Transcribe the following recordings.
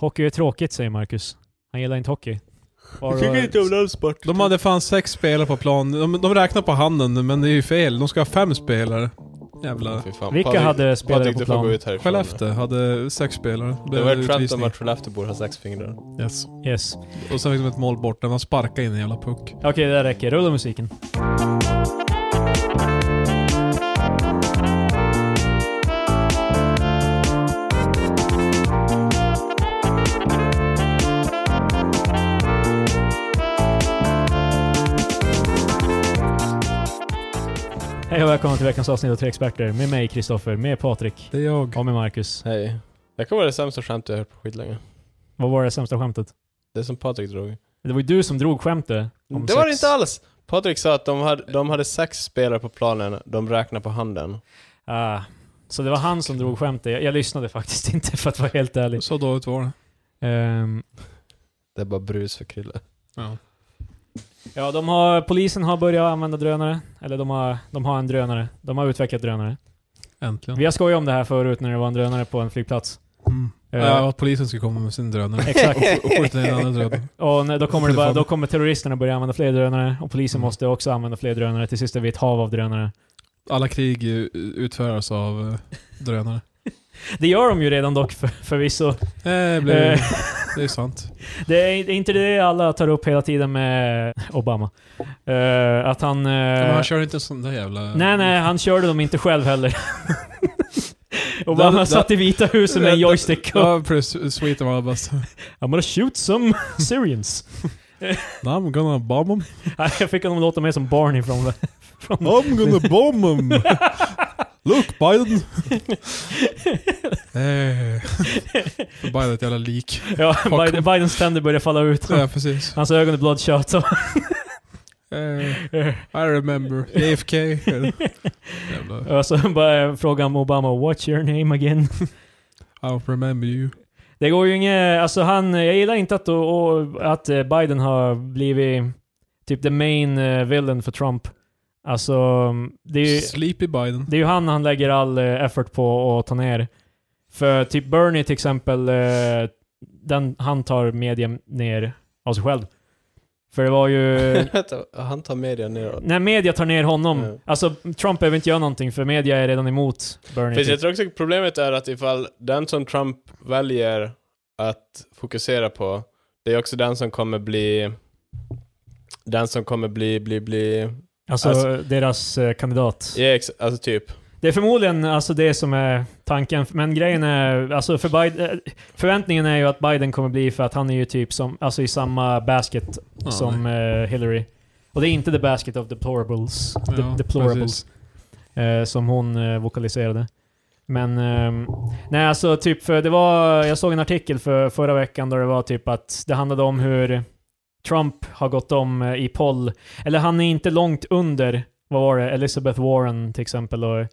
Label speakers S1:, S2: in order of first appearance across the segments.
S1: Hockey är tråkigt, säger Marcus. Han gillar inte hockey.
S2: Jag tycker inte om den sport.
S1: Typ.
S3: De hade fan sex spelare på plan. De, de räknar på handen, men det är ju fel. De ska ha fem spelare. Jävla...
S2: Fy fan,
S1: Vilka
S2: Patrik-
S1: hade spelare
S2: Patrik,
S1: på
S2: du får gå
S1: plan?
S2: ut härifrån nu.
S3: Skellefteå hade sex spelare.
S2: Det
S3: blev
S2: var ett skämt
S3: utvisning.
S2: om att Skellefteå borde ha sex fingrar.
S3: Yes.
S1: Yes.
S3: Och sen fick de ett mål bort där man sparkade in en jävla puck.
S1: Okej, det där räcker. Rulla musiken. Hej och välkomna till veckans avsnitt av Tre Experter med mig Kristoffer, med Patrik
S3: Det är jag.
S1: och med Marcus.
S2: Hej. Det kan vara det sämsta skämt jag har hört på skitlänge.
S1: Vad var det sämsta skämtet?
S2: Det som Patrik drog.
S1: Det var ju du som drog skämtet. om
S2: det var det
S1: sex.
S2: inte alls! Patrik sa att de hade, de hade sex spelare på planen, de räknar på handen.
S1: Ah, så det var han som drog skämtet. Jag, jag lyssnade faktiskt inte för att vara helt ärlig.
S3: Så dåligt var det.
S1: Ehm,
S2: Det är bara brus för Krille.
S3: Ja.
S1: ja, de har, polisen har börjat använda drönare. Eller de har, de har en drönare. De har utvecklat drönare.
S3: Äntligen.
S1: Vi har skojat om det här förut när det var en drönare på en flygplats.
S3: Mm.
S1: Eh,
S3: Ja, att polisen skulle komma med sin drönare.
S1: Exakt.
S3: Och skjuta ner den andra drönaren.
S1: Och när, då, kommer det bara,
S3: Fan.
S1: då kommer terroristerna börja använda fler drönare. Och polisen
S3: Mm.
S1: måste också använda fler drönare. Till sist är vi ett hav av drönare.
S3: Alla krig eh, utförs av eh, drönare.
S1: Det gör de ju redan dock för, förvisso.
S3: Det,
S1: Eh.
S3: blir, det är sant.
S1: Det är det är inte det alla tar upp hela tiden med Obama. Eh, att han... eh,
S3: Men han kör inte en sån där jävla...
S1: Nej, nej, han körde dem inte själv heller. Obama
S3: Där- där-
S1: satt i Vita huset med en joystick och
S3: Ja, precis. Sweet var bäst.
S1: I'm gonna shoot some Syrians.
S3: I'm gonna bomb 'em.
S1: Nej, Jag fick honom att låta mer som Barney från det. Från
S3: I'm gonna bomb 'em. Look Biden! eh. Biden är ett jävla lik.
S1: ja, Biden, Bidens tänder började falla ut.
S3: Ja, precis.
S1: Hans ögon är bloodshot. så-
S3: Eh, I remember. JFK. Jävla-
S1: Och så bara frågade han Obama “What's your name again?”
S3: I don't remember you.
S1: Det går ju inget... Alltså han... Jag gillar inte att, och, och, att eh, Biden har blivit typ the main eh, villain för Trump. Alltså, det är ju...
S3: Sleepy Biden.
S1: Det är ju han han lägger all eh, effort på att ta ner. För typ Bernie till exempel, eh, den, han tar media ner av sig själv. För det var ju...
S2: Vänta, Han tar media neråt.
S1: när media tar ner honom,
S2: Ja.
S1: alltså Trump behöver inte göra någonting för media är redan emot Bernie.
S2: Fast jag
S1: Typ.
S2: tror också att problemet är att ifall den som Trump väljer att fokusera på, det är också den som kommer bli... Den som kommer bli, bli, bli...
S1: Alltså,
S2: alltså-
S1: deras eh, kandidat.
S2: Ja, ex- alltså typ.
S1: Det är förmodligen alltså det som är tanken, men grejen är, alltså för Biden, eh, förväntningen är ju att Biden kommer bli för att han är ju typ som, alltså i samma basket
S3: Ja,
S1: som eh, Hillary. Och det är inte the basket of deplorables. De-
S3: Ja,
S1: deplorables.
S3: precis.
S1: Eh, som hon eh, vokaliserade. Men, ehm, nej alltså typ, för det var, jag såg en artikel för, förra veckan där det var typ att det handlade om hur Trump har gått om eh, i poll, eller han är inte långt under, vad var det, Elizabeth Warren till exempel och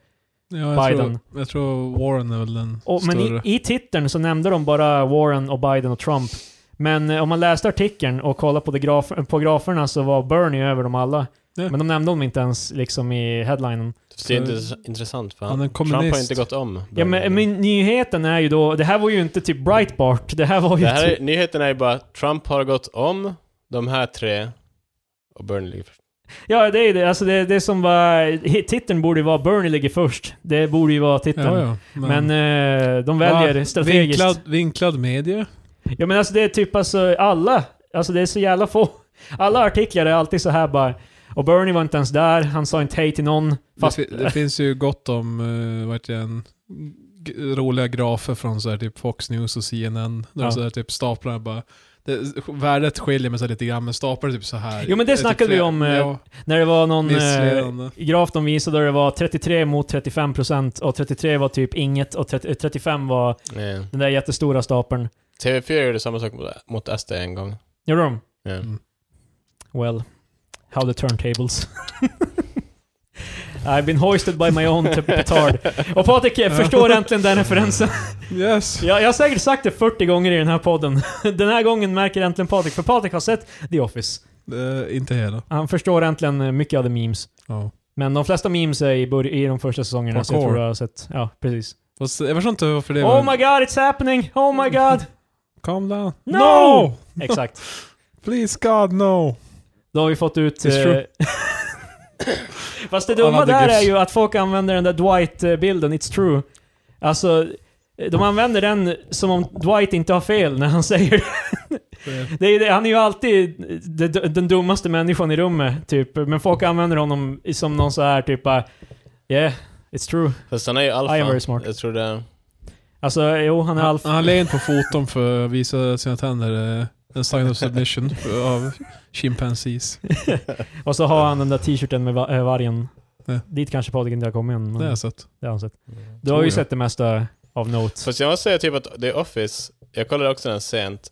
S3: Ja, jag
S1: Biden.
S3: Tror, jag tror Warren är väl den
S1: Och, men i,
S3: större.
S1: i titeln så nämnde de bara Warren och Biden och Trump. Men eh, om man läste artikeln och kollade på, det graf, på graferna så var Bernie över dem alla.
S3: Ja.
S1: Men de nämnde dem inte ens liksom i headlinen.
S2: Det är inte intressant för
S3: Han är
S2: han,
S3: en
S2: Trump har
S3: kommunist.
S2: inte gått om.
S1: Ja, men, men nyheten är ju då, det här var ju inte typ Breitbart, det här var ju
S2: Det här
S1: typ,
S2: är, nyheten är ju bara Trump har gått om de här tre och Bernie ligger först.
S1: Ja, det är ju det. Alltså det, det som var... hi- Titeln borde ju vara Bernie ligger först. Det borde ju vara titeln.
S3: Ja, ja.
S1: Men eh, de väljer
S3: Ja,
S1: strategiskt.
S3: Vinklad, vinklad media.
S1: Ja men alltså det är typ alltså alla, alltså det är så jävla få. Alla artiklar är alltid så här bara. Och Bernie var inte ens där, han sa inte hej till någon. Fast,
S3: Det, fi- det finns ju gott om uh, vart igen, g- roliga grafer från så här, typ Fox News och CNN. Där
S1: Ja.
S3: så här, typ staplar bara... Det, värdet skiljer med sig lite grann, men staplar typ så här.
S1: Jo, men det
S3: Är typ
S1: snackade vi
S3: flera-
S1: om, eh,
S3: Ja,
S1: när det var någon eh,
S3: missledande.
S1: graf de visade där det var 33 mot 35 procent och 33 var typ inget och 30, eh, 35 var
S2: Nej.
S1: den där jättestora stapeln.
S2: TV4 gjorde samma sak mot, mot SD en gång.
S1: Gjorde de?
S2: Ja.
S3: Mm.
S1: Well, how the turntables. I've been hoisted by my own petard. Och Patrik jag förstår äntligen den referensen.
S3: Yes!
S1: Jag, jag har säkert sagt det 40 gånger i den här podden. Den här gången märker äntligen Patrik, för Patrik har sett The Office.
S3: Eh, inte hela.
S1: Han förstår äntligen eh, mycket av the memes.
S3: Ja.
S1: Men de flesta memes är i, bör- i de första säsongerna, så jag
S3: Parkour.
S1: tror jag har sett... Ja, precis.
S3: Fast jag förstår inte varför det
S1: Oh my god, it's happening! Oh my god!
S3: Calm down.
S1: No! Exakt.
S3: Please God no!
S1: Då har vi fått ut...
S3: It's
S1: eh,
S3: true.
S1: Fast det
S3: Alla
S1: dumma
S3: the
S1: där
S3: gifs.
S1: är ju att folk använder den där Dwight-bilden, It's true. Alltså, eh, de använder den som om Dwight inte har fel när han säger det. det. Är, det- han är ju alltid de- de- den dummaste människan i rummet, typ. Men folk använder honom i- som någon så här typ bara, Yeah, it's true.
S2: Fast han är ju alfa.
S1: I am very smart.
S2: Jag tror det.
S1: Alltså, jo, han är
S3: Han,
S1: alfa.
S3: han la in på foton för att visa sina tänder. eh, En sign of submission av chimpanzees.
S1: Och så har han den där t-shirten med va- eh, vargen.
S3: Ja.
S1: Dit kanske Patrik inte har kommit än, men
S3: Det har jag sett.
S1: det har han sett.
S2: Mm.
S1: Du
S3: Tror
S1: har ju
S3: jag.
S1: sett det mesta av Note.
S2: Fast jag måste säga typ att The Office, jag kollade också den sent,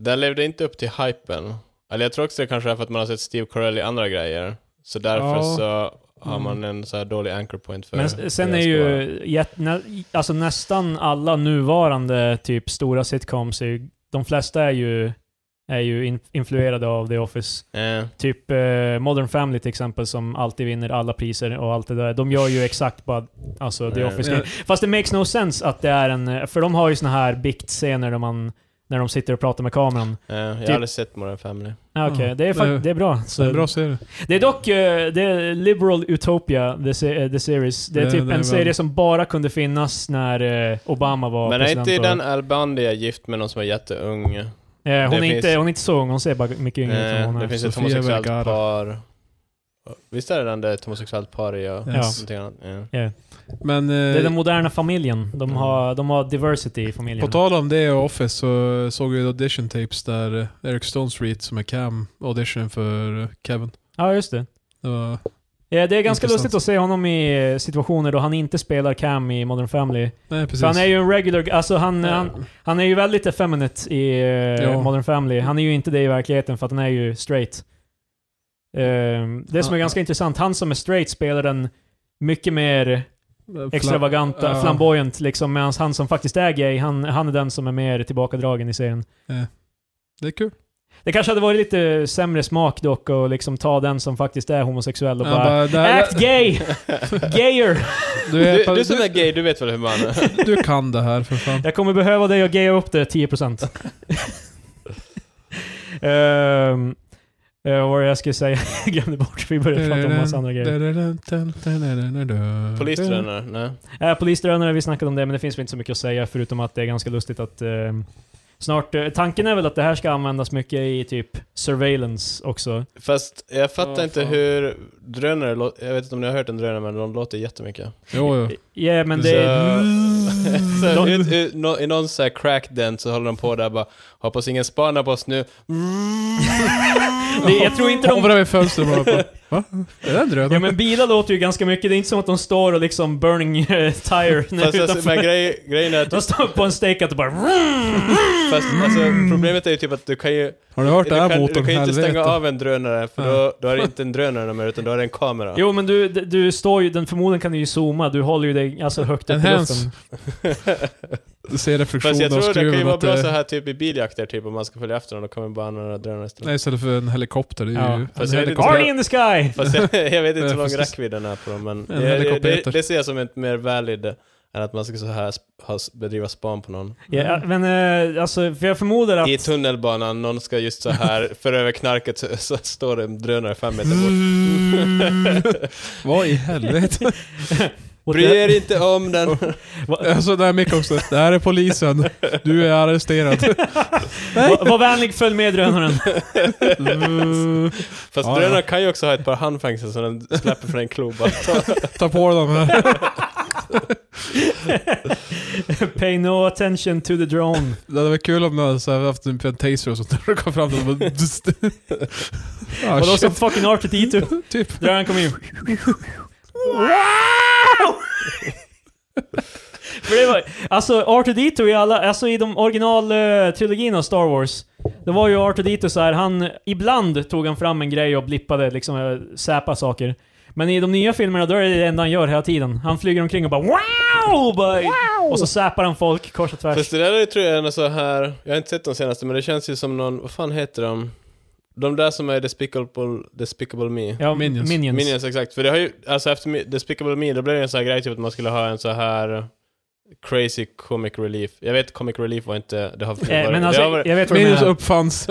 S2: den levde inte upp till hypen. Eller jag tror också det kanske är för att man har sett Steve Carell i andra grejer. Så därför
S3: Ja.
S2: så har
S3: Mm.
S2: man en så här dålig anchor point för
S1: Men
S2: hur
S1: s- sen
S2: den
S1: är
S2: ska
S1: ju
S2: vara.
S1: jätt, nä, alltså nästan alla nuvarande typ stora sitcoms, är, ju- de flesta är ju, är ju in, influerade av The Office.
S2: Eh,
S1: Typ eh, Modern Family till exempel som alltid vinner alla priser och allt det där. De gör ju exakt bara alltså, The
S2: Nej.
S1: Office.
S3: Ja.
S1: Fast det makes no sense att det är en... eh, För de har ju såna här biktscener där man, när de sitter och pratar med kameran.
S2: eh, jag har
S1: Typ-
S2: aldrig sett Modern Family.
S1: Ah, Okej,
S3: Ja.
S1: det, är fakt-
S3: Nej.
S1: det är bra. Så
S3: Det är bra serie.
S1: det är dock eh, det är Liberal Utopia, the, se- eh, the series. Det är
S3: Det-
S1: typ
S3: det är
S1: en
S3: väl-
S1: serie som bara kunde finnas när eh, Obama var
S2: Men är
S1: president.
S2: inte den
S1: och,
S2: Al Bundy är gift med någon som är jätteung? Eh,
S1: eh, hon, är
S2: det
S1: inte,
S2: finns- Eh,
S1: hon är inte så ung, hon ser bara mycket yngre ut än hon
S2: det
S1: är.
S2: finns ett
S3: Sofia
S2: homosexuellt
S3: Vergara.
S2: par. Visst är det den där ett homosexuellt par i och
S1: Ja.
S3: Yes.
S2: någonting annat? Ja.
S3: Men
S1: Det är den
S3: eh,
S1: moderna familjen. De
S2: Mm.
S1: har, de har diversity i
S3: på
S1: familjen.
S3: tal om det och Office så såg jag audition tapes där eh, Eric Stone Street som är Cam audition för eh, Kevin.
S1: Ja, just det.
S3: Det var,
S1: Eh, Det är ganska
S3: Intressant.
S1: lustigt att se honom i eh, situationer då han inte spelar Cam i Modern Family.
S3: nej precis.
S1: För han är ju en regular... Alltså han,
S3: Eh,
S1: han, han är ju väldigt effeminate i eh,
S3: Ja.
S1: Modern Family. Han är ju inte det i verkligheten för att han är ju straight. Ehm, det som är
S3: Ja.
S1: ganska intressant, han som är straight spelar den mycket mer
S3: fla-
S1: extravaganta,
S3: ja.
S1: flamboyant liksom. Medan han som faktiskt är gay, han, han är den som är mer tillbakadragen i serien.
S3: Det är kul.
S1: Det kanske hade varit lite sämre smak dock att liksom ta den som faktiskt är homosexuell och
S3: Ja,
S1: bara
S3: bara, där-
S1: Act gay! Gayer!
S3: Du, är,
S2: Du, du som är gay, du vet väl hur man...
S3: du kan det här för fan.
S1: Jag kommer behöva dig att gaya upp det 10%. um, uh, vad var det jag skulle säga? jag glömde bort. Vi började prata om massa andra grejer.
S2: Polistränare? Nej.
S1: Äh, Polisdrönare, vi snackade om det, men det finns väl inte så mycket att säga förutom att det är ganska lustigt att ehm, snart... eh, tanken är väl att det här ska användas mycket i typ surveillance också.
S2: Fast jag fattar
S3: Ja,
S2: inte
S3: fan.
S2: hur drönare låter. Jag vet inte om ni har hört en drönare, men de låter jättemycket.
S3: Jo, jo.
S1: Ja, men
S2: Så-
S1: det...
S2: så,
S1: De-
S2: ut, ut, nå- I någon sån här crackdance så håller de på där bara Hoppas ingen spanar på oss nu.
S1: det jag tror inte de...
S3: Hovrar vid fönstret bara på. Va? Är det en drönare?
S1: Ja men bilar låter ju ganska mycket, det är inte som att de står och liksom burning eh, tire när
S2: Fast alltså, men
S1: utanför.
S2: grej, grejen är att
S1: De står på en stakeout och bara...
S2: fast,
S1: Mm.
S2: alltså, problemet är ju typ att du kan ju,
S3: Har du hört
S2: du
S3: det här
S2: kan, du
S3: motorn?
S2: kan ju inte stänga
S3: Helvete.
S2: av en drönare för då, då är det inte en drönare mer utan då är det en kamera.
S1: Jo men du, d- du står ju, den, förmodligen kan du ju zooma, du håller ju dig alltså högt upp i
S3: Enhance.
S1: luften.
S3: Du ser
S2: Fast jag
S3: reflektionen
S2: tror
S3: av
S2: det kan ju
S3: skruven.
S2: vara
S3: att eh,
S2: bra så
S3: det-
S2: här typ i biljakter typ om man ska följa efter dem, då kommer bara några drönare istället.
S3: Typ. Nej, istället för en helikopter. Det är ju
S1: Ja.
S3: en
S2: Fast jag vet inte-
S1: Party
S3: helikopter.
S1: in the sky!
S2: Fast jag, jag vet inte hur
S3: Ja,
S2: lång
S3: precis.
S2: räckvidden är på dem, men
S3: En
S2: det, det, det,
S3: helikopter.
S2: det ser jag som ett mer valid eh, än att man ska så här sp- ha, bedriva span på någon.
S1: Ja, men eh, alltså, för jag förmodar att...
S2: I tunnelbanan, någon ska just så här föra över knarket, så, så står det en drönare fem meter bort.
S3: Mm. Vad i helvete?
S1: What
S2: Bry
S1: the-
S2: er inte om den!
S1: va-
S3: Alltså där är Mick också. Det här är polisen. Du är arresterad.
S1: va- Var vänlig, följ med drönaren.
S2: Fast
S3: Ja, ja.
S2: drönare kan ju också ha ett par handfängsel som den släpper från en klubba.
S3: Ta på dem här.
S1: Pay no attention to the drone.
S3: Det hade varit kul om du hade så här haft en en taser och sånt där och kom fram och bara... Ah,
S1: Vadå
S3: shit.
S1: som fucking R2D2?
S3: Typ.
S1: Drönaren kom in. Wow! För det var, alltså R2D2 i alla, alltså i de originaltrilogin av Star Wars, det var ju R2D2 så här, han, ibland tog han fram en grej och blippade liksom eh, säpa saker. Men i de nya filmerna då är det det enda han gör hela tiden. Han flyger omkring och bara wow! Och, bara, och så säpar han folk kors och tvärs.
S2: Fast det där tror jag är något så här, jag har inte sett de senaste, men det känns ju som någon, vad fan heter de? De där som är Despicable, Despicable Me.
S1: ja,
S3: Minions.
S1: Minions.
S2: Minions, exakt. För det har ju, alltså efter Mi- Despicable Me, då blev det en sån här grej typ att man skulle ha en så här crazy comic relief. Jag vet comic relief var inte, det har
S1: Eh, men alltså,
S2: det har varit-
S1: jag vet vad du
S3: Minus
S1: menar.
S3: uppfanns.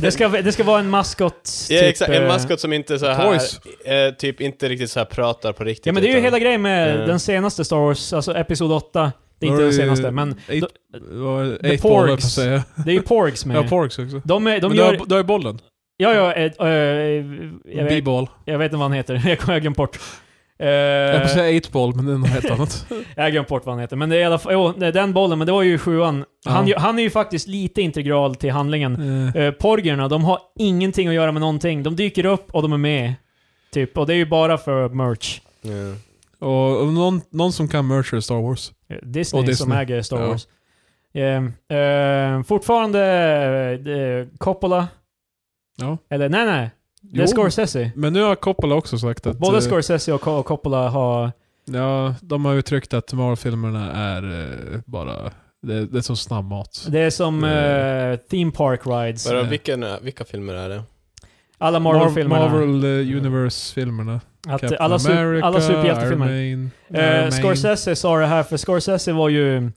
S1: Det ska, det ska vara en maskott,
S2: Ja
S1: typ,
S2: exakt, en
S1: eh,
S2: maskot som inte så här,
S3: Toys.
S2: eh, typ inte riktigt så här pratar på riktigt.
S1: Ja men det är ju
S2: utan-
S1: hela grejen med
S2: Eh.
S1: den senaste Star Wars, alltså Episod 8. Det är inte
S3: Var
S1: den
S3: det-
S1: senaste, men
S3: Eight, vad-
S1: The
S3: eight ball, höll jag på att
S1: Porgs.
S3: säga.
S1: det är ju Porgs med.
S3: Ja, Porgs också.
S1: de är, de
S3: Men
S1: gör...
S3: du, har, du har ju bollen.
S1: Ja, ja, ett, eh, jag, vet,
S3: B-ball.
S1: jag vet inte vad han heter. Jag kommer- jag har glömt bort. Eh,
S3: Jag höll på att säga 8-ball, men det är något helt annat.
S1: jag har glömt bort vad han heter. Men det är i alla fall, jo, det är den bollen, men det var ju i sjuan. Han,
S3: Ja.
S1: ju- han är ju faktiskt lite integral till handlingen.
S3: Eh,
S1: Uh, porgerna, de har ingenting att göra med någonting. De dyker upp och de är med. Typ, och det är ju bara för merch.
S2: Ja.
S3: och och någon, någon som kan merger Star Wars.
S1: Eh, Disney,
S3: Och
S1: som
S3: Disney.
S1: äger Star
S3: Ja.
S1: Wars. Eh, eh, fortfarande eh, Coppola.
S3: Ja.
S1: Eller nej, nej. Det är
S3: Jo.
S1: Scorsese.
S3: Men nu har Coppola också sagt att...
S1: Både
S3: eh,
S1: Scorsese och Co- och Coppola har...
S3: Ja, de har uttryckt att Marvel-filmerna är eh, bara... Det, det är som snabbmat.
S1: Det är som
S3: Eh.
S1: eh, Theme Park Rides.
S2: Vadå,
S3: Eh.
S2: vilken, vilka filmer är det?
S1: Alla
S3: Marvel,
S1: Marvel-filmerna.
S3: Marvel eh, Universe-filmerna.
S1: att
S3: Captain
S1: alla, su-
S3: America,
S1: alla superhjältefilmer.
S3: Iron Man, Iron
S1: Eh,
S3: Man.
S1: Scorsese sa det här, för Scorsese var ju...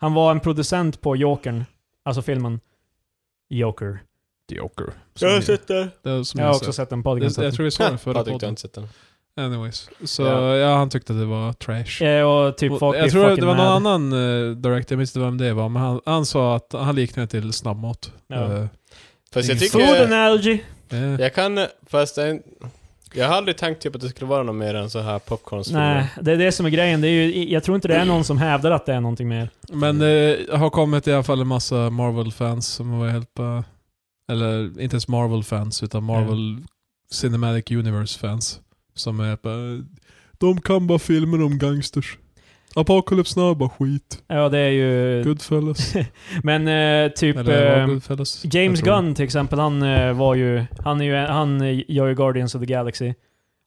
S1: Han var en producent på Jokern. Alltså filmen. Joker.
S3: Joker. Som
S2: Jag har
S3: jag,
S2: sett det.
S3: det är som
S1: Jag
S3: jag,
S1: har
S3: sett.
S1: också sett den på
S3: Det- Jag,
S1: Adgrundssätten.
S3: tror vi såg den förra
S2: Patrik, du har
S3: podden.
S2: inte sett den.
S3: Anyways. Så
S2: Ja.
S3: ja. han tyckte att det var trash.
S1: Eh, Och typ
S3: Och
S1: folk
S3: jag
S1: blir
S3: tror det
S1: fucking
S3: var
S1: mad.
S3: någon annan uh, director, jag minns inte vem det var, men han, han sa att han liknade det till snabbmat.
S1: Ja.
S3: Eh,
S2: Fast jag
S3: Ingen
S1: Food
S2: tycker...
S1: analogy.
S3: eh,
S2: Jag kan... Fast jag, jag har aldrig tänkt typ att det skulle vara något mer än så här popcornsfilmer.
S1: Nej, det är det som är grejen. Det är ju, jag tror inte det är någon som hävdar att det är någonting mer.
S3: Men det har kommit i alla fall en massa Marvel-fans som var helt på... Eller inte ens Marvel-fans, utan Marvel Cinematic Universe-fans. Som är på... De kan bara filmer om gangsters. Apocalypse Now är bara skit.
S1: Ja, det är ju...
S3: Goodfellas.
S1: Men eh, typ...
S3: Eller var
S1: Eh,
S3: Goodfellas?
S1: James
S3: Jag tror
S1: Gunn till exempel, han eh, var ju... Han, är ju, han eh, gör ju Guardians of the Galaxy.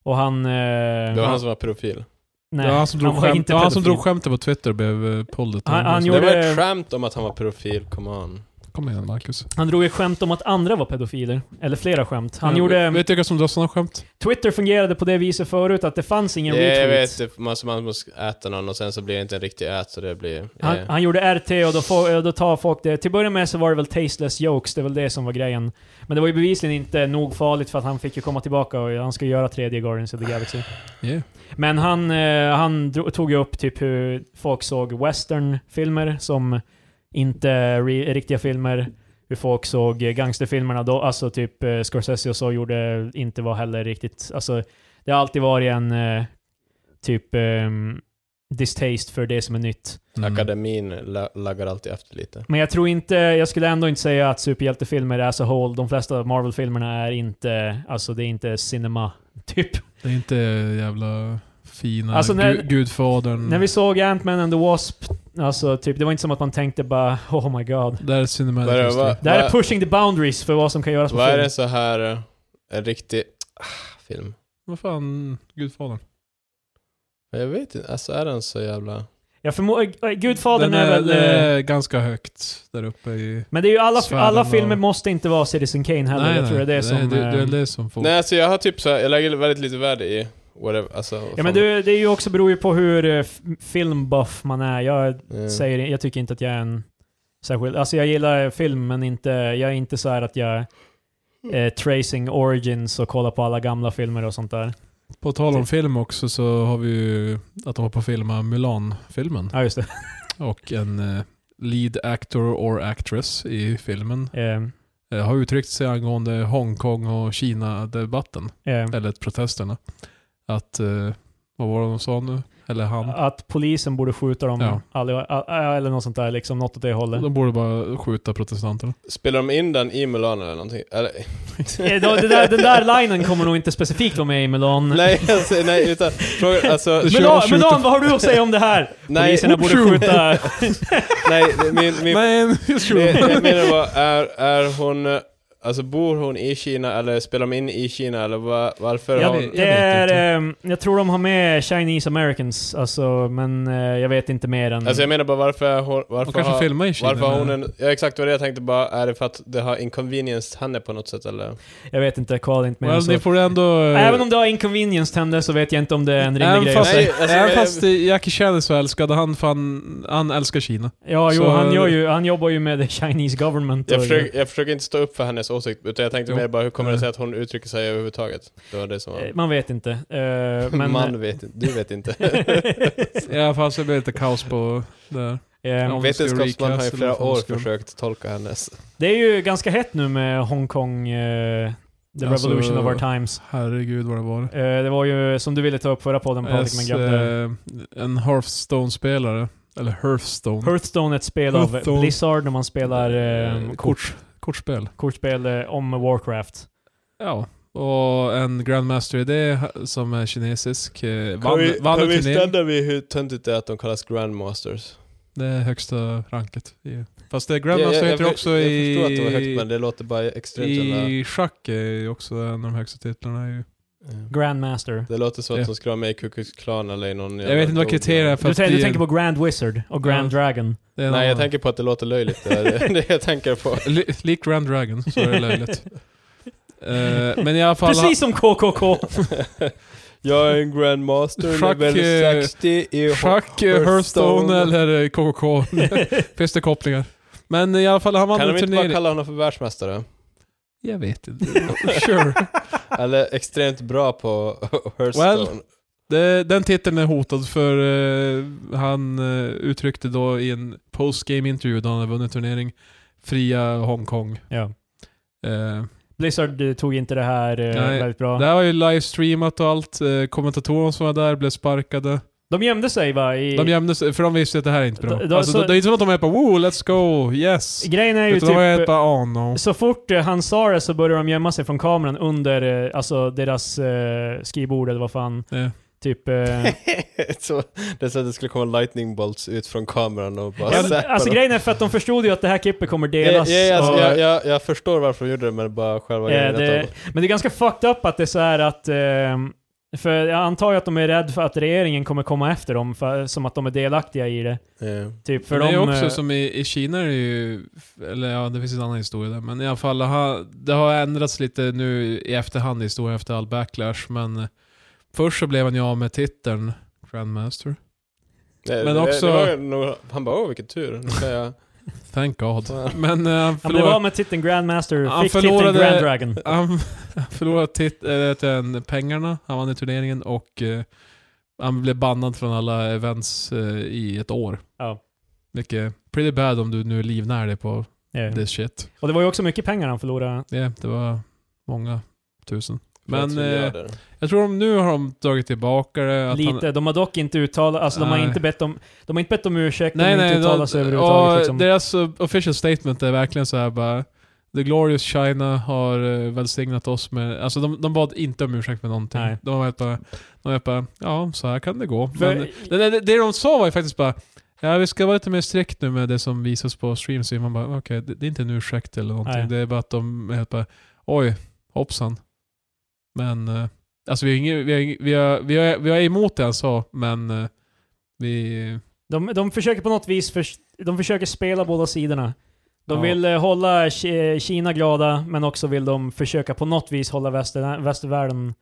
S1: Och han... Eh,
S2: Det var han som var profil.
S1: nej,
S3: det var han som drog,
S1: var
S3: skämt,
S1: inte
S3: det var han som
S1: pedofil.
S3: drog skämtet på Twitter blev eh, pollet.
S1: Han- han
S2: Det
S1: gjorde-
S2: var ett skämt om att han var profil, come on.
S3: Kom igen Marcus.
S1: Han drog ett skämt om att andra var pedofiler. Eller flera skämt. Han
S3: Eh,
S1: gjorde...
S3: Vet du vilka som drar sådana skämt?
S1: Twitter fungerade på det viset förut att det fanns ingen
S2: Ja, jag
S1: retweet.
S2: vet, det- man, man måste äta någon och sen så blir det inte en riktig ät så det blir...
S1: Han,
S2: eh.
S1: han gjorde RT och då, får, då tar folk det. Till att börja med så var det väl tasteless jokes, det är väl det som var grejen. Men det var ju bevisligen inte nog farligt för att han fick ju komma tillbaka och han ska göra tredje Guardians of the Galaxy.
S3: Yeah.
S1: Men han, eh, han dro- tog ju upp typ hur folk såg westernfilmer som inte re- riktiga filmer. Hur folk såg eh, gangsterfilmerna då, alltså typ eh, Scorsese och så gjorde inte var heller riktigt, alltså det har alltid varit en eh, typ ehm, distaste för det som är nytt.
S3: Mm.
S2: Akademin la, laggar alltid efter lite.
S1: Men jag tror inte, jag skulle ändå inte säga att superhjältefilmer är så whole. De flesta av Marvel-filmerna är inte, alltså det är inte cinema, typ.
S3: Det är inte jävla fina
S1: Alltså,
S3: alltså,
S1: när-
S3: Gudfadern.
S1: När vi såg Ant-Man and the Wasp, alltså typ, det var inte som att man tänkte bara oh my god.
S3: Där är cinematic
S2: Vadå,
S3: history.
S2: vad-
S1: Det här är
S2: Vad-
S1: pushing the boundaries för vad som kan göras på
S2: Vad är
S1: film.
S2: det så här... eh, En riktig... Ah, film.
S3: Vad fan, Gudfadern?
S2: Jag vet inte, alltså är den så jävla...
S1: Jag förmodar, äh, Gudfadern
S3: Den
S1: är, väl...
S3: den
S1: eh,
S3: är ganska högt där uppe i...
S1: men det är ju alla,
S3: sfären
S1: alla
S3: av-
S1: filmer måste inte vara Citizen Kane heller. jag tror det är det som...
S3: det, det är
S1: eh,
S3: det som får...
S2: Nej, alltså jag har typ så här, jag lägger väldigt lite värde i whatever, alltså...
S1: Ja men det, det är ju också beror ju på hur eh, f- filmbuff man är. Jag
S2: Mm.
S1: säger, jag tycker inte att jag är en särskild, alltså jag gillar film men inte, jag är inte så här att jag eh, tracing origins och kollar på alla gamla filmer och sånt där.
S3: På tal om film också så har vi ju att de var på att filma Mulan-filmen.
S1: Ja just det.
S3: Och en eh, lead actor or actress i filmen
S1: Eh,
S3: eh, har uttryckt sig angående Hongkong och Kina-debatten.
S1: eh,
S3: Eller protesterna. Att, eh, vad var det de sa nu? Eller han.
S1: att polisen borde skjuta dem,
S3: Ja.
S1: allihopa- a- a- eller något sånt där, liksom något åt det hållet.
S3: De borde bara skjuta protestanterna.
S2: Spelar de in den i Mulan eller någonting? Eller,
S1: Eh, då- det där, den där linen kommer nog inte specifikt vara med i Mulan.
S2: nej, alltså, nej, utan frågan, alltså...
S3: Det kör-
S1: Mulan,
S3: skjuter-
S1: Mulan, vad har du att säga om det här?
S2: Nej,
S1: Poliserna borde
S3: Tjo.
S1: skjuta...
S2: nej, min, min,
S3: Men,
S2: Det jag menar var, är, är hon... Alltså bor hon i Kina eller spelar de in i Kina eller va, varför
S1: Ja,
S2: har
S3: vet-
S2: hon...
S1: det
S3: jag
S1: är,
S3: inte.
S1: ehm, jag tror de har med Chinese Americans, alltså, men eh, jag vet inte mer än...
S2: Alltså jag menar bara varför hon... Varför
S3: Hon kanske
S2: har,
S3: filmar i Kina.
S2: varför har hon
S3: men-
S2: en... Ja exakt vad jag tänkte bara, är det för att det har inconvenienced henne på något sätt eller?
S1: Jag vet inte, jag kollade inte mer än
S3: Well,
S1: så.
S3: ni får ändå... eh,
S1: Även om det har inconvenience henne så vet jag inte om det är en rimlig
S3: Även
S1: grej.
S3: fast,
S1: att säga.
S2: Nej, alltså,
S3: även
S2: eh,
S3: fast Jackie Chan är så älskad, han fan, han älskar Kina.
S1: Ja, jo,
S3: så-
S1: han, gör ju, han jobbar ju med the Chinese government.
S2: Jag
S1: och-
S2: försöker, jag försöker inte stå upp för hennes åsikt, utan jag tänkte
S3: Jo.
S2: mer bara hur kommer det
S3: Nej.
S2: sig att hon uttrycker sig överhuvudtaget? Det var det som
S1: Eh,
S2: var...
S1: Man vet inte. eh, men, Eh,
S2: Man vet inte, du vet inte.
S3: Ja fast det blir lite kaos på det här.
S1: Ehm,
S3: Om vi ska
S2: Vetenskapsman har i
S3: recasta
S2: flera
S3: eller vad
S2: år
S3: fan ska de-
S2: försökt tolka hennes.
S1: Det är ju ganska hett nu med Hongkong, eh, the
S3: Alltså-
S1: revolution of our times.
S3: Herregud vad det var.
S1: Eh, det var ju som du ville ta upp förra podden Patrik, men
S3: S,
S1: glömde.
S3: eh, en Hearthstone-spelare. Eller Hearthstone.
S1: Hearthstone är ett spel av
S3: Hearthstone.
S1: Blizzard när man spelar eh,
S3: Eh,
S1: kort,
S3: kort, kortspel.
S1: kortspel eh, om Warcraft.
S3: Ja. Och en Grandmaster i det ha- som är kinesisk. eh,
S2: Kan
S3: Vann,
S2: vi,
S3: vann
S2: kan
S3: en
S2: vi
S3: turnering.
S2: stanna vid hur töntigt det är att de kallas grandmasters?
S3: Det är högsta ranket. i- Fast det är
S2: Ja,
S3: Grandmaster heter
S2: jag,
S3: också
S2: jag,
S3: i...
S2: förstår att det var högt men det låter bara extremt jävla...
S3: I schack är ju också en av de högsta titlarna. Ju.
S1: Grandmaster.
S2: Det låter som att
S3: Ja.
S2: de skulle vara med i Ku Klux Klan eller i någon
S3: Jag vet inte vad kriterierna är för
S1: Du,
S3: att bli
S1: tän- du
S3: en-
S1: tänker på Grand Wizard och Grand
S3: Ja.
S1: Dragon.
S3: det är en
S2: Nej jag
S3: annan-
S2: tänker på att det låter löjligt, det är det jag tänker på.
S3: Li- Lik Grand Dragon, så är det löjligt. Eh, men i alla fall...
S1: Precis som KKK!
S2: Jag är en grandmaster,
S3: Schack,
S2: level
S3: eh,
S2: 60 i ho-
S3: Schack, eh, Hearthstone eller eh, KKK. Finns det kopplingar? Men i alla fall, han vann
S2: Kan
S3: en
S2: de inte bara
S3: turnering.
S2: kalla honom för världsmästare?
S3: Jag vet inte. sure.
S2: Eller extremt bra på Hearthstone.
S3: Well, Det, den titeln är hotad för eh, han eh, uttryckte då i en postgame intervju då han hade vunnit turnering Fria Hongkong.
S1: ja.
S3: Eh,
S1: Blizzard eh, tog inte det här eh,
S3: Nej,
S1: väldigt bra.
S3: Det här var ju livestreamat och allt. Eh, kommentatorerna som var där blev sparkade.
S1: De gömde sig va? I...
S3: De gömde sig, för de visste att det här är inte bra.
S1: Då- då-
S3: alltså,
S1: så-
S3: det, det är inte som att de är på “Woo, let's go, yes”.
S1: Grejen är ju
S3: Utan de var helt
S1: typ...
S3: bara “Oh no”.
S1: Så fort eh, han sa det så började de gömma sig från kameran under eh, alltså deras eh, skrivbord eller vad fan.
S3: Ja.
S1: Typ... Eh,
S2: så, det är så att det skulle komma lightning bolts ut från kameran och bara
S1: Ja, men,
S2: zappa
S1: alltså
S2: dem.
S1: grejen är för att de förstod ju att det här klippet kommer
S2: Ja,
S1: delas.
S2: ja, ja, alltså,
S1: och,
S2: jag, jag, jag förstår varför de gjorde det, men bara själva
S1: eh,
S2: grejen
S1: det,
S2: att de,
S1: men det är ganska fucked up att det är så här att... ehm, för jag antar ju att de är rädda för att regeringen kommer komma efter dem, för, som att de är delaktiga i det.
S2: ja.
S1: Typ, för
S3: För det är
S1: de... eh,
S3: också som i, i Kina är det ju, eller ja det finns en annan historia där, men i alla fall det har, det har ändrats lite nu i efterhand i historien efter all backlash, men eh, först så blev han ju av med titeln Grandmaster.
S2: Nej,
S3: Men
S2: det-
S3: också-
S2: det var nog, han bara åh vilken tur, nu kan jag...
S3: Thank God.
S2: Fan.
S3: Men eh, han
S1: Han blev av
S3: förlorade,
S1: med titeln Grandmaster,
S3: Han
S1: fick titeln
S3: förlorade-
S1: Grand Dragon.
S3: han, han förlorade tit, eller, vet jag, en- pengarna, han vann i turneringen och eh, han blev bannad från alla events eh, i ett år.
S1: Ja.
S3: Vilket är pretty bad om du nu livnär dig på
S1: Ja.
S3: this shit.
S1: Och det var ju också mycket pengar han förlorade.
S3: Ja, det var många tusen.
S2: flera
S3: Men, eh,
S2: miljarder.
S3: Jag tror de nu har de dragit tillbaka det. Att
S1: Lite. De har dock inte uttalat... Alltså de har
S3: Nej.
S1: inte bett om... De har inte bett om ursäkt,
S3: nej,
S1: de har
S3: nej.
S1: inte uttalat
S3: De,
S1: sig överhuvudtaget.
S3: och
S1: Liksom.
S3: Deras uh, official statement är verkligen så här bara The Glorious China har uh, välsignat oss med... Alltså de, de bad inte om ursäkt med någonting.
S1: Nej.
S3: De var helt bara, de var helt bara, ja så här kan det gå.
S1: För-
S3: Men, det, det, det de sa var ju faktiskt bara Ja, vi ska vara lite mer strikt nu med det som visas på stream, så man bara okej, det, det är inte en ursäkt eller någonting.
S1: Nej.
S3: Det är bara att de är helt bara oj, hoppsan. Men eh, alltså vi är, ingen, vi, är, ingen- vi, är, vi, är, vi är emot det han sa, men eh, vi...
S1: De, de försöker på något vis, förs- de försöker spela båda sidorna. De
S3: Ja.
S1: vill eh, hålla Ki- Kina glada, men också vill de försöka på något vis hålla väster, västvärlden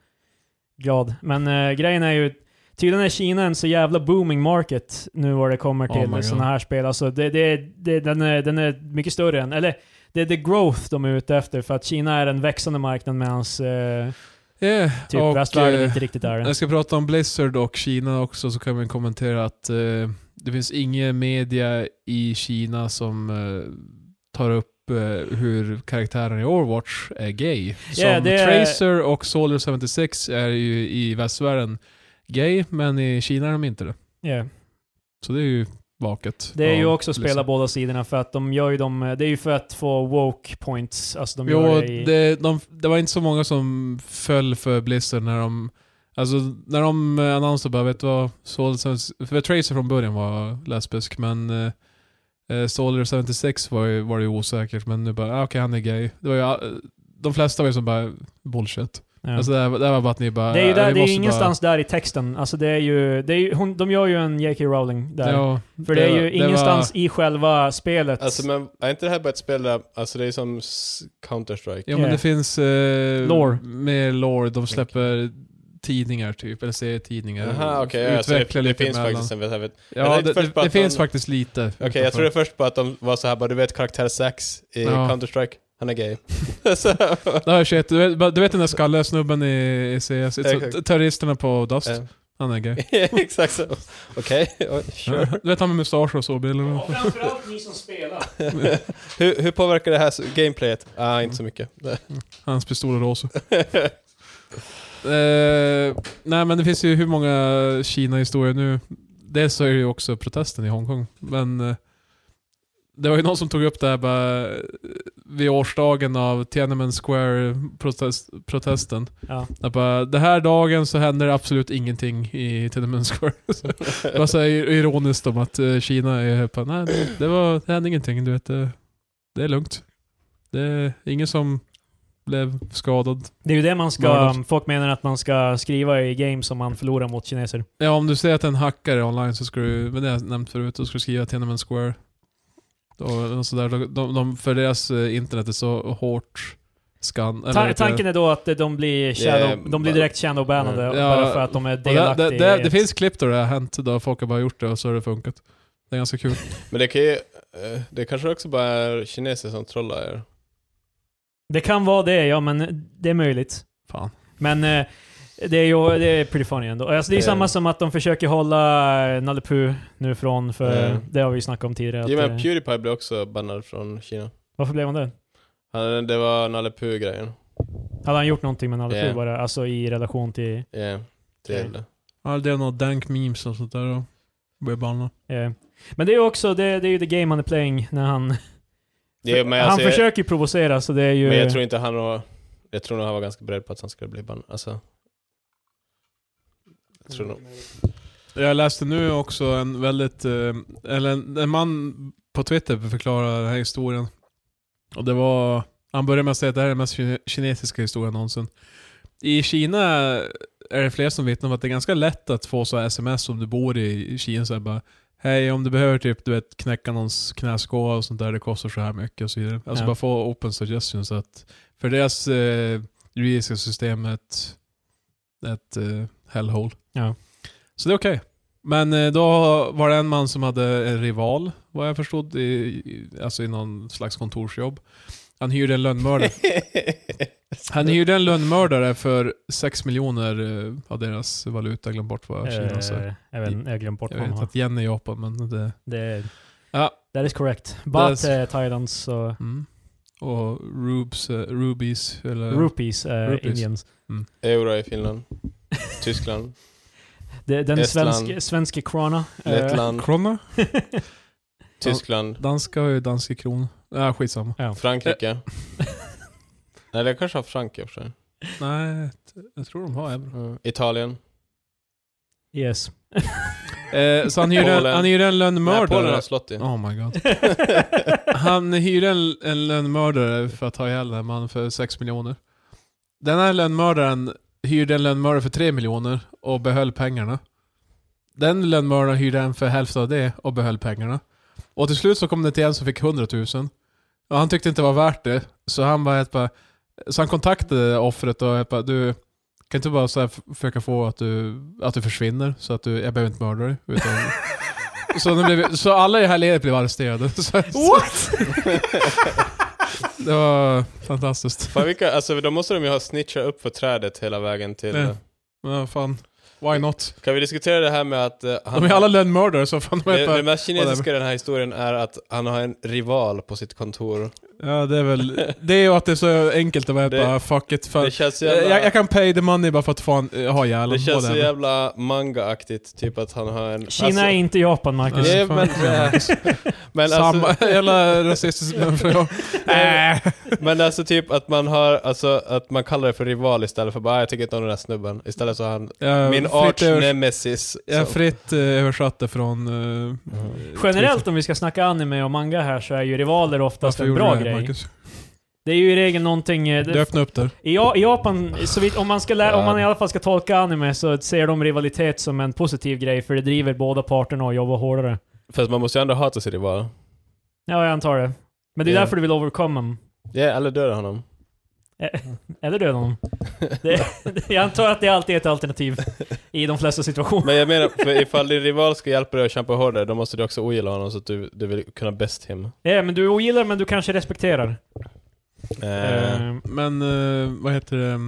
S1: glad. Men eh, grejen är ju, tydligen är Kina en så jävla booming market nu vad det kommer
S3: Oh my
S1: till
S3: God.
S1: sådana här spel. Alltså det, det, det, den, är, den är mycket större än, eller det är the growth de är ute efter, för att Kina är en växande marknad medan eh,
S3: Yeah.
S1: typ
S3: och,
S1: västvärlden
S3: eh,
S1: inte riktigt är det.
S3: Jag ska prata om Blizzard och Kina också, så kan vi kommentera att eh, det finns ingen media i Kina som eh, tar upp eh, hur karaktären i Overwatch är gay. Som
S1: Ja, det är-
S3: Tracer och Soldier 76 är ju i västvärlden gay, men i Kina är de inte det.
S1: Yeah.
S3: Så det är ju vaket.
S1: Det är ju
S3: av
S1: också att spela
S3: Blizzard.
S1: båda sidorna för att de gör ju dem, eh, det är ju för att få woke points. Alltså de
S3: Jo,
S1: gör det i...
S3: det, de, det var inte så många som föll för Blizzard när de... Alltså när de eh, annonserade bara, vet du vad? Souls, för Tracer från början var lesbisk, men eh, Eh, Soldier 76 var ju, var det ju osäkert, men nu bara, ah, okej han är gay. Det var ju, ah, de flesta var ju som bara, bullshit.
S1: Ja.
S3: Alltså det här, det här var bara att ni bara,
S1: det är ju
S3: "Ah,
S1: där,
S3: vi
S1: det är ju
S3: måste
S1: ingenstans där i texten. Alltså det är ju, det är ju hon, de gör ju en J.K. Rowling
S3: bara,
S1: där.
S3: Ja,
S1: För det, är
S3: det
S1: ju
S3: var- det
S1: ingenstans i själva spelet.
S2: Alltså men är inte det här bara ett spel där, alltså det är som s- Counter-Strike?
S3: ja men
S1: Ja.
S3: det finns eh,
S1: Lore.
S3: mer lore. De släpper tidningar typ, eller serietidningar.
S2: Jaha okej, ja, alltså det,
S3: Utvecklar
S2: det
S3: lite
S2: finns
S3: emellan.
S2: faktiskt en jag vet- Jag
S3: Ja,
S2: tänkte
S3: det,
S2: först
S3: det,
S2: bara
S3: det
S2: att de-
S3: finns faktiskt lite.
S2: Okej, jag trodde först bara att de var så här bara, du vet karaktär 6 i
S3: Ja.
S2: Counter-Strike, han är gay. så,
S3: Det här är shit. Du vet, du vet den där skalliga snubben i, i CS?
S2: Exakt.
S3: It's- Terroristerna på Dust.
S2: eh,
S3: Han är gay.
S2: exakt så. Okej, ja, sure.
S3: Du vet han med mustasch och så bilden.
S1: framförallt ni som spelar.
S2: hur, hur påverkar det här så- gameplayet? Ah, inte så mycket.
S3: Hans pistol är rosa. Eh, nej men det finns ju hur många Kina-historier nu. Dels så är det ju också protesten i Hongkong. Men eh, det var ju någon som tog upp det här bara, eh, vid årsdagen av Tiananmen Square-protesten.
S1: Ja.
S3: Jag bara, den här dagen så händer det absolut ingenting i Tiananmen Square. det var så här ironiskt om att eh, Kina är bara, nej det, det, var, det hände ingenting, du vet. Det, det är lugnt. Det är ingen som blev skadad.
S1: Det är ju det man ska,
S3: Mördad.
S1: folk menar att man ska skriva i games som man förlorar mot kineser.
S3: Ja, om du ser att en hackare online så ska du, men det har jag nämnt förut, då ska du skriva Tiananmen Square. Då, och sådär, de, de, de, för deras eh, internet är så hårt skan... eller
S1: Ta
S3: vet du-
S1: tanken är då att de blir, shadow,
S2: Yeah,
S1: de blir direkt shadowbannade
S3: Ja.
S1: bara för att de är
S3: Och det,
S1: delaktiga.
S3: det, det,
S1: i
S3: det
S1: ett-
S3: finns klipp där det har hänt, då folk har bara gjort det och så har det funkat. Det är ganska kul.
S2: Men det kan ju, eh, det kanske också bara är kineser som trollar er.
S1: det kan vara det, ja men det är möjligt.
S3: Fan.
S1: Men eh, det är ju det är pretty funny ändå. Alltså, det är ju
S2: Eh.
S1: samma som att de försöker hålla eh, Nalle Puh nu från, för
S2: Eh.
S1: det har vi ju snackat om tidigare. Att,
S2: Jo men
S1: eh,
S2: Pewdiepie blev också bannad från Kina.
S1: varför blev han det?
S2: Han, det var Nalle Puh-grejen.
S1: Hade han gjort någonting med Nalle
S2: Eh.
S1: Puh bara? Alltså i relation till...
S2: Yeah. Till.
S3: Ja, det är några dank memes och sånt där och börjar banna.
S1: eh, men det är ju också, det, det är ju the game han är playing när han...
S2: Ja, men
S1: han
S2: alltså, jag-
S1: försöker ju provocera så det är ju...
S2: Men
S3: Eh,
S2: jag tror inte han var... Jag tror nog han var ganska beredd på att han skulle bli bannad. Alltså... Jag tror nog...
S1: eh,
S3: Jag läste nu också en väldigt, eh, eller en, en man på Twitter förklarar den här historien. Och det var, han började med att säga att det här är den mest kine- kinesiska historien någonsin. I Kina är det fler som vittnar om att det är ganska lätt att få så här sms om du bor i Kina så här bara Hej om du behöver typ du vet knäcka någons knäskål och sånt där, det kostar så här mycket och så vidare. Alltså
S1: Ja.
S3: bara få open suggestions så att för deras eh, juridiska system är ett, ett eh, hellhole.
S1: Ja.
S3: Så det är okej. Men eh, då var det en man som hade en rival, vad jag förstod, i, i, alltså i någon slags kontorsjobb. Han hyrde en lönnmördare. Han hyrde en lönnmördare för 6 miljoner eh, av deras valuta, glöm bort vad Kina säger.
S1: Eh, jag, vet, jag har glömt bort
S3: alltså.
S1: vad
S3: Jag
S1: han
S3: vet
S1: har.
S3: att yen är Japan, men det...
S1: Det,
S3: Ja.
S1: That is correct.
S3: That
S1: But
S3: is-
S1: eh, Thailands så...
S3: Mm. Och rubes, eh, rubies, eller...
S1: Rupees, eh,
S3: Rupees.
S1: Indians.
S2: Euro i Finland. Tyskland.
S1: Det, den
S2: Estland.
S1: svenske, svenske krona. eh,
S2: Lettland.
S3: Krona?
S2: Tyskland.
S3: Danska har ju dansk i kron. Ja, skitsamma. Eh.
S2: Frankrike. Nej, det kanske har Frankrike i och för sig.
S3: Nej, t- jag tror de har euro.
S2: Mm. Italien.
S1: yes.
S3: Eh, så han hyrde, en-
S2: Polen.
S3: han hyrde
S2: Nej,
S3: en
S2: Polen
S3: lönnmördare.
S2: har slott i.
S3: Oh my god. Han hyrde en, en lönnmördare för att ta ihjäl den här mannen för 6 miljoner. Den här lönnmördaren hyrde en lönnmördare för 3 miljoner och behöll pengarna. Den lönnmördaren hyrde en för hälften av det och behöll pengarna. Och till slut så kom det till en som fick 100 000. Och han tyckte inte det var värt det. Så han bara, helt bara så han kontaktade offret och helt bara, du kan inte bara så här f- försöka få att du, att du försvinner så att du, jag behöver inte mörda dig. Utan, så, de blev, så alla i det här ledet blev arresterade. Så,
S1: What?
S3: det var fantastiskt.
S2: Fan vilka, alltså då måste de ju ha snitchat upp för trädet hela vägen till...
S3: Ja. Men vad fan, why not?
S2: Kan vi diskutera det här med att... eh, han
S3: De är alla lönnmördare så fan de
S2: det,
S3: är
S2: det
S3: bara,
S2: mest kinesiska i den här historien är att han har en rival på sitt kontor.
S3: Ja, det är väl... Det är ju att det är så enkelt att vara
S2: Det-
S3: bara fuck it. För,
S2: Det känns så jävla,
S3: jag, jag kan pay the money bara för att fan eh, ha ihjäl
S2: det känns
S3: båda.
S2: så jävla manga-aktigt, typ att han har en...
S1: Kina är inte Japan, Marcus.
S2: Nej,
S3: fan.
S2: men, men,
S3: Samma,
S2: alltså,
S3: hela rasistisk... Nej.
S2: men alltså typ att man har, alltså att man kallar det för rival istället för bara "Ah, jag tycker inte om den där snubben. Istället så har han
S3: Jag
S2: min
S3: fritt
S2: arch
S3: övers-
S2: nemesis.
S3: Jag
S2: Så-
S3: fritt eh, översatte från... eh,
S1: Generellt om vi ska snacka anime och manga här så är ju rivaler oftast
S3: Varför
S1: en
S3: gjorde
S1: bra
S3: du det,
S1: grej.
S3: Marcus?
S1: Det är ju i regel någonting... eh,
S3: Du
S1: Det,
S3: öppnade upp där.
S1: i, Ja- I Japan, så vitt- om, man ska lära, om man
S2: Ja.
S1: i alla fall ska tolka anime så ser de rivalitet som en positiv grej för det driver båda parterna att jobba hårdare.
S2: Fast man måste ju ändå hata sin rival.
S1: Ja, jag antar det. Men det är
S2: Ja.
S1: därför du vill overcome dem.
S2: Ja, eller döda honom.
S1: Eller döda honom. Det, jag antar att det alltid är ett alternativ i de flesta situationer.
S2: Men jag menar, för ifall din rival ska hjälpa dig att kämpa hårdare, då måste du också ogilla honom så att du, du vill kunna bäst him.
S1: Ja, Eh, men du ogillar men du kanske respekterar.
S2: Eh,
S1: Ehm,
S3: Men eh, vad heter det,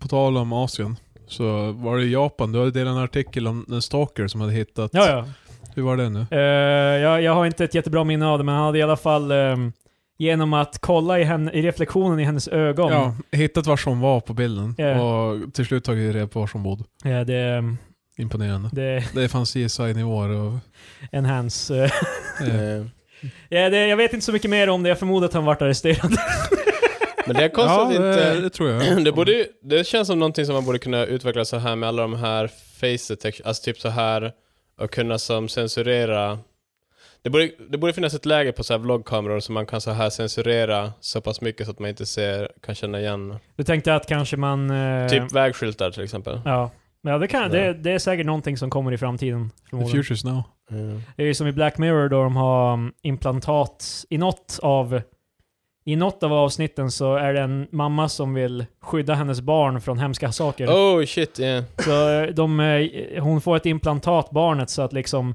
S3: på tal om Asien. Så var det i Japan, du hade delat en artikel om en stalker som hade hittat...
S1: ja, ja.
S3: Hur var det nu?
S1: Eh, jag, jag har inte ett jättebra minne av det, men han hade i alla fall ehm, genom att kolla i, henne, i reflektionen i hennes ögon.
S3: Ja, hittat var som var på bilden
S1: Ja.
S3: och till slut tagit reda på var som bodde.
S1: Eh, det,
S3: Imponerande.
S1: det är
S3: Det fanns CSI-nivåer och...
S1: en hands. eh.
S3: Eh,
S2: eh.
S1: Ja, det, jag vet inte så mycket mer om det, jag förmodar att han vart arresterad.
S2: Men det är konstigt
S3: ja, eh,
S2: inte...
S1: eh,
S3: det, det tror jag.
S2: Det, borde, ju- det känns som någonting som man borde kunna utveckla så här med alla de här face detection, alltså typ så här och kunna som censurera. Det borde, det borde finnas ett läge på så här vloggkameror som man kan så här censurera så pass mycket så att man inte ser, kan känna igen.
S1: Du tänkte att kanske man... eh,
S2: Typ vägskyltar till exempel.
S1: Ja. Ja, det, kan, det, det är säkert någonting som kommer i framtiden.
S3: The
S1: förmodligen.
S3: future's now.
S2: Mm.
S1: Det är ju som i Black Mirror då de har mm, implantat i något av i något av avsnitten så är det en mamma som vill skydda hennes barn från hemska saker.
S2: Oh shit, yeah.
S1: Så eh, de, eh, hon får ett implantat, barnet, så att liksom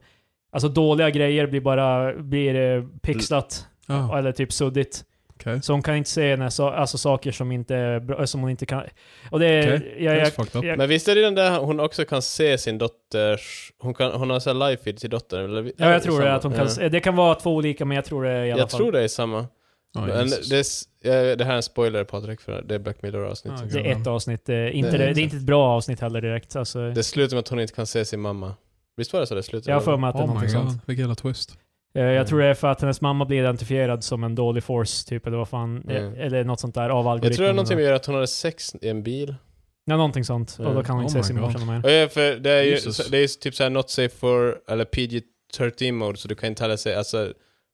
S1: Alltså dåliga grejer blir bara blir eh, pixlat
S3: Ja,
S1: eller typ suddigt.
S3: okej.
S1: Så hon kan inte se när så, alltså saker som inte är bra, eh, som hon inte kan... Och det är...
S3: Okej.
S1: Jag, jag,
S3: That's fucked up.
S1: jag-
S2: Men visst är det den där hon också kan se sin dotters, hon, kan, hon har så här live feed till dottern? Eller,
S1: ja, jag tror det. Att hon kan,
S2: Ja.
S1: se- Det kan vara två olika, men jag tror det är i alla
S2: Jag
S1: fall.
S2: tror det är samma.
S3: Ja,
S2: Men
S3: Jesus.
S2: det, är s- eh, det här är en spoiler Patrik, för det är Black Mirror avsnittet.
S3: Ah,
S1: Det är ett avsnitt. eh, Inte,
S2: Det är
S1: det,
S2: inte.
S1: det är inte ett bra avsnitt heller direkt. Alltså,
S2: Det slutar med att hon inte kan se sin mamma. Visst var det så det slutade?
S1: jag har för mig att det är
S3: oh my
S1: någonting
S3: god,
S1: sånt.
S3: vilken jävla twist.
S1: Eh, Jag
S2: Mm.
S1: tror det är för att hennes mamma blir identifierad som en dålig force, typ, eller vad fan. eh,
S2: Mm.
S1: Eller något sånt där av algoritmen.
S2: Jag tror det är någonting med att hon hade sex i en bil.
S1: Ja, någonting sånt. Och då kan hon
S3: Mm.
S1: inte
S3: Oh
S1: se sin
S3: my God.
S1: morsa mer.
S2: Och ja, för det är ju
S3: Jesus.
S2: det är ju typ såhär not safe for, eller PG-13 mode, så du kan inte heller se, alltså,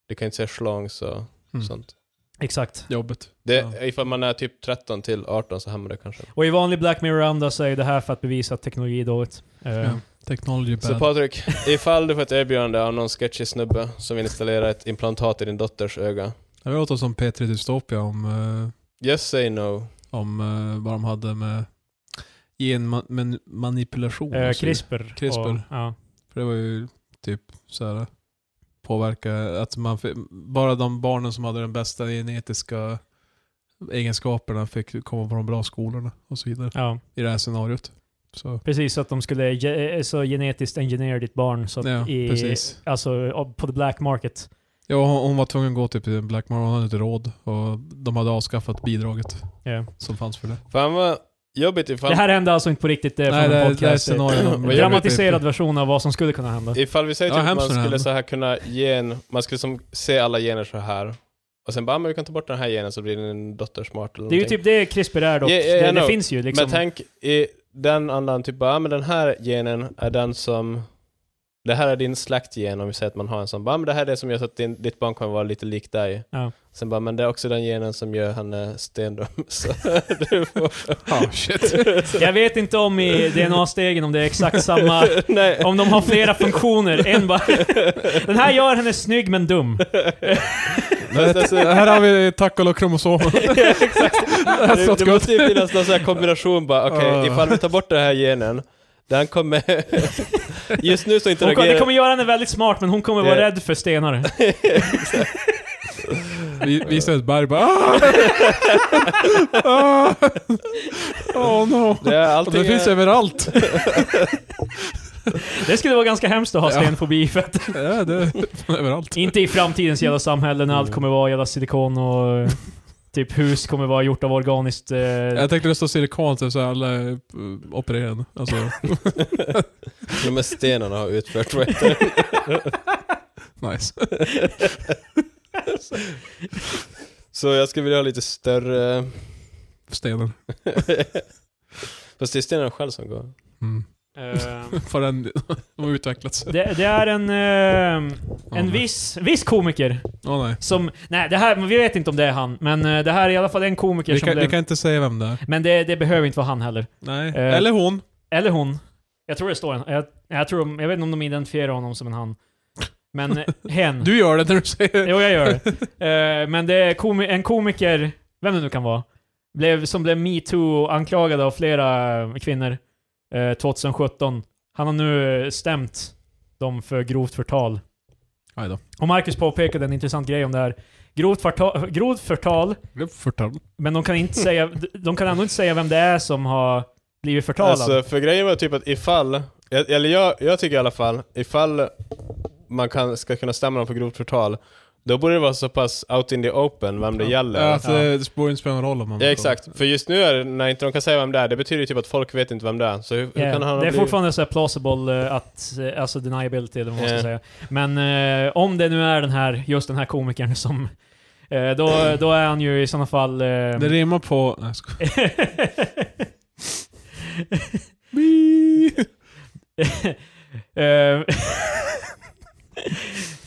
S2: du kan inte se schlongs och
S3: Mm.
S2: sånt.
S1: Exakt.
S3: Jobbigt.
S2: Det,
S3: Ja.
S2: Ifall man är typ 13 till 18 så hämmar det kanske.
S1: Och i vanlig Black Mirror-anda så är ju det här för att bevisa att teknologi är dåligt. Eh,
S3: Ja. Technology bad.
S2: Så Patrik, ifall du får ett erbjudande av någon sketchig snubbe som vill installera ett implantat i din dotters öga.
S3: det låter som P3 Dystopia om... eh,
S2: Just say no.
S3: om eh, vad de hade med genmanipulation.
S1: eh, CRISPR. och-
S3: CRISPR.
S1: ja.
S3: Alltså, För det var ju typ så här påverka att man fick, bara de barnen som hade den bästa genetiska egenskaperna fick komma på de bra skolorna och så vidare
S1: ja,
S3: i det här scenariot. Så,
S1: precis. Så att de skulle ge, eh, så genetiskt engineera ditt barn. Så att
S3: ja,
S1: i,
S3: precis.
S1: Alltså eh, på the black market.
S3: Ja, hon, hon var tvungen att gå typ till Black Mirror, hon hade inte råd och de hade avskaffat bidraget
S1: Ja.
S3: som fanns för det.
S2: Fan vad jobbigt ifall...
S1: Det här hände alltså inte på riktigt. Det är
S3: Nej,
S1: från
S3: det,
S1: en
S3: är- det är
S1: podcast. eh,
S3: scenariot. de-
S1: En
S2: Vad gör vi?
S1: dramatiserad version av vad som skulle kunna hända.
S2: Ifall vi säger
S3: Ja,
S2: typ att
S3: hemskt
S2: man
S3: när det
S2: skulle
S3: händer.
S2: så här kunna gen, man skulle som se alla gener så här och sen bara, "Ah, men vi kan ta bort den här genen så blir din dotter smart eller
S1: Det är ju
S2: någonting."
S1: typ det CRISPR är dock.
S2: Ja, ja, jag
S1: det, det
S2: know.
S1: finns ju liksom.
S2: Men tänk i den andan, typ bara, "Ah, men den här genen är den som det här är din slaktgen om vi säger att man har en sån. Bara, "Ah, men det här är det som gör så att din, ditt barn kommer vara lite lik dig.
S1: Ja.
S2: Sen bara, men det är också den genen som gör henne stendum. Så du får...
S3: Ah, shit.
S1: Jag vet inte om i DNA-stegen om det är exakt samma...
S2: Nej.
S1: Om de har flera funktioner. En bara... Den här gör henne snygg men dum.
S2: Fast alltså,
S3: här har vi tack och lov kromosomer. That's
S2: Det,
S3: not
S2: det
S3: good.
S2: måste ju finnas någon sån här kombination bara, okej,
S3: Ah.
S2: ifall vi tar bort den här genen, den kommer... Just nu så
S1: Hon, kom- det
S2: interagerar...
S1: kommer göra henne väldigt smart men hon kommer vara
S2: Det-
S1: rädd för stenar.
S3: Vi visar ett berg bara "Ah!" Ah! Oh no.
S2: Det är
S3: Och
S2: allting...
S3: det finns överallt.
S1: Det skulle vara ganska hemskt att ha
S3: Ja.
S1: stenfobi för att
S3: Ja, det är överallt.
S1: Inte i framtidens jävla samhälle när allt
S3: Mm.
S1: kommer vara jävla silikon och eh, typ hus kommer vara gjort av organiskt... Eh,
S3: Jag tänkte rösta silikon typ så här, alla är eh, opererade. Alltså,
S2: De här stenarna har utfört vad heter
S3: nice.
S2: Så jag skulle vilja ha lite större...
S3: Stenen.
S2: Fast det är stenarna själv som går.
S3: Mm.
S1: eh,
S3: För den, de har utvecklats.
S1: det, det är en, eh,
S3: Ja,
S1: en
S3: men-
S1: viss, viss komiker
S3: Åh nej.
S1: som... Nej, det här, vi vet inte om det är han, men eh, det här är i alla fall en komiker
S3: Vi
S1: som
S3: kan, vi
S1: blev,
S3: kan inte säga vem det är.
S1: Men det, det behöver inte vara han heller.
S3: Nej.
S1: Eh.
S3: Eller hon.
S1: Eller hon. Jag tror det står en. Jag, jag, tror, de- jag vet inte om de identifierar honom som en han. Men eh, hen.
S3: Du gör det när du säger
S1: Jo, jag gör det. Eh, men det är komi- en komiker, vem det nu kan vara, blev, som blev metoo-anklagad av flera eh, kvinnor eh, 2017. Han har nu eh, stämt dem för grovt förtal.
S3: Aj då.
S1: Och Marcus påpekade en intressant grej om det här. Grovt förtal, grovt förtal
S3: Förtal.
S1: men de kan, inte säga, de kan ändå inte säga vem det är som har blivit förtalad.
S2: Alltså, för grejen var typ att ifall, eller jag, jag tycker i alla fall, ifall man kan, ska kunna stämma dem för grovt förtal, då borde det vara så pass out in the open vem det gäller.
S3: Ja, att
S1: Ja.
S3: det, det borde inte spela någon roll om man
S2: Ja exakt, för just nu är det, när inte de kan säga vem det är, det betyder ju typ att folk vet inte vem det är. Så hur, hur
S1: Yeah.
S2: kan han ha
S1: Eh, det är
S2: blivit-
S1: fortfarande så här plausible eh, att, eh, alltså deniability eller vad man ska
S2: Yeah.
S1: säga. Men eh, om det nu är den här, just den här komikern som, eh, då, då är han ju i sådana fall... Eh,
S3: Det rimmar på... Nej, jag skojar.
S1: Eh,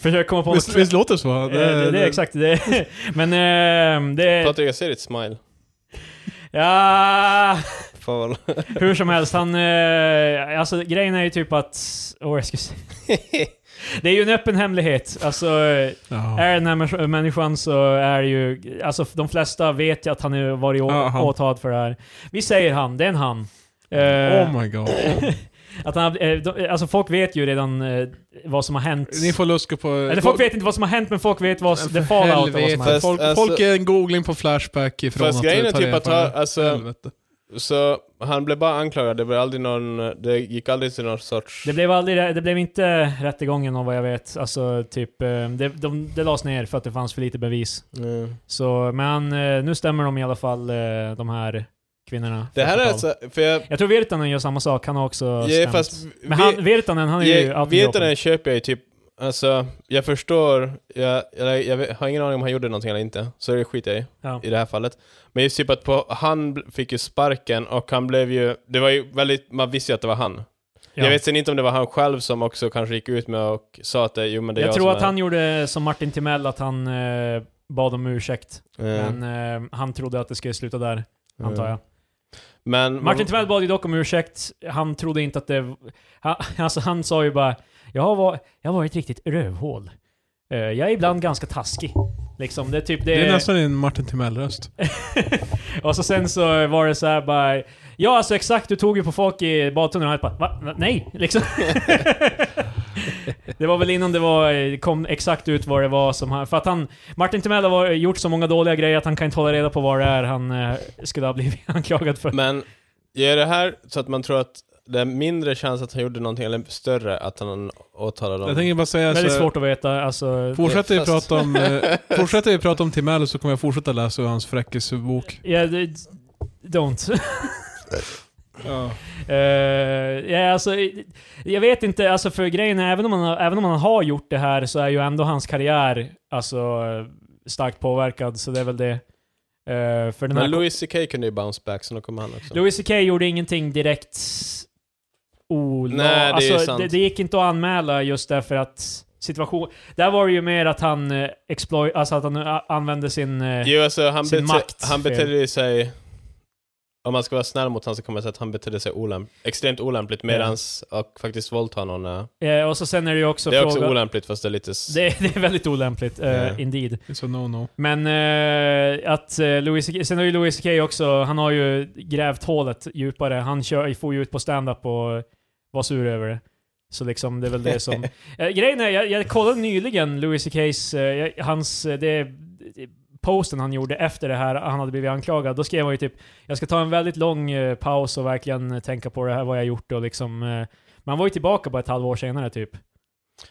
S1: Försök komma på
S3: Visst,
S1: något...
S3: visst låter det så?
S1: Eh, Det, det är exakt det. Men eh, det...
S2: Patrik, jag ser ditt smile.
S1: Ja,
S2: Fan vad...
S1: hur som helst, han... Eh, alltså grejen är ju typ att... Åh, jag ska se. Det är ju en öppen hemlighet. Alltså, eh,
S3: Ja.
S1: Är den här människ- människan så är det ju, alltså de flesta vet ju att han har varit å-
S3: Ja, han.
S1: åtalad för det här. Vi säger han, det är en han. Eh,
S3: Oh my god.
S1: att han har- eh, de, alltså folk vet ju redan eh, vad som har hänt.
S3: Ni får luska på...
S1: Eller folk vet inte vad som har hänt, men folk vet vad s-
S3: Men
S1: the
S3: för
S1: fallout av vad som
S3: helvete.
S1: har hänt.
S2: hänt.
S3: Folk,
S2: Alltså-
S3: folk är en googling på Flashback ifrån
S2: Fast grejen är
S3: ta
S2: typ
S3: reda
S2: att
S3: på det.
S2: ha- alltså-
S3: Helvete.
S2: Så han blev bara anklagad, det, var aldrig någon, det gick aldrig till någon sorts...
S1: Det blev, aldrig, det blev inte rättegången av vad jag vet. Alltså typ, eh, det, de, det lades ner för att det fanns för lite bevis.
S2: Mm.
S1: Så, men eh, nu stämmer de i alla fall, eh, de här kvinnorna.
S2: Det
S1: för
S2: här är
S1: förtal.
S2: alltså, för jag...
S1: Jag tror Virtanen gör samma sak, han har också
S2: Ja,
S1: stämt.
S2: fast
S1: Men han, Virtanen, han är ju
S2: jag,
S1: out in the
S2: vet
S1: open.
S2: den köper jag ju typ, alltså jag förstår, jag, jag, jag vet- har ingen aning om han gjorde någonting eller inte, så det skiter jag i,
S1: Ja.
S2: i det här fallet. Men just typ att på, han bl- fick ju sparken och han blev ju, det var ju väldigt, man visste ju att det var han. Jag vet sen inte om det var han själv som också kanske gick ut med och sa att det, jo men det är
S1: jag
S2: jag,
S1: tror
S2: som
S1: att
S2: är.
S1: han gjorde som Martin Timell, att han eh, bad om ursäkt.
S2: Eh,
S1: Men eh, han trodde att det skulle sluta där, antar
S2: eh.
S1: jag.
S2: Men,
S1: Martin Timell bad ju dock om ursäkt. Han trodde inte att det... Han, alltså, han sa ju bara jag har, var, jag har varit riktigt rövhål. Eh, jag är ibland ganska taskig. Liksom, det är typ det...
S3: Det är nästan en Martin Timell-röst.
S1: och så sen så var det så här bara... Ja, alltså exakt, du tog ju på folk i badtunnan och jag bara Va? Va? Nej! Liksom. det var väl innan det var, kom exakt ut vad det var som han... För att han... Martin Timell har varit- gjort så många dåliga grejer att han kan inte hålla reda på vad det är han eh, skulle ha blivit anklagad för.
S2: men är det här så att man tror att det är mindre chans att han gjorde någonting, eller större att han åtalade dem?
S3: Jag tänker bara säga
S1: Väldigt
S3: så
S1: svårt att veta, alltså...
S3: Fortsätter vi,
S2: Fast-
S3: prata om, eh, fortsätter vi prata om Timell så kommer jag fortsätta läsa ur hans fräckisbok.
S1: Ja, det- don't.
S3: Ja.
S1: Eh, ja, alltså, jag vet inte, alltså för grejen är, även om, han, även om han har gjort det här så är ju ändå hans karriär alltså, eh, starkt påverkad, så det är väl det. Eh, för den här
S2: men Louis CK kunde ju bounce back, så då kommer han också.
S1: Louis CK gjorde ingenting direkt olag.
S2: Nej, det är
S1: alltså,
S2: ju sant.
S1: Det, det gick inte att anmäla just därför att situation... Där var det ju mer att han eh, exploit, alltså att han eh, använde sin... eh,
S2: Jo, alltså han,
S1: sin
S2: bete-
S1: makt
S2: han
S1: fel.
S2: betedde ju sig... Om man ska vara snäll mot honom så kan man säga att han betedde sig olämp- extremt olämpligt medans och faktiskt våldta någon. eh.
S1: eh, och så sen är det ju också
S2: Det är
S1: fråga...
S2: också olämpligt fast det är lite... s-
S1: det, det är väldigt olämpligt, eh,
S2: Ja.
S1: indeed.
S3: It's a no-no.
S1: Men eh, att eh, Louis CK, sen har ju Louis CK också, han har ju grävt hålet djupare. Han kör, får ju ut på stand-up och var sur över det. Så liksom, det är väl det som... eh, grejen är, jag, jag kollade nyligen Louis CK's, eh, jag- hans, eh, det, posten han gjorde efter det här, han hade blivit anklagad. Då skrev han ju typ, jag ska ta en väldigt lång eh, paus och verkligen tänka på det här, vad jag gjort och liksom eh, Men han var ju tillbaka bara ett halvår senare typ.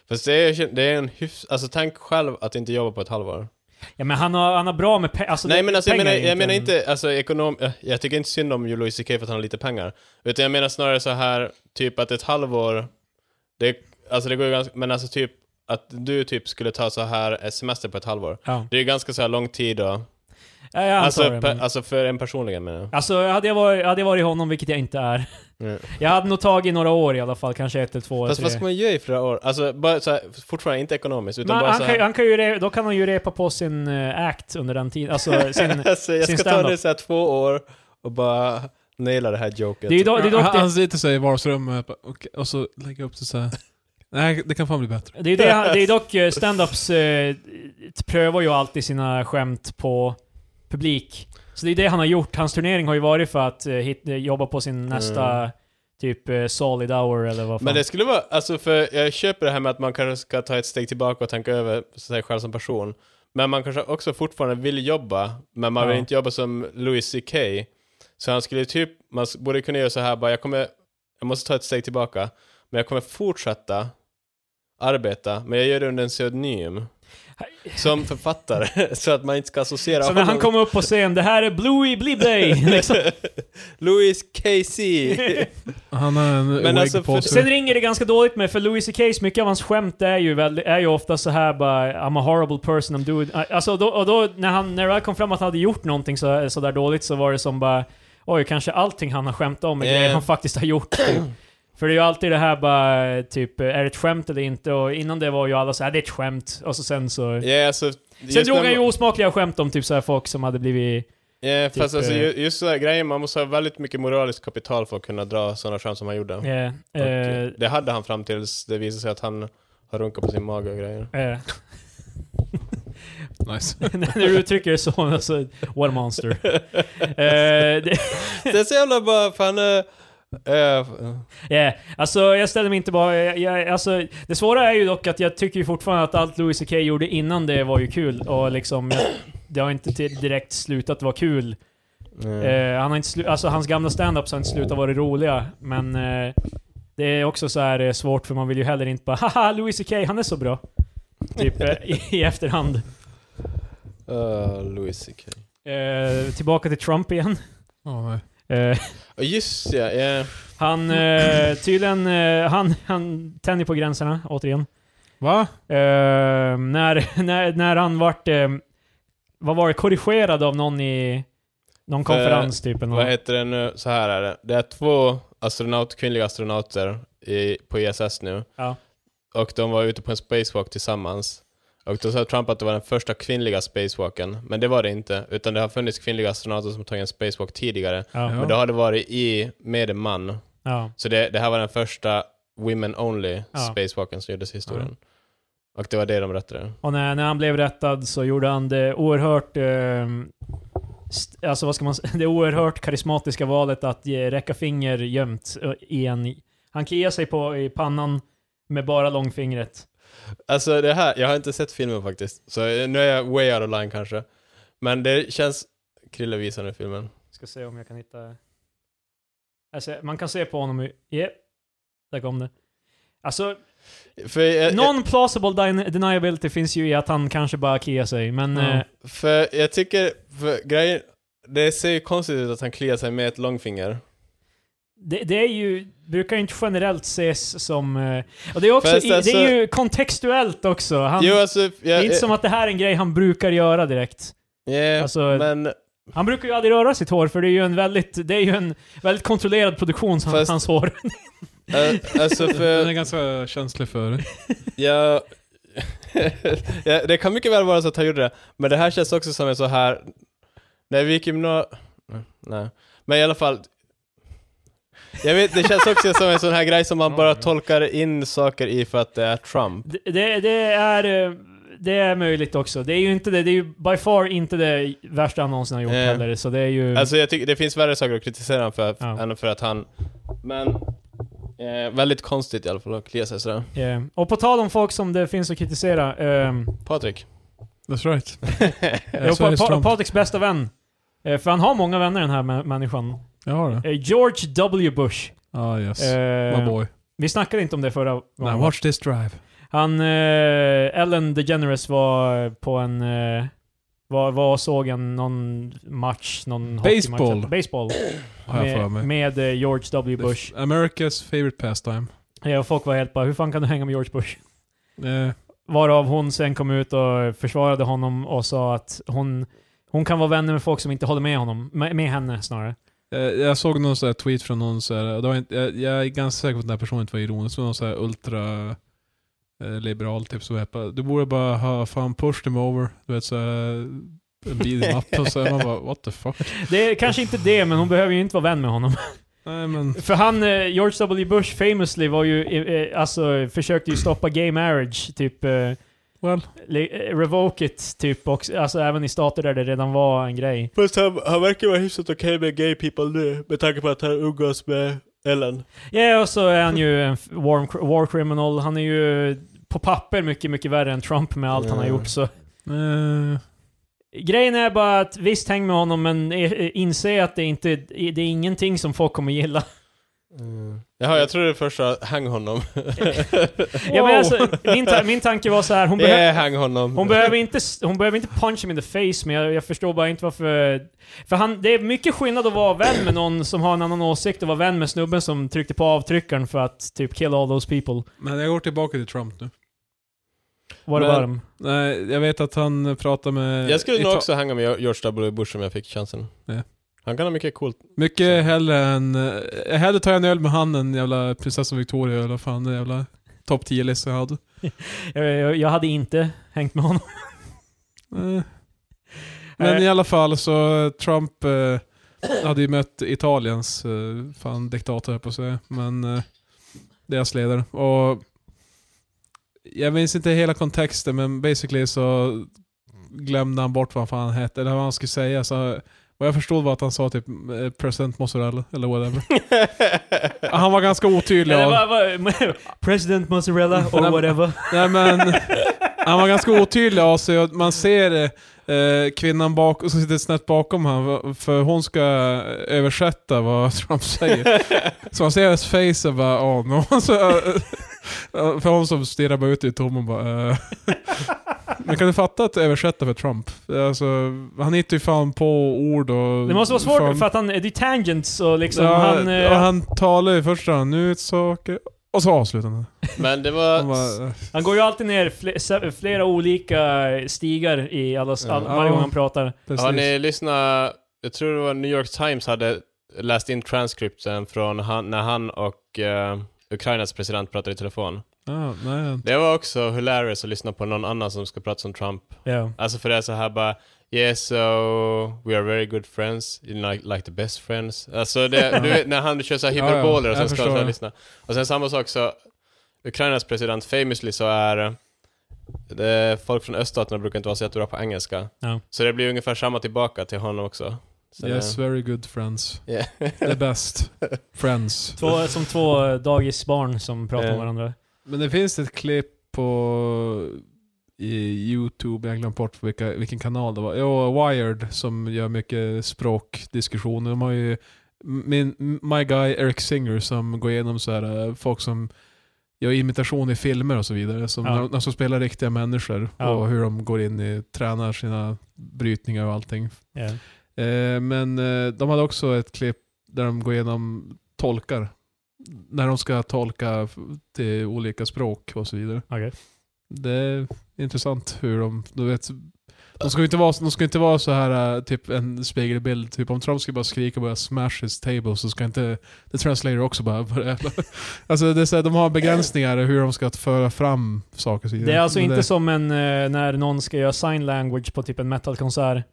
S2: Fast det är, det är en hyfs... Alltså tänk själv att inte jobba på ett halvår.
S1: Ja men han har, han har bra med pe- alltså,
S2: Nej
S1: det-
S2: men alltså, jag
S1: pengar
S2: menar,
S1: är
S2: jag menar
S1: en-
S2: inte, alltså ekonom... eh, Jag tycker inte synd om Louis CK för att han har lite pengar. Utan jag menar snarare så här, typ att ett halvår, det, alltså det går ju ganska... Men alltså typ att du typ skulle ta så här eh, semester på ett halvår.
S1: Ja.
S2: Det är ju ganska så här lång tid då.
S1: Ja, jag
S2: Alltså,
S1: antar det,
S2: pe-
S1: men-
S2: alltså för en personligen menar jag.
S1: Alltså hade jag, varit, hade jag varit honom, vilket jag inte är.
S2: Mm.
S1: Jag hade nog tagit några år i alla fall, kanske ett eller två eller
S2: Fast vad
S1: tre.
S2: ska man göra i flera år? Alltså bara så här, fortfarande inte ekonomiskt utan
S1: Men
S2: bara
S1: han,
S2: så
S1: kan, ju-
S2: här.
S1: han kan ju, re- då kan han ju repa på sin eh, act under den tiden. Alltså sin...
S2: alltså, jag
S1: sin
S2: ska ta det
S1: standup.
S2: så här två år och bara naila det här joket.
S1: det är ju då, det är dock
S3: han
S1: det,
S3: sitter sig i vardagsrummet och bara, okej, och så lägger jag upp det så här. Nej, det kan fan bli bättre.
S1: det är ju det, han- det är dock eh, stand-ups eh, prövar ju alltid sina skämt på publik. Så det är det han har gjort. Hans turnering har ju varit för att eh, hit, eh, jobba på sin nästa typ eh, solid hour eller vad fan.
S2: Mm. Men det skulle vara, alltså för jag köper det här med att man kanske ska ta ett steg tillbaka och tänka över sig själv som person. Men man kanske också fortfarande vill jobba, men man vill
S1: Ja.
S2: inte jobba som Louis CK. Så han skulle typ, man s- borde kunna göra så här bara, jag kommer, jag måste ta ett steg tillbaka, men jag kommer fortsätta arbeta, men jag gör det under en pseudonym. Som författare, så att man inte ska associera
S1: så när han
S2: honom-
S1: kom upp på scen, det här är Bluey Blibday! liksom.
S2: Louis KC!
S3: Han har en wig
S2: alltså, för-
S3: på sig.
S1: Sen ringer det ganska dåligt med, för Louis CK's, mycket av hans skämt är ju, väldigt, är ju ofta så här bara I'm a horrible person, I'm doing... Alltså, då, och då när, han, när det väl kom fram att han hade gjort någonting så, så där dåligt så var det som bara Oj, kanske allting han har skämt om är
S2: Yeah.
S1: grejer han faktiskt har gjort. typ. för det är ju alltid det här bara typ, är det ett skämt eller inte? Och innan det var ju alla så här, det är ett skämt. Och så sen så...
S2: Ja, alltså,
S1: Sen
S2: just
S1: drog
S2: när
S1: han ju
S2: man-
S1: osmakliga skämt om typ så här folk som hade blivit...
S2: Ja, fast
S1: Typ,
S2: alltså,
S1: eh,
S2: ju- just sådana grejer, man måste ha väldigt mycket moraliskt kapital för att kunna dra sådana skämt som han gjorde.
S1: eh,
S2: Och, eh,
S1: eh,
S2: det hade han fram tills det visade sig att han har runkat på sin mage och grejer.
S1: eh.
S3: Nice.
S1: när du uttrycker det så, alltså, what a monster. Eh, det,
S2: det är så jävla bara, fan... eh, Uh,
S1: yeah. Alltså jag ställer mig inte bara... Jag, jag, alltså, det svåra är ju dock att jag tycker ju fortfarande att allt Louis CK gjorde innan det var ju kul. Och liksom, jag, det har inte till, direkt slutat vara kul. Eh, han har inte slu, alltså hans gamla stand-ups har inte slutat vara roliga, men... eh, det är också så här eh, svårt för man vill ju heller inte bara haha Louis CK, han är så bra. Typ eh, i, i efterhand.
S2: Louis CK.
S1: Eh, tillbaka till Trump igen.
S3: Åh, nej.
S1: Eh,
S2: Ja, just ja, ja.
S1: Han eh, tydligen, eh, han, han tänjer på gränserna återigen.
S3: Va?
S1: Eh, när, när, när han vart, eh, vad var det, korrigerad av någon i någon konferens typ. Eller
S2: Vad
S1: något.
S2: heter det nu? Så här är det. Det är två astronaut, kvinnliga astronauter i, på ISS nu.
S1: Ja.
S2: Och de var ute på en spacewalk tillsammans. Och då sa Trump att det var den första kvinnliga spacewalken. Men det var det inte. Utan det har funnits kvinnliga astronauter som tagit en spacewalk tidigare.
S1: Ja.
S3: Ja.
S2: Men då har det varit i, med en man.
S1: Ja.
S2: Så det, det här var den första women only
S1: Ja.
S2: spacewalken som gjordes i historien. Och det var det de rättade.
S1: Och när, när han blev rättad så gjorde han det oerhört, eh, st- alltså vad ska man säga, det oerhört karismatiska valet att ge, räcka finger gömt eh, i en, han kliar sig på i pannan med bara långfingret.
S2: Alltså det här, jag har inte sett filmen faktiskt. Så eh, nu är jag way out of line kanske. Men det känns... Krille visar nu filmen.
S1: Ska se om jag kan hitta... Alltså, man kan se på honom hur... Yep. Där kom det. Alltså,
S2: För jag,
S1: non-plausible den- deniability finns ju i att han kanske bara kliar sig, men...
S3: Ja.
S1: eh,
S2: jag, för jag tycker... För grejen... Det ser ju konstigt ut att han kliar sig med ett långfinger.
S1: det, det är ju... Brukar ju inte generellt ses som... eh, Och det är också...
S2: Fast
S1: I,
S2: alltså-
S1: det är ju kontextuellt också. Han,
S2: jo, alltså... Jag,
S1: det är inte
S2: jag-
S1: som att det här är en grej han brukar göra direkt.
S2: ja,
S1: Alltså,
S2: men
S1: han brukar ju aldrig röra sitt hår, för det är ju en väldigt, det är ju en väldigt kontrollerad produktion, som
S2: Fast-
S1: hans hår.
S2: eh, alltså
S3: Den är
S2: för...
S3: ganska känslig för det.
S2: jag, ja, det kan mycket väl vara så att han gjorde det, men det här känns också som en så här... När vi gick gymnasiet... Nej. Men i alla fall... Jag vet, det känns också som en sån här grej som man bara tolkar in saker i för att det är Trump.
S1: Det, det, det är... eh, Det är möjligt också. Det är ju inte det. Det är ju by far inte det värsta han någonsin har gjort
S2: Eh.
S1: heller. Så det är ju...
S2: Alltså jag tycker det finns värre saker att kritisera honom för
S1: Mm. Ja.
S2: än för att han... Men... Eh, väldigt konstigt i alla fall att klia sig sådär.
S1: eh, och på tal om folk som det finns att kritisera. ehm,
S2: Patrik.
S3: That's right.
S1: jo,
S3: Jag,
S1: pa,
S3: Sveriges
S1: pa,
S3: Trump.
S1: Patriks bästa vän. Eh, för han har många vänner den här mä- människan.
S3: jag har det.
S1: Eh, George W. Bush.
S3: Ah, yes.
S1: Eh,
S3: My boy.
S1: Vi snackade inte om det förra
S3: Now
S1: gången.
S3: watch this drive.
S1: Han, eh, Ellen DeGeneres var på en, eh, var, var och såg en, någon match, någon
S3: Baseball.
S1: hockeymatch. Baseball.
S3: Har jag för
S1: med,
S3: mig.
S1: med eh, George W. Bush.
S3: America's favorite pastime.
S1: Ja, och folk var helt bara, hur fan kan du hänga med George Bush?
S3: Eh,
S1: Varav hon sen kom ut och försvarade honom och sa att hon, hon kan vara vänner med folk som inte håller med honom, med, med henne snarare.
S3: Eh, Jag såg någon sån här tweet från någon så här, det var inte, jag, jag är ganska säker på att den här personen inte var ironisk, men någon så här ultra eh, liberal typ som är på, du borde bara ha fan push them over, du vet så här, en beat them up och så här, man bara what the fuck.
S1: Det är kanske inte det, men hon behöver ju inte vara vän med honom.
S3: Nej men,
S1: För han, eh, George W. Bush famously var ju, eh, eh, alltså försökte ju stoppa gay marriage, typ eh,
S3: well.
S1: le- eh, revoke it, typ också, alltså även i stater där det redan var en grej.
S2: Fast han, han verkar vara hyfsat okej med gay people nu, med tanke på att han umgås med Ellen.
S1: Ja, och så är han ju en f- war, war criminal, han är ju på papper mycket, mycket värre än Trump med allt han har
S2: Ja.
S1: gjort, så
S3: Eh,
S1: Grejen är bara att visst, häng med honom, men eh, inse att det inte det är ingenting som folk kommer gilla.
S2: Jaha, jag trodde det första, hang honom.
S1: Ja, men alltså, min, ta min tanke var så här, hon,
S2: Det
S1: behö
S2: är hang honom.
S1: hon, behöver inte, s- hon behöver inte punch him in the face, men jag, jag förstår bara inte varför... För han, det är mycket skillnad att vara vän med någon som har en annan åsikt och vara vän med snubben som tryckte på avtryckaren för att typ kill all those people.
S3: men jag går tillbaka till Trump nu.
S1: Var det
S2: Men-
S1: varm?
S3: Nej, jag vet att han pratar med...
S2: Jag skulle nog
S3: Ita-
S2: också hänga med George W. Bush om jag fick chansen.
S3: Ja.
S2: Han kan ha mycket coolt.
S3: Mycket hellre än... eh, Hellre tar jag en öl med han än jävla prinsessan Victoria eller fan den jävla topp 10-listan jag hade.
S1: Jag, jag, jag hade inte hängt med honom.
S3: Eh. Men
S1: Eh.
S3: i alla fall så Trump eh, hade ju mött Italiens eh, fan diktator höll jag på att säga, men eh, deras ledare. Och jag minns inte hela kontexten men basically så glömde han bort vad fan han hette, eller vad han skulle säga. Så vad jag förstod var att han sa typ eh, president mozzarella eller whatever. Han var ganska otydlig.
S1: Eller
S3: av-
S1: vad- vad- President Mozzarella or
S3: Men-
S1: whatever.
S3: Nej men, han var ganska otydlig av sig. och Man ser eh, kvinnan bak, som sitter snett bakom honom, för hon ska eh, översätta vad Trump säger. Så man ser hennes face och bara oh no. Så, eh, för hon som stirrar bara ut i tomma bara eh. Men kan du fatta att översätta för Trump? Alltså, han hittar ju fan på ord och...
S1: Det måste vara svårt
S3: fan-
S1: för att han, det är ju tangents och liksom
S3: ja,
S1: han... eh,
S3: och han talar ju först han ut saker, och så avslutar han.
S2: Men det
S3: Han
S2: var...
S3: bara, eh.
S1: Han går ju alltid ner fle- se- flera olika stigar i alla, all,
S2: Ja.
S1: varje gång han pratar.
S2: Har ni lyssnat? Jag tror det var New York Times hade läst in transkripten från han, när han och eh, Ukrainas president pratade i telefon.
S3: Ja, nej.
S2: Det var också hilarious att lyssna på någon annan som ska prata som Trump.
S1: Ja.
S2: Alltså för det är så här bara Yes, so we are very good friends, you like, like the best friends. Alltså det, du vet när han kör så här
S3: Ja, ja.
S2: hyperboler och sen
S3: Jag
S2: ska han så
S3: förstår.
S2: här lyssna. Och sen samma sak så, Ukrainas president famously så är eh, det, folk från öststaterna brukar inte vara så jättebra på engelska.
S1: Ja.
S2: Så det blir ungefär samma tillbaka till honom också. Så
S3: Yes,
S2: det,
S3: very good friends.
S2: yeah.
S3: The best friends.
S1: Två, som två eh, dagisbarn som pratar med
S2: Ja.
S1: varandra.
S3: Men det finns ett klipp på i Youtube, jag har glömt bort vilka, vilken kanal det var. Jo, Wired som gör mycket språkdiskussioner. De har ju min, My Guy Eric Singer som går igenom så här eh, folk som gör imitation i filmer och så vidare. Som
S1: Ja.
S3: när, när som spelar riktiga människor
S1: Ja.
S3: och hur de går in i, tränar sina brytningar och allting.
S1: Ja.
S3: Eh, men eh, de hade också ett klipp där de går igenom tolkar. När de ska tolka f- till olika språk och så vidare.
S1: Okej.
S3: Det är intressant hur de, du vet, de ska ju inte vara, de ska inte vara så här eh, typ en spegelbild. Typ om Trump ska bara skrika och bara smash his table så ska inte the translator också bara börja. alltså det är så här, de har begränsningar i hur de ska föra fram saker och så vidare.
S1: Det är alltså
S3: Men
S1: inte som en, eh, när någon ska göra sign language på typ en metalkonsert.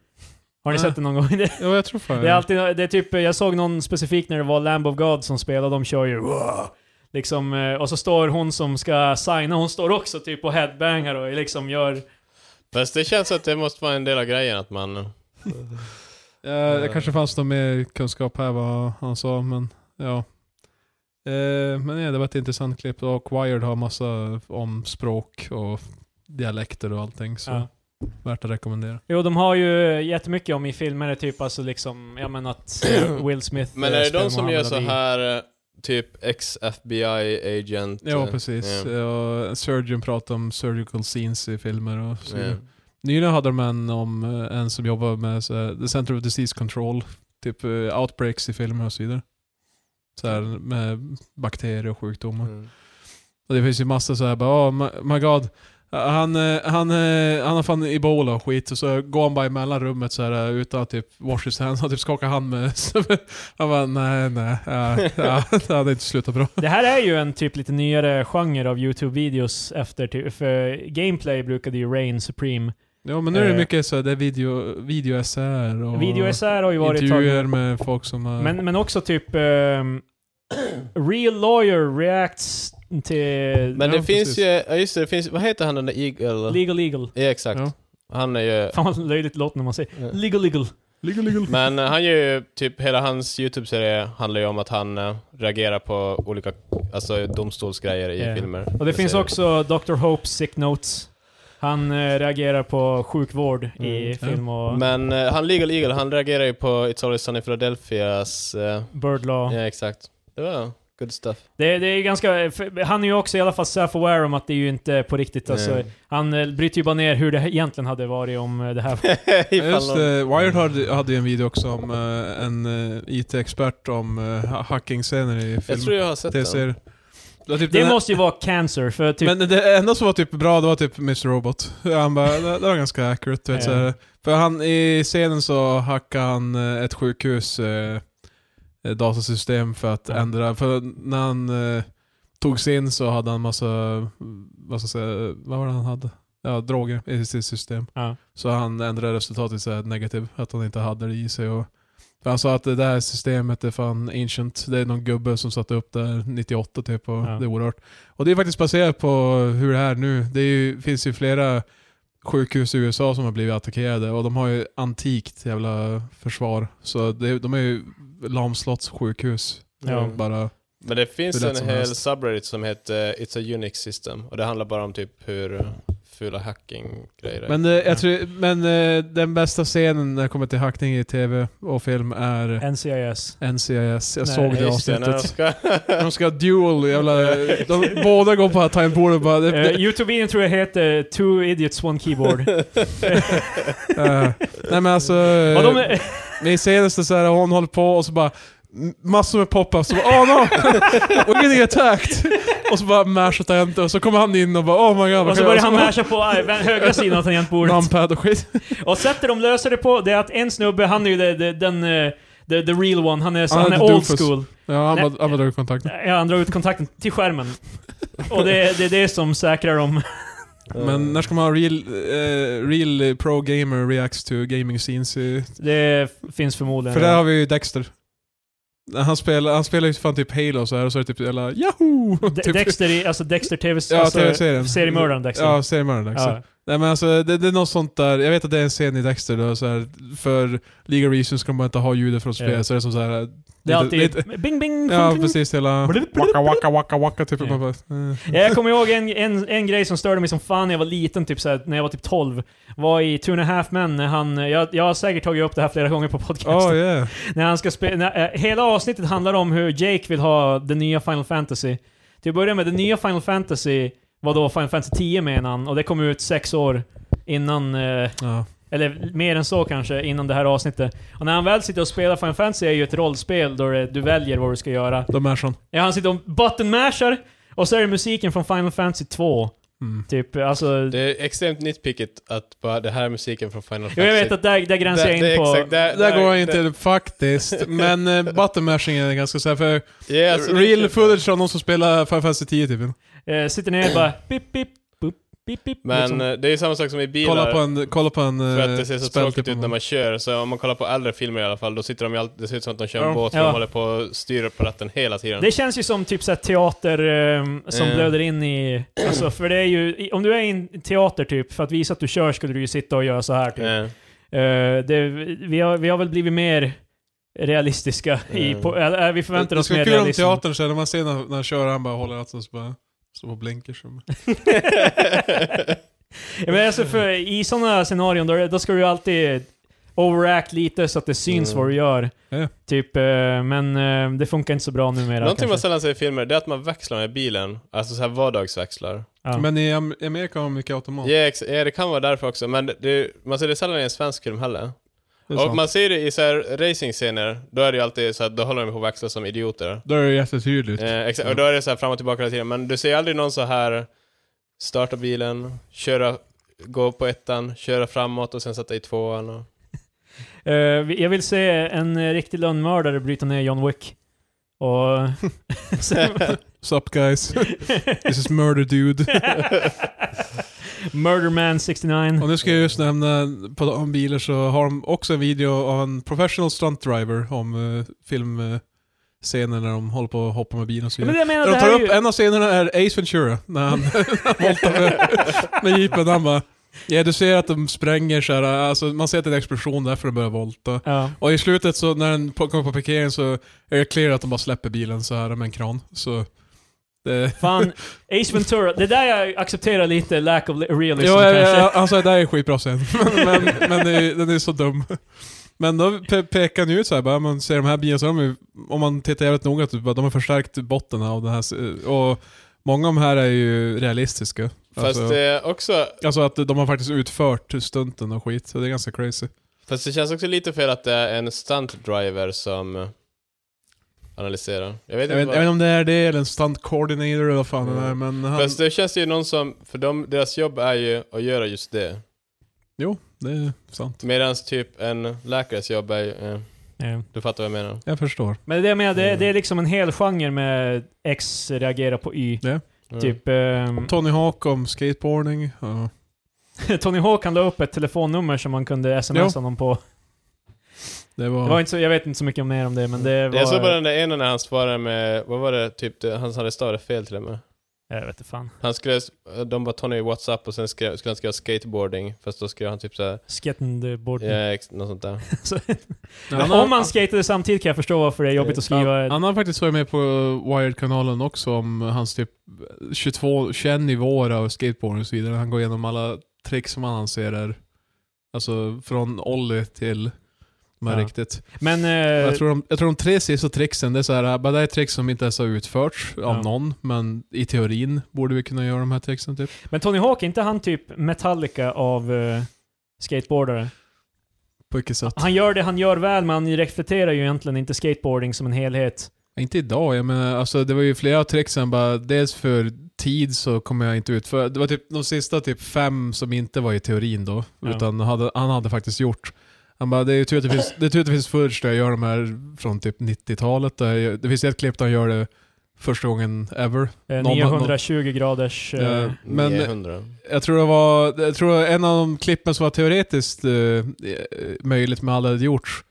S1: Har ni
S3: Nej.
S1: sett det någon gång? Det,
S3: Ja, jag tror fan
S1: det är alltid, det är typ, eh, jag såg någon specifik när det var Lamb of God som spelade, de kör ju "Wah!" Liksom, eh, och så står hon som ska signa, hon står också typ och headbangar och liksom gör...
S2: Fast det känns att det måste vara en del av grejen att man...
S3: Ja, det Eh, kanske fanns någon mer kunskap här vad han sa, men ja. Eh, men ja, det var ett intressant klipp och Wired har massa om språk och dialekter och allting, så
S1: Ja.
S3: värt att rekommendera.
S1: Jo, de har ju jättemycket om i filmer, typ alltså liksom, ja men att eh, Will Smith...
S2: Men
S1: eh,
S2: är det
S1: spelar
S2: de som
S1: Muhammad
S2: gör så
S1: Ali.
S2: här eh, typ ex-FBI agent.
S3: Ja,
S2: eh,
S3: precis.
S2: ja.
S3: Ja, Surgeon pratade om surgical scenes i filmer och så.
S2: ja.
S3: Nyligen hade de en om eh, en som jobbar med så här, The Center of Disease Control. Typ eh, outbreaks i filmer och så vidare. Så här, med bakterier och sjukdomar.
S2: Mm.
S3: Och det finns ju massa så här bara, oh my- my god. Han, eh, han, eh, han har fan ebola och skit och så går han bara emellan rummet så här eh, utan att typ wash his hands. Han typ skakar hand med... så- han bara nej nej. Ja, ja, det hade inte slutat bra.
S1: Det här är ju en typ lite nyare genre av YouTube-videos efter typ, för Gameplay brukade ju Reign Supreme.
S3: Ja men nu är det
S1: Eh.
S3: mycket så här, det är video, videoessäer och
S1: Video-SR Mm. har ju varit... ett tag nu.
S3: intervjuer med folk som har...
S1: Men, men också typ ehm, Real Lawyer reacts till
S2: Men det
S3: Ja,
S2: finns
S3: precis.
S2: ju, ja just det, det finns, vad heter han den där Eagle?
S1: Legal Legal.
S2: Ja, exakt.
S3: Ja.
S2: Han är ju...
S1: Fan vad löjligt låt när man säger
S2: eh,
S1: Legal Legal.
S3: Legal, legal.
S2: Men eh, han gör ju, typ hela hans YouTube-serie handlar ju om att han eh, reagerar på olika, alltså domstolsgrejer i
S1: Ja.
S2: filmer.
S1: Och det finns
S2: serier.
S1: också Dr. Hopes Sick Notes. Han eh, reagerar på sjukvård i
S2: Mm.
S1: film och
S2: Men eh, han Legal Eagle, han reagerar ju på It's Always Sunny in Philadelphias, eh,
S1: Bird Law.
S2: ja exakt. Det var good stuff.
S1: Det, det är ganska, för han är ju också i alla fall self-aware om att det är ju inte på riktigt alltså.
S2: Mm.
S1: Han eh, bryter ju bara ner hur det egentligen hade varit om eh, det här
S2: Ifall
S3: Just
S2: någon-
S3: det, Wired hade, hade ju en video också om eh, en eh, IT-expert om eh, ha- hacking-scener i
S2: Jag tror
S3: film.
S2: jag har sett den.
S3: TV-serier. Det var typ den
S1: Det
S3: här-
S1: måste ju vara cancer, för typ...
S3: Men det enda som var typ bra, det var typ Mr. Robot. Han bara, det, det var ganska accurate. Du vet,
S1: Ja.
S3: så här. För han, i scenen så hackade han eh, ett sjukhus eh, eh, datasystem för att
S1: Ja.
S3: ändra. För när han eh, tog sig in så hade han massa, vad ska jag säga, vad var det han hade? Ja, droger i sitt system.
S1: Ja.
S3: Så han ändrade resultatet så här negativt, att han inte hade det i sig. Och, för han sa att det där systemet är fan ancient. Det är någon gubbe som satte upp det här 98 typ och
S1: Ja.
S3: det är oerhört. Och det är faktiskt baserat på hur det är nu. Det är ju, finns ju flera sjukhus i USA som har blivit attackerade och de har ju antikt jävla försvar. Så det, de är ju lamslotts sjukhus.
S1: Ja.
S3: Bara,
S2: Men det finns
S3: Hur lätt
S2: en
S3: som
S2: hel
S3: helst.
S2: subreddit som heter eh, It's a Unix system och det handlar bara om typ hur fula hacking-grejer är.
S3: men eh,
S1: Ja.
S3: jag tror, men eh, den bästa scenen när det kommer till hackning i tv och film är
S1: NCIS.
S3: NCIS. Jag
S1: Nej,
S3: såg det
S2: Just när de
S3: avsnittet.
S2: ska-
S3: De ska duel, jävla... De, båda går på det här tangentbordet och bara... Det,
S1: Uh,
S3: det,
S1: Youtube-videon tror jag heter Two Idiots One Keyboard.
S3: eh, nej men alltså...
S1: och de,
S3: eh, Min senaste så här, hon håller på och så bara... m- Massor med pop-ups och bara oh no! We're getting attacked! Och så bara mashat enter och så kommer han in och bara oh my god. vad
S1: och så
S3: kan
S1: börjar
S3: jag-
S1: han
S3: så-
S1: masha på eh, vän- högra sidan av tangentbordet.
S3: Numpad och skit.
S1: Och sättet de löser det på, det är att en snubbe, han är ju the, the, den... eh, The, the real one, han är, så,
S3: Han är
S1: han är
S3: Ah, the
S1: old
S3: doofus.
S1: school.
S3: Ja, han
S1: Nej.
S3: bara- han bara drar ut kontakten.
S1: Ja, han drar ut kontakten till skärmen. Och det, är- det är det som säkrar dem.
S3: Men när ska man ha real, eh, real pro gamer reacts to gaming scenes? I,
S1: Det finns förmodligen.
S3: för där har vi ju Dexter. Han spelar, han spelar ju fan typ Halo och så här och så är det typ jävla Yahoo!
S1: De-
S3: typ,
S1: Dexter, i, alltså Dexter TV,
S3: ja,
S1: alltså,
S3: tv-serien.
S1: seriemördaren Dexter.
S3: Ja, seriemördaren Dexter.
S1: Ja.
S3: Nej men alltså det, det är något sånt där, jag vet att det är en scen i Dexter då, så här, för legal reasons ska man inte ha ljudet från spelet,
S1: Ja.
S3: så det är som så här. eh,
S1: Det är alltid
S3: lite-
S1: bing bing
S3: Ja
S1: bing, bing.
S3: precis, hela
S1: Blip, blip,
S3: waka waka waka waka typ.
S1: Ja.
S3: Man bara, eh.
S1: Ja, Jag kommer ihåg en, en, en grej som störde mig som fan när jag var liten, typ såhär, när jag var typ 12. Var i Two and a Half Men, när han, eh, jag, jag har säkert tagit upp det här flera gånger på podcasten.
S3: Oh yeah.
S1: När han ska spe- när, eh, hela avsnittet handlar om hur Jake vill ha det nya Final Fantasy. Till att börja med, det nya Final Fantasy var då Final Fantasy 10 menar han, och det kom ut sex år innan eh,
S3: Ja.
S1: eller mer än så kanske, innan det här avsnittet. Och när han väl sitter och spelar Final Fantasy är ju ett rollspel då det- du väljer vad du ska göra.
S3: De är sån.
S1: Ja, han sitter och button-mashar, och så är det musiken från Final Fantasy 2.
S3: Mm.
S1: Typ, alltså...
S2: Det är extremt nitpickigt att bara det här är musiken från Final Fantasy.
S1: Jo, jag vet att där, där gränsar jag
S2: det
S1: in
S2: är
S1: på...
S2: exakt- där,
S3: Där går jag inte faktiskt, men eh, button mashing är ganska såhär, för
S2: Ja, alltså, det är
S3: real
S2: kul.
S3: footage av någon som spelar Final Fantasy 10 typ.
S1: Eh, sitter ner och bara... Pip, pip, bup, pip, pip,
S2: Men
S1: liksom.
S2: eh, det är ju samma sak som i bilar.
S3: Kolla på en, kolla på en
S2: För att
S3: eh,
S2: det ser så
S3: spel,
S2: tråkigt
S3: typ,
S2: ut
S3: om-
S2: när man kör, så om man kollar på äldre filmer i alla fall, då sitter de ju alltid, det ser ut som att de kör en
S3: Ja.
S2: båt, för
S1: Ja.
S2: de håller på och styr på ratten hela tiden.
S1: Det känns ju som typ såhär teater eh, som
S2: Mm.
S1: blöder in i... Alltså, för det är ju... i- Om du är i en teater typ, för att visa att du kör skulle du ju sitta och göra så här typ.
S2: Eh,
S1: Eh, det, vi, har, vi har väl blivit mer realistiska. I,
S2: Mm.
S1: på, eller, eh, vi förväntar oss mer
S3: Det skulle vara kul om
S1: realism.
S3: teatern sen, när man ser när, när han kör, han bara håller ratten och så bara, står på blinkers. och-
S1: Ja, men alltså för, I sådana scenarion, då, då ska du ju alltid overact lite så att det syns
S2: Mm.
S1: vad du gör.
S3: Ja.
S1: Typ, eh, men eh, det funkar inte så bra numera.
S2: Någonting man
S1: kanske.
S2: sällan ser i filmer, det är att man växlar med bilen. Alltså så här vardagsväxlar.
S1: Ja.
S3: Men i Am- i Amerika har de mycket automat.
S2: Ja, ex- ja, det kan vara därför också, men det- det, man ser det sällan i en svensk film heller.
S3: Det är
S2: Och
S3: sant.
S2: man ser det i så här racingscener, då är det ju alltid så att då håller de på att växla som idioter.
S3: Då är det Mm. jättetydligt.
S2: Eh, exa- och då är det så här fram och tillbaka hela tiden, men du ser aldrig någon så här starta bilen, köra, gå på ettan, köra framåt och sen sätta i tvåan. Och...
S1: Eh, vi- jag vill se en eh, riktig lönnmördare bryta ner John Wick. Och... sen-
S3: Sup guys? This is murder dude.
S1: Murderman 69.
S3: Och nu ska jag just nämna, på om bilar så har de också en video av en professional stunt driver om uh, filmscener när de håller på att hoppa med bilen och så
S1: Ja, men
S3: vidare.
S1: jag menar, det
S3: de
S1: här
S3: tar
S1: är
S3: upp,
S1: ju...
S3: en av scenerna är Ace Ventura, när han, när han voltar med, med jeepen. Han bara, ja du ser att de spränger så här, alltså man ser att det är en explosion därför de börjar volta.
S1: Ja.
S3: Och i slutet så när den på- kommer på parkeringen så är det clear att de bara släpper bilen så här med en kran. Så det,
S1: Fan, Ace Ventura. Det där jag accepterar lite lack of realism
S2: Liksom
S3: Ja, ja,
S1: kanske.
S3: ja, han sa det där är skitbra sen. men men det är, den är så dum. Men då pe pekar han ju ut såhär, bara, man ser de här bilarna, så har de ju, om man tittar jävligt noga, typ, bara, de har förstärkt botten av den här. Och många av de här är ju realistiska.
S2: Fast eh,
S3: Alltså,
S2: det är också,
S3: alltså att de har faktiskt utfört stunten och skit, så det är ganska crazy.
S2: fast det känns också lite fel att det är en stunt driver som eh, analyserar. Jag vet inte
S3: Jag vet, jag vet
S2: vad.
S3: inte om det är det, eller en stunt coordinator eller vad fan
S2: Mm.
S3: det är, men han,
S2: Fast det känns ju någon som, för de, deras jobb är ju att göra just det.
S3: det är sant.
S2: Medan typ en läkares jobb är ju, eh,
S1: Ja.
S2: du fattar vad jag menar.
S3: Jag förstår.
S1: Men det är det jag menar, det,
S2: Mm.
S1: det är liksom en hel genre med X reagerar på Y.
S2: Mm.
S1: Typ, ehm,
S3: Tony Hawk om skateboarding. Ja.
S1: Tony Hawk han la upp ett telefonnummer som man kunde smsa någon på.
S3: Det var...
S1: Det var inte så, jag vet inte så mycket mer om det, men
S3: Mm.
S1: det var...
S2: Jag såg bara den där ena när han svarade med, vad var det, typ det, han hade stavat fel till och med.
S1: Jag vet inte fan.
S2: Han skrev, de bara Tony WhatsApp och sen skrev, skulle han skriva skateboarding, fast då skrev han typ såhär,
S1: Skateboard.
S2: ja, ex- något sånt där.
S3: Ja,
S1: Men
S3: han-
S1: om man skatade samtidigt kan jag förstå varför det är jobbigt att skriva...
S3: Han har faktiskt varit med på Wired-kanalen också om hans typ 22, 21 nivåer av skateboard och så vidare. Han går igenom alla tricks som han anser är, alltså från ollie till de här
S1: Ja.
S3: riktigt.
S1: Men... eh,
S3: Jag tror, de, jag tror de tre sista tricksen, det är så här, bara det här är tricks som inte ens har utförts
S1: Ja.
S3: av någon, men i teorin borde vi kunna göra de här tricksen typ.
S1: Men Tony Hawk, är inte han typ Metallica av eh, skateboardare?
S3: På vilket sätt?
S1: Han gör det han gör väl, men han reflekterar ju egentligen inte skateboarding som en helhet.
S3: Inte idag, jag menar, alltså det var ju flera av tricksen bara, dels för tid så kommer jag inte utföra, det var typ de sista typ fem som inte var i teorin då,
S1: Ja.
S3: utan hade, han hade faktiskt gjort. Han bara, det är ju tur att det finns, det är tur att det finns footage där jag gör de här från typ 90-talet. där jag- Det finns ett klipp där han gör det första gången ever.
S1: Eh,
S3: Någon-
S1: 920 graders... eh,
S3: Eh, men
S2: 900.
S3: jag tror det var, jag tror en av de klippen som var teoretiskt eh, eh, möjligt men aldrig hade gjorts.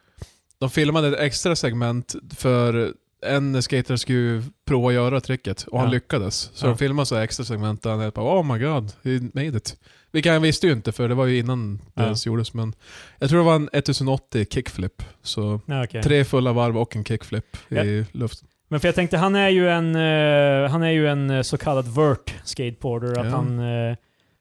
S3: De filmade ett extra segment för en skater skulle ju prova att göra tricket och han
S1: Ja.
S3: lyckades. Så
S1: Ja.
S3: de filmade så här extra segment där han helt bara oh my god, he made it. Vilket han visste ju inte för det var ju innan det
S1: Ja.
S3: ens gjordes men jag tror det var en 1080 kickflip. Så
S1: ja, okej.
S3: tre fulla varv och en kickflip i luften.
S1: Men för jag tänkte, han är ju en, eh, han är ju en eh, så kallad vert skateboarder. Att
S3: Ja.
S1: han, eh,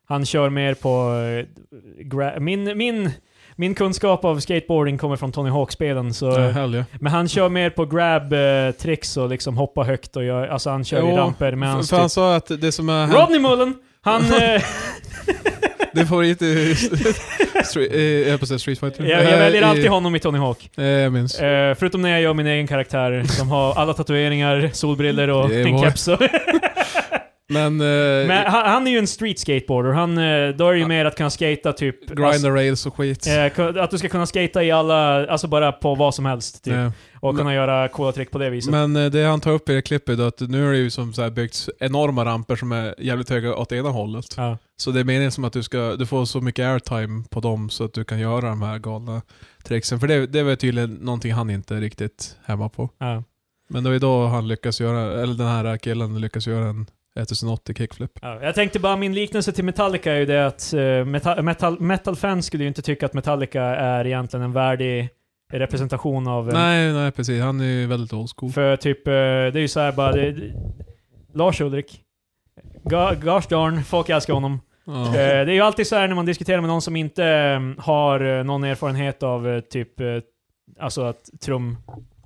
S1: han kör mer på... eh, gra- min, min, min kunskap av skateboarding kommer från Tony Hawk-spelen, så...
S3: Ja, hell yeah.
S1: Men han kör mer på grab-tricks och liksom hoppa högt och gör, alltså han kör i
S3: Jo,
S1: ramper med
S3: För,
S1: hans typ
S3: för han sa att det som är...
S1: Rodney Mullen! Han... eh,
S3: Din favorit i... Street, eh, jag höll på att säga Street Fighter.
S1: jag, jag väljer
S3: Eh,
S1: alltid
S3: i-
S1: honom i Tony Hawk.
S3: Eh, jag minns.
S1: Eh, förutom när jag gör min egen karaktär som har alla tatueringar, solbriller och
S3: Det är
S1: en
S3: vår-
S1: keps. och-
S3: Men... Eh,
S1: Men han, han är ju en street skateboarder. Han, eh, då är det ju mer att kunna skata typ...
S3: Grind the rails och skit.
S1: alltså, eh, ku- att du ska kunna skata i alla, alltså bara på vad som helst typ.
S3: Eh,
S1: Och kunna göra coola trick på det viset.
S3: Men eh, det han tar upp i det klippet är att nu har det ju som så här byggts enorma ramper som är jävligt höga åt ena hållet.
S1: ja.
S3: Så det är meningen som att du ska, du får så mycket airtime på dem så att du kan göra de här galna tricksen. För det, det var tydligen någonting han inte riktigt hemma på.
S1: Ja.
S3: Men det var ju då han lyckas göra, eller den här killen lyckas göra en 1080 kickflip.
S1: Ja, jag tänkte bara, min liknelse till Metallica är ju det att eh, metal, metal, metalfans skulle ju inte tycka att Metallica är egentligen en värdig representation av... eh,
S3: Nej, nej precis. Han är ju väldigt old school.
S1: För typ, eh, det är ju så här bara... Det, Lars Ulrik. Ga- Gosh darn, folk älskar honom.
S3: Ja.
S1: Eh, Det är ju alltid så här när man diskuterar med någon som inte eh, har eh, någon erfarenhet av eh, typ, eh, alltså att trum...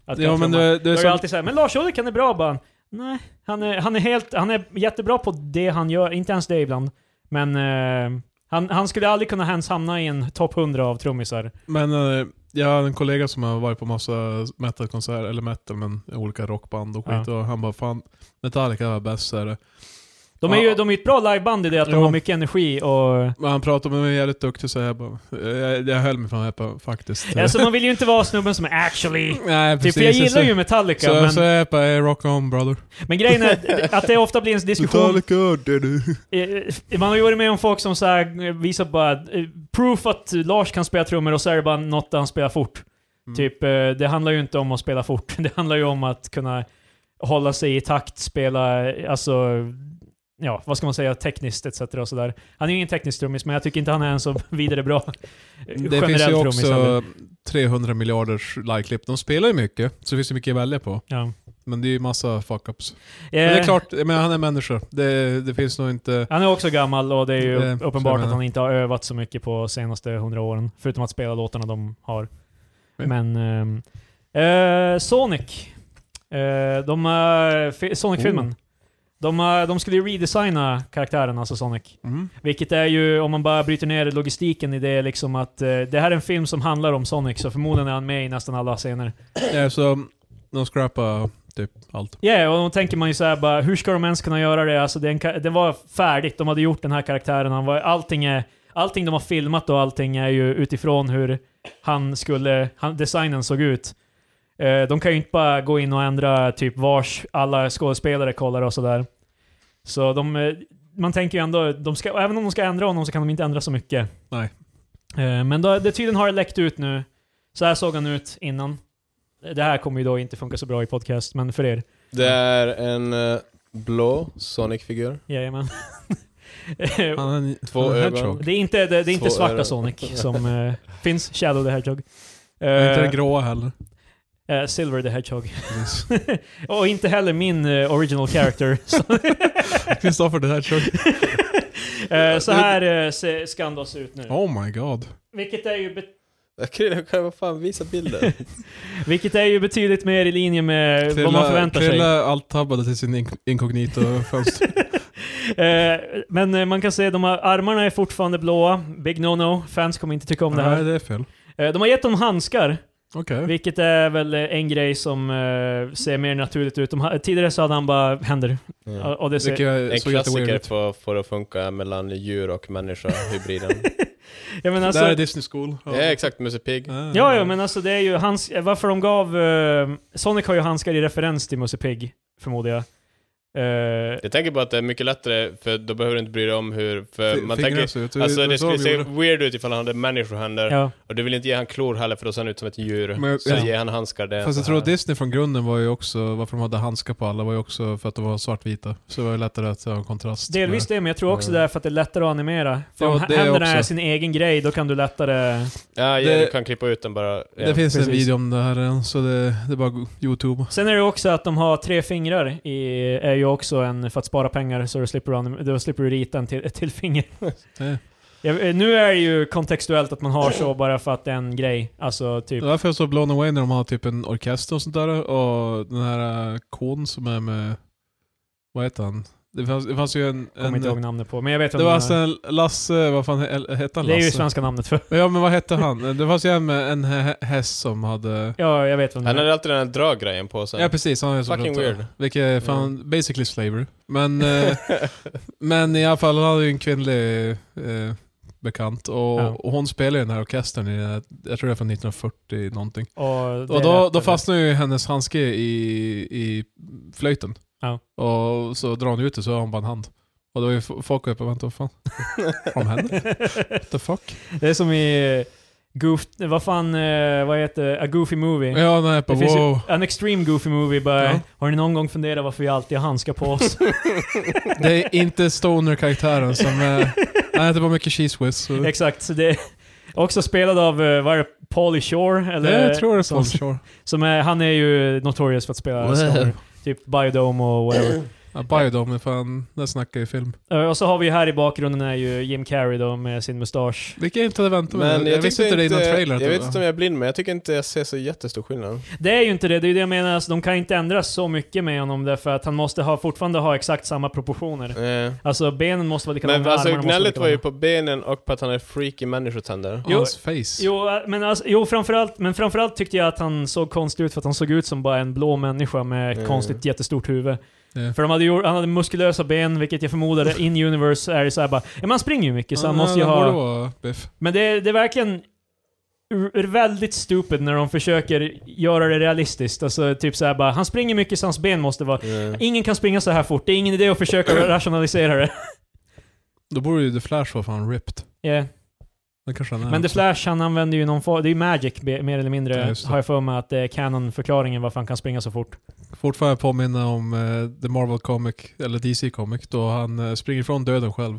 S1: Att
S3: ja
S1: kan
S3: men
S1: trumma.
S3: det, det
S1: Då
S3: är
S1: är det
S3: så,
S1: alltid så här, men Lars Ulrik är bra bara. Nej, han är, han, är helt, han är jättebra på det han gör, inte ens det ibland. Men eh, han, han skulle aldrig kunna ens hamna i en topp 100 av trummisar.
S3: men eh, jag har en kollega som har varit på massa metalkonserter, eller metal men olika rockband och skit. Och han bara fan, Metallica var bäst så är det.
S1: De är ju
S3: Ja.
S1: de är ju ett bra liveband i det att de
S3: Jo.
S1: har mycket energi och...
S3: Men han pratade med mig jävligt duktig så jag bara, eh, jag, jag höll mig från det här faktiskt.
S1: Alltså man vill ju inte vara snubben som är actually...
S3: Nej
S1: Typ,
S3: precis.
S1: för jag gillar
S3: så,
S1: ju Metallica,
S3: så,
S1: men,
S3: så jag bara, eh, rock on brother.
S1: men grejen är att det ofta blir en diskussion...
S3: Metallica, det du.
S1: Eh, Man har ju varit med om folk som så här eh, visar bara eh, proof att Lars kan spela trummor och så är det bara något där han spelar fort.
S3: Mm.
S1: Typ, eh, det handlar ju inte om att spela fort. Det handlar ju om att kunna hålla sig i takt, spela, eh, alltså, ja, vad ska man säga, tekniskt etc. och sådär. Han är ju ingen teknisk trummis, men jag tycker inte han är en så vidare bra eh,
S3: Det finns ju
S1: trummis heller.
S3: också 300 miljarders liveklipp. De spelar ju mycket, så det finns ju mycket att välja på.
S1: Ja.
S3: Men det är ju massa fuck-ups. Men det
S1: Eh,
S3: är klart, men han är människa. Det, det finns nog inte...
S1: Han är också gammal och det är ju
S3: Det-
S1: upp-
S3: så jag
S1: uppenbart
S3: menar.
S1: att han inte har övat så mycket på senaste hundra åren. Förutom att spela låtarna de har.
S3: Ja.
S1: Men... ehm, eh, Sonic. Eh, de... eh, fi-
S3: Oh.
S1: Sonic-filmen. De, eh, de skulle ju redesigna karaktären, alltså Sonic.
S3: Mm.
S1: Vilket är ju, om man bara bryter ner logistiken i det, liksom att eh, det här är en film som handlar om Sonic, så förmodligen är han med i nästan alla scener.
S3: Ja, så de scrappar typ allt.
S1: Ja, och då tänker man ju såhär bara, hur ska de ens kunna göra det? Alltså den, ka- den var färdigt, de hade gjort den här karaktären, han var, allting, är, allting de har filmat och allting är ju utifrån hur han skulle, han, designen såg ut. Eh, de kan ju inte bara gå in och ändra typ vars alla skådespelare kollar och sådär. Så de, eh, man tänker ju ändå, de ska, även om de ska ändra honom så kan de inte ändra så mycket.
S3: Nej.
S1: Eh, men då, det tydligen har det läckt ut nu. Så här såg han ut innan. Det här kommer ju då inte funka så bra i podcast, men för er.
S2: Det är en eh, blå Sonic-figur.
S1: Jajamän. Eh,
S3: Han är en,
S2: Två
S3: han är en
S2: ögon.
S3: hedgehog.
S1: det är inte, det, det är inte
S2: Så
S1: svarta
S2: är det.
S1: Sonic som eh, finns, Shadow the Hedgehog.
S3: Han är inte den
S1: Eh,
S3: gråa heller.
S1: eh, Silver the Hedgehog.
S3: Precis.
S1: Och inte heller min eh, original character. så,
S3: Kristoffer the Hedgehog.
S1: eh, så här eh, se- ska han då se ut nu.
S3: Oh my god.
S1: Eh, Vilket är ju bet-
S2: Jag kan vad fan visa bilden.
S1: Vilket är ju betydligt mer i linje med vad man förväntar sig.
S3: Krilla allt-tabbade till sin ink- inkognito-fönster.
S1: Eh, men eh, man kan se, de här armarna är fortfarande blåa. Big no-no. Fans kommer inte tycka om det
S3: Nej,
S1: här.
S3: det är fel.
S1: Eh, de har gett dem handskar.
S3: Okej.
S1: Vilket är väl eh, en grej som eh, ser mer naturligt ut. De, ha- tidigare så hade han bara händer.
S2: Ja.
S1: Och, och det ser,
S2: En
S3: Vilket såg jätteweird
S2: klassiker
S3: ut.
S2: för, för att funka mellan djur och människa, hybriden.
S1: jag menar,
S3: det här
S1: alltså,
S3: är Disney School.
S2: ja, exakt. Musse Pig.
S3: Ah.
S1: ja, ja, men alltså det är ju hans, eh, varför de gav... Eh, Sonic har ju handskar i referens till Musse Pigg, förmodar jag. Eh,
S2: Jag tänker på att det är mycket lättare, för då behöver du inte bry dig om hur... För
S3: F-
S2: Eh, man
S3: fingrar
S2: tänker,
S3: ser ut.
S2: alltså
S3: är
S2: det
S3: så
S2: skulle
S3: de
S2: se
S3: gjorde.
S2: weird ut ifall han hade människohänder.
S1: ja.
S2: Och du vill inte ge han klor heller, för då ser han ut som ett djur.
S3: Men-
S2: så
S3: ja.
S2: ger han handskar, det är
S3: Fast
S2: så
S3: jag tror
S2: här.
S3: att Disney från grunden var ju också, varför de hade handskar på alla var ju också för att de var svartvita. Så det var ju lättare att ha en kontrast.
S1: Delvis
S3: med-
S1: det, men jag tror också det är för att det är lättare att animera. För
S3: Ja,
S1: om
S3: det
S1: händerna är
S3: också.
S1: sin egen grej, då kan du lättare...
S2: Ja, ja
S3: Det-
S2: du kan klippa ut den bara. Ja.
S3: det finns en
S1: precis. Typ.
S3: video om det här än, så det, det är bara go- YouTube.
S1: Sen är det också att de har tre fingrar, i, är ju också en, för att spara pengar, så du slipper, anim- då slipper du rita en till, ett till finger.
S3: Det,
S1: Ja, eh, nu är det ju kontextuellt att man har så bara för att det är en grej. Alltså
S3: det
S1: typ...
S3: är därför jag är så blown away när de har typ en orkester och sånt där. Och den här äh, kon som är med, vad heter han? Det fanns, det fanns ju en... en eh,
S1: Kommer inte ihåg namnet på, men jag vet vem
S3: det var
S1: den
S3: alltså
S1: är.
S3: en Lasse, vad fan he- hette han?
S1: Det är ju
S3: Lasse?
S1: svenska namnet för...
S3: Ja men vad hette han? Det fanns ju en med en hä- häst som hade...
S1: Ja, jag vet vem
S2: Han
S1: det är.
S2: hade alltid den här draggrejen på sig.
S3: Ja precis, han är så
S2: Fucking
S3: brutal.
S2: weird.
S3: Vilket är fan basically slavery. Men, eh, men i alla fall, han hade ju en kvinnlig eh, bekant och,
S1: Ja.
S3: och hon spelar ju den här orkestern, i, den här- jag tror det är från 1940 någonting.
S1: Och, det
S3: Och
S1: är
S3: då,
S1: rätt,
S3: då
S1: eller?
S3: fastnar ju hennes handske i, i flöjten.
S1: Ja.
S3: Och så drar hon ut det så har hon bara en hand. Och då är ju f- folk uppe och väntar, vad fan? Har de händer? What the fuck?
S1: Det är som i... eh, Goof... Vad fan, eh, vad heter det? A Goofy Movie.
S3: Ja, nej,
S1: Det
S3: bara
S1: finns
S3: wow.
S1: ju en extreme goofy movie bara,
S3: Ja.
S1: har ni någon gång funderat varför vi alltid har handskar på oss?
S3: Det är inte Stoner-karaktären som är... Nej, det var mycket cheese whiz. Så.
S1: Exakt, så det är också spelad av, eh, vad är det, Pauly Shore? Eller,
S3: jag tror det är
S1: som,
S3: Paul Shore.
S1: som är, Han är ju notorious för att spela skador. Typ Biodome och whatever.
S3: Ja, Biodome är fan, där snackar jag film.
S1: Eh, Och så har vi här i bakgrunden är ju Jim Carrey då med sin mustasch.
S3: Vilket jag inte hade väntat mig.
S2: Men
S3: jag,
S2: jag,
S3: visste inte det innan trailern.
S2: Jag
S3: tror
S2: vet inte om jag är blind, men jag tycker inte jag ser så jättestor skillnad.
S1: Det är ju inte det, det är ju det jag menar, alltså, de kan inte ändra så mycket med honom därför att han måste ha, fortfarande ha exakt samma proportioner.
S2: Eh.
S1: Alltså benen måste vara likadana,
S2: Men alltså
S1: armarna måste vara
S2: gnället var ju
S1: likadana.
S2: på benen och på att han är freaky människotänder.
S3: Och
S1: Jo.
S3: Hans face.
S1: Jo, eh, men, alltså, jo framförallt, men framförallt tyckte jag att han såg konstig ut för att han såg ut som bara en blå människa med ett
S2: Mm.
S1: konstigt jättestort huvud.
S3: Ja.
S1: För de hade gjort, han hade muskulösa ben, vilket jag förmodar in universe är det såhär bara, ja, men han springer ju mycket så han
S3: Ja,
S1: måste ju
S3: den borde
S1: ha...
S3: vara biff.
S1: Men det, är- det är verkligen r- väldigt stupid när de försöker göra det realistiskt. Alltså typ såhär bara, han springer mycket så hans ben måste vara...
S2: Eh.
S1: Ingen kan springa så här fort, det är ingen idé att försöka rationalisera det.
S3: Då borde ju The Flash vara fan ripped.
S1: Yeah.
S3: Det kanske han är.
S1: Men The
S3: också.
S1: Flash, han använder ju någon form... Det är ju Magic, be- mer eller
S3: Ja,
S1: mindre,
S3: just det.
S1: har jag för mig att det är canon-förklaringen varför han kan springa så fort.
S3: Fortfarande påminna om eh, The Marvel Comic, eller DC Comic, då han eh, springer ifrån döden själv.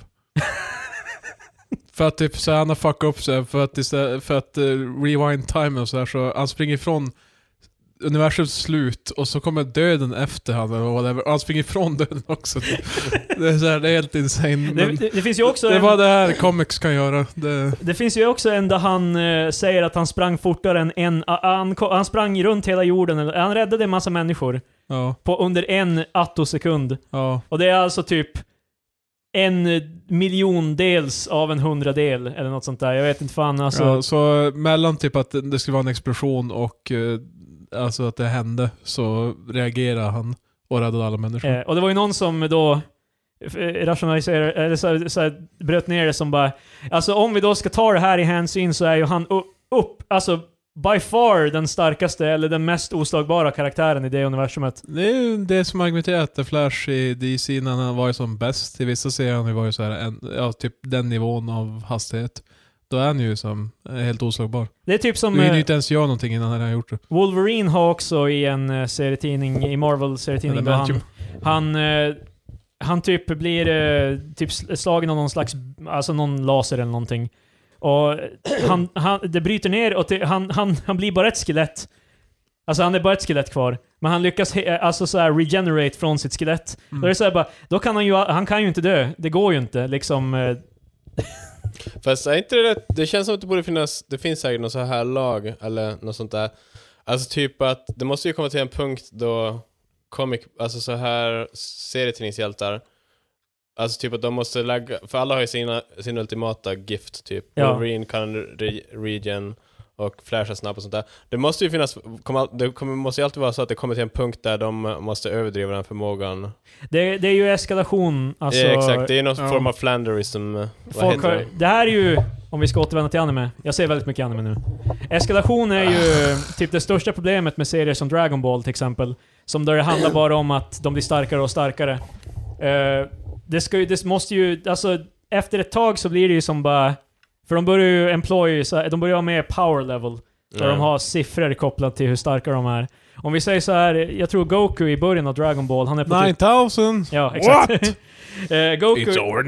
S3: för att typ så här, han har fuckat upp sig, för att, istället, för att eh, rewind time och så här, så han springer ifrån universums slut och så kommer döden efter han eller whatever. Och han springer ifrån döden också. det, är så här, det är helt insane.
S1: Det,
S3: Men Mm. det,
S1: det, det finns ju också...
S3: är
S1: en-
S3: vad det här comics kan göra. Det,
S1: Det finns ju också en där han eh, säger att han sprang fortare än en... a- han, ko- han sprang runt hela jorden, eller- han räddade en massa människor
S3: ja,
S1: på under en attosekund.
S3: ja.
S1: Och det är alltså typ en eh, miljondels av en hundradel, eller något sånt där. Jag vet inte fan alltså.
S3: ja, så eh, mellan typ att det skulle vara en explosion och eh, alltså att det hände så reagerar han och räddade alla människor.
S1: Eh, och det var ju någon som då eh, rationaliserade, eller så, här- så här, bröt ner det som bara, alltså om vi då ska ta det här i hänsyn så är ju han u- upp, alltså by far den starkaste eller den mest oslagbara karaktären i det universumet.
S3: Det är ju det som argumenterat The Flash i DC när han var ju som bäst. I vissa serier har han ju varit så här, en, ja, typ den nivån av hastighet. Då är han ju som eh, helt oslagbar.
S1: Det är typ som...
S3: Du hinner ju
S1: eh,
S3: inte ens göra någonting innan han har gjort det.
S1: Wolverine har också i en eh, serietidning, i Marvel-serietidning, då han,
S3: Adamantium.
S1: han, eh, han typ blir eh, typ sl- slagen av någon slags, alltså någon laser eller någonting. Och eh, han, han, det bryter ner och det, han, han, han blir bara ett skelett. Alltså han är bara ett skelett kvar. Men han lyckas he- alltså så här regenerate från sitt skelett. Mm.
S2: Mm.
S1: Då är det så här bara, då kan han ju, han kan ju inte dö. Det går ju inte liksom. eh,
S2: Fast är inte det rätt? Det känns som att det borde finnas, det finns säkert någon så här lag eller något sånt där. Alltså typ att det måste ju komma till en punkt då comic, alltså så här serietidningshjältar, alltså typ att de måste lägga, för alla har ju sina, sin ultimata gift typ.
S1: Ja.
S2: Wolverine kan re, regen och Flash är snabb och sånt där. Det måste ju finnas, kommer all- det kommer, måste ju alltid vara så att det kommer till en punkt där de måste överdriva den förmågan.
S1: Det, det är ju eskalation. Alltså,
S2: ja, exakt, det är någon
S3: ja.
S2: form av flanderism. Vad
S1: Folk
S2: heter
S1: har,
S2: det?
S1: det här är ju, om vi ska återvända till anime, jag ser väldigt mycket anime nu. Eskalation är ju
S2: Ah.
S1: typ det största problemet med serier som Dragon Ball till exempel. Som där det handlar bara om att de blir starkare och starkare. Eh, det ska ju, det måste ju, alltså efter ett tag så blir det ju som bara... För de börjar ju employ, så här- de börjar ha med power level. Där
S2: Ja.
S1: de har siffror kopplat till hur starka de är. Om vi säger så här, jag tror Goku i början av Dragon Ball, han är på typ-
S3: 9000!
S1: Ja, exakt. Eh, Goku...
S3: It's over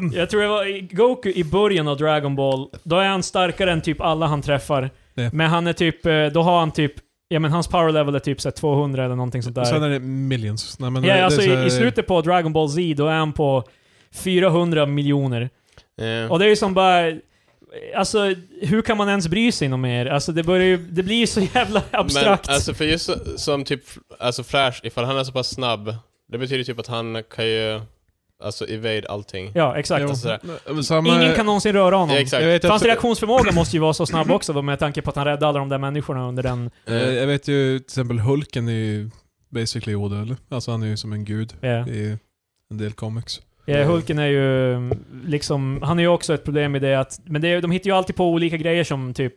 S3: 9000!
S1: Jag tror det var i- Goku i början av Dragon Ball, då är han starkare än typ alla han träffar.
S3: Ja.
S1: Men han är typ, eh, då har han typ, ja men hans power level är typ så här 200 eller någonting sånt
S3: Och Sen
S1: där.
S3: är det millions. Nej, men det-
S1: Ja,
S3: det är
S1: alltså
S3: så här-
S1: i, i slutet på Dragon Ball Z, då är han på 400 miljoner.
S2: Ja.
S1: Och det är ju som bara, alltså hur kan man ens bry sig något mer? Alltså det börjar ju, det blir ju så jävla abstrakt.
S2: Men alltså för just så- som typ, alltså Flash, ifall han är så pass snabb, det betyder typ att han kan ju, alltså evade allting.
S1: ja, exakt.
S3: Jo,
S2: sådär.
S3: men samma-
S1: alltså. Ingen kan någonsin röra honom.
S2: Ja, exakt.
S3: Jag vet,
S1: Hans
S3: att,
S1: reaktionsförmåga måste ju vara så snabb också då, med tanke på att han räddade alla de där människorna under den...
S3: eh, jag vet ju till exempel Hulken är ju basically odödlig. Alltså han är ju som en gud
S1: ja.
S3: i en del comics.
S1: Ja, Hulken är ju mm, liksom, han är ju också ett problem i det att, men det, är- de hittar ju alltid på olika grejer som typ,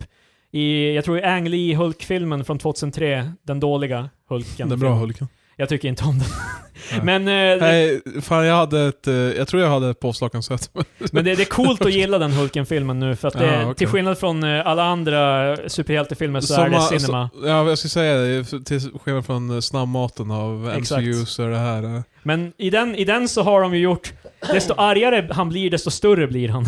S1: i, jag tror i Ang Lee Hulk-filmen från 2003, den dåliga Hulken.
S3: Den bra Hulken.
S1: Jag tycker inte om den.
S3: Nej.
S1: Men, eh,
S3: Nej, fan jag hade ett, eh, jag tror jag hade ett påslakan sett.
S1: men det, det är coolt att gilla den Hulken-filmen nu, för att det,
S3: Ja, Ah, okej.
S1: till skillnad från eh, alla andra superhjältefilmer så är
S3: alltså-
S1: det cinema.
S3: så- ja, jag skulle säga det, för- till skillnad från eh, snabbmaten av
S1: Exakt.
S3: MCU så är det här... eh,
S1: Men i den, i den så har de ju gjort, desto argare han blir, desto större blir han.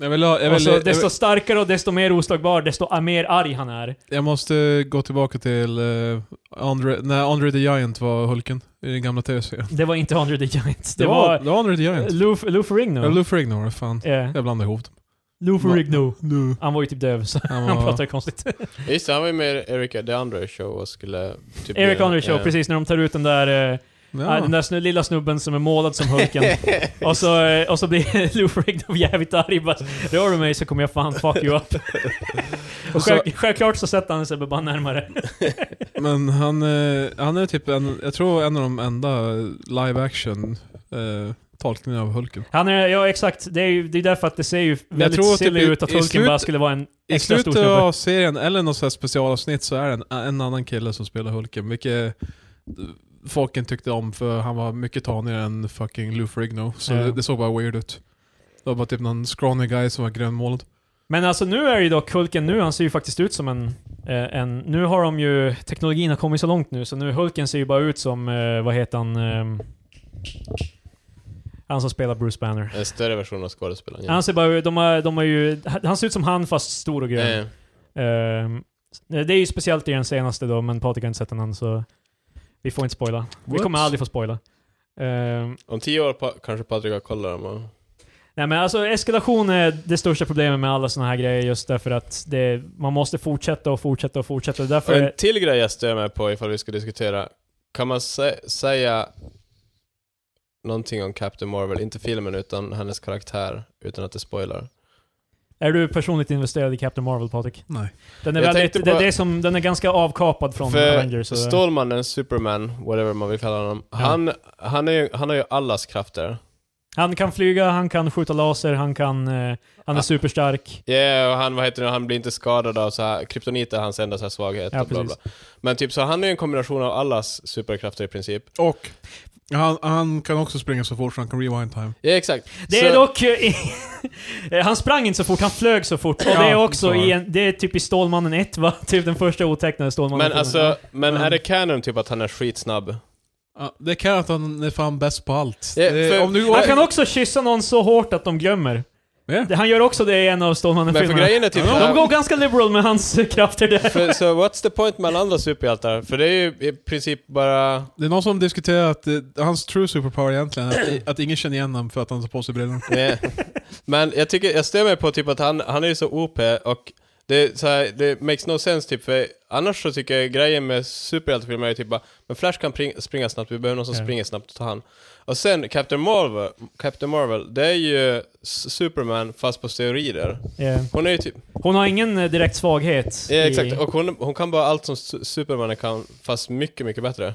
S3: Jag, vill ha, jag, vill,
S1: Alltså,
S3: jag,
S1: desto
S3: vill,
S1: starkare och desto mer oslagbar, desto mer arg han är.
S3: jag måste gå tillbaka till eh, Andre, när Andre the Giant var Hulken i den gamla tv-serien.
S1: Det var inte Andre the Giant. Det,
S3: Det var,
S1: var,
S3: det var Andre the
S1: var
S3: Giant.
S1: Eh, Lou Lou Ferrigno.
S3: Ja, Lou Ferrigno var det, fan.
S1: Eh,
S3: Jag blandade ihop dem.
S1: Lou Ferrigno.
S3: Nu.
S1: Han var ju typ döv, så
S3: Han
S1: han
S3: var,
S1: pratar ju konstigt.
S2: Just det, han var ju med i Erika DeAndre show och skulle... Typ
S1: Eric
S2: göra-
S1: Andre show,
S2: eh,
S1: precis när de tar ut den där, eh,
S3: ja.
S1: den där snu, lilla snubben som är målad som Hulken. och, så, eh, och så blir Lou Ferrigno jävligt arg. Bara, Rör du mig så kommer jag fan fuck you up. och
S3: så-
S1: själv, självklart så sätter han sig bara närmare.
S3: Men han, eh, han är typ en, jag tror en av de enda live action eh, tolkningarna av Hulken.
S1: Han är, ja exakt, det är ju det är därför att det ser ju väldigt
S3: tror typ
S1: silly
S3: i-
S1: ut att
S3: i
S1: Hulken
S3: slut-
S1: bara skulle vara en
S3: I
S1: extra stor
S3: slutet
S1: snubbe.
S3: av serien, eller något sånt här specialavsnitt, så är det en, en annan kille som spelar Hulken, vilket folken tyckte om för han var mycket tanigare än fucking Lou Ferrigno. Så
S1: Ja.
S3: det, det såg bara weird ut. Det var bara typ någon scrawny guy som var grönmålad.
S1: Men alltså nu är ju dock Hulken nu, han ser ju faktiskt ut som en, eh, en... Nu har de ju... Teknologin har kommit så långt nu, så nu Hulken ser ju bara ut som, eh, vad heter han? ehm, han som spelar Bruce Banner.
S2: En större version av skådespelaren.
S1: Han ser bara ut- de har, de har ju... Han ser ut som han fast stor och grön.
S2: Eh,
S1: Ehm, det är ju speciellt i den senaste då, men Patrik har inte sett den än så... Vi får inte spoila. Vi
S3: What?
S1: kommer aldrig få spoila. Ehm,
S2: om tio år pa- kanske Patrik har kollat dem och...
S1: Nej men alltså eskalation är det största problemet med alla såna här grejer just därför att det, man måste fortsätta och fortsätta och fortsätta. Därför
S2: Och en till grej jag stör mig på ifall vi ska diskutera. Kan man sä- säga någonting om Captain Marvel, inte filmen utan hennes karaktär, utan att det spoilar?
S1: är du personligt investerad i Captain Marvel Patrik.
S3: Nej.
S1: Den är,
S2: Jag
S1: väldigt,
S2: tänkte på-
S1: det, det är som, den är ganska avkapad från Avengers.
S2: För
S1: så-
S2: Stålmannen, Superman, whatever man vill kalla honom, han, han, är ju, han har ju allas krafter.
S1: Han kan flyga, han kan skjuta laser, han kan... Eh, han är
S2: Ah.
S1: superstark.
S2: Ja, och han, vad heter det, han blir inte skadad av så här, kryptonit är hans enda så här svaghet
S1: Ja,
S2: och bla, bla.
S1: precis.
S2: Men typ så han är ju en kombination av allas superkrafter i princip.
S3: Och han, han kan också springa så fort så han kan rewind time.
S2: Ja, exakt.
S1: Det
S2: så,
S1: är dock... eh, han sprang inte så fort, han flög så fort. Och det är
S3: Ja, så
S1: också
S3: var det.
S1: i en, Det är typ i Stålmannen 1 va? Typ den första otecknade Stålmannen.
S2: Men alltså, men är det canon typ att han är skitsnabb?
S3: Ja, det kan att han är fan bäst på allt.
S2: Ja,
S3: Det-
S2: för-
S3: om du
S1: Han kan också kyssa någon så hårt att de glömmer.
S3: Ja.
S1: Det- Han gör också det i en av
S2: Men för
S1: Stålmannen-filmerna.
S2: grejen är typ
S3: Ja,
S2: så
S1: De
S2: här-
S1: går ganska liberal med hans eh, krafter där.
S2: För, så what's the point med alla andra superhjältar? För det är ju i princip bara...
S3: Det är någon som diskuterar att eh, hans true superpower egentligen är att, att ingen känner igen honom för att han tar på sig brillorna.
S2: Nej. Men jag tycker, jag stör mig på typ att han, han är ju så OP och det, är så här, det makes no sense typ, för annars så tycker jag grejen med superhjältefilmer är ju typ bara, men Flash kan pring, springa snabbt, vi behöver någon som
S1: Ja.
S2: springer snabbt och tar hand. Och sen Captain Marvel, Captain Marvel, det är ju S- Superman fast på steroider.
S1: Eh,
S2: Hon är ju typ,
S1: Hon har ingen eh, direkt svaghet.
S2: ja,
S1: i-
S2: exakt, och hon, hon kan bara allt som su- Superman kan, fast mycket, mycket bättre.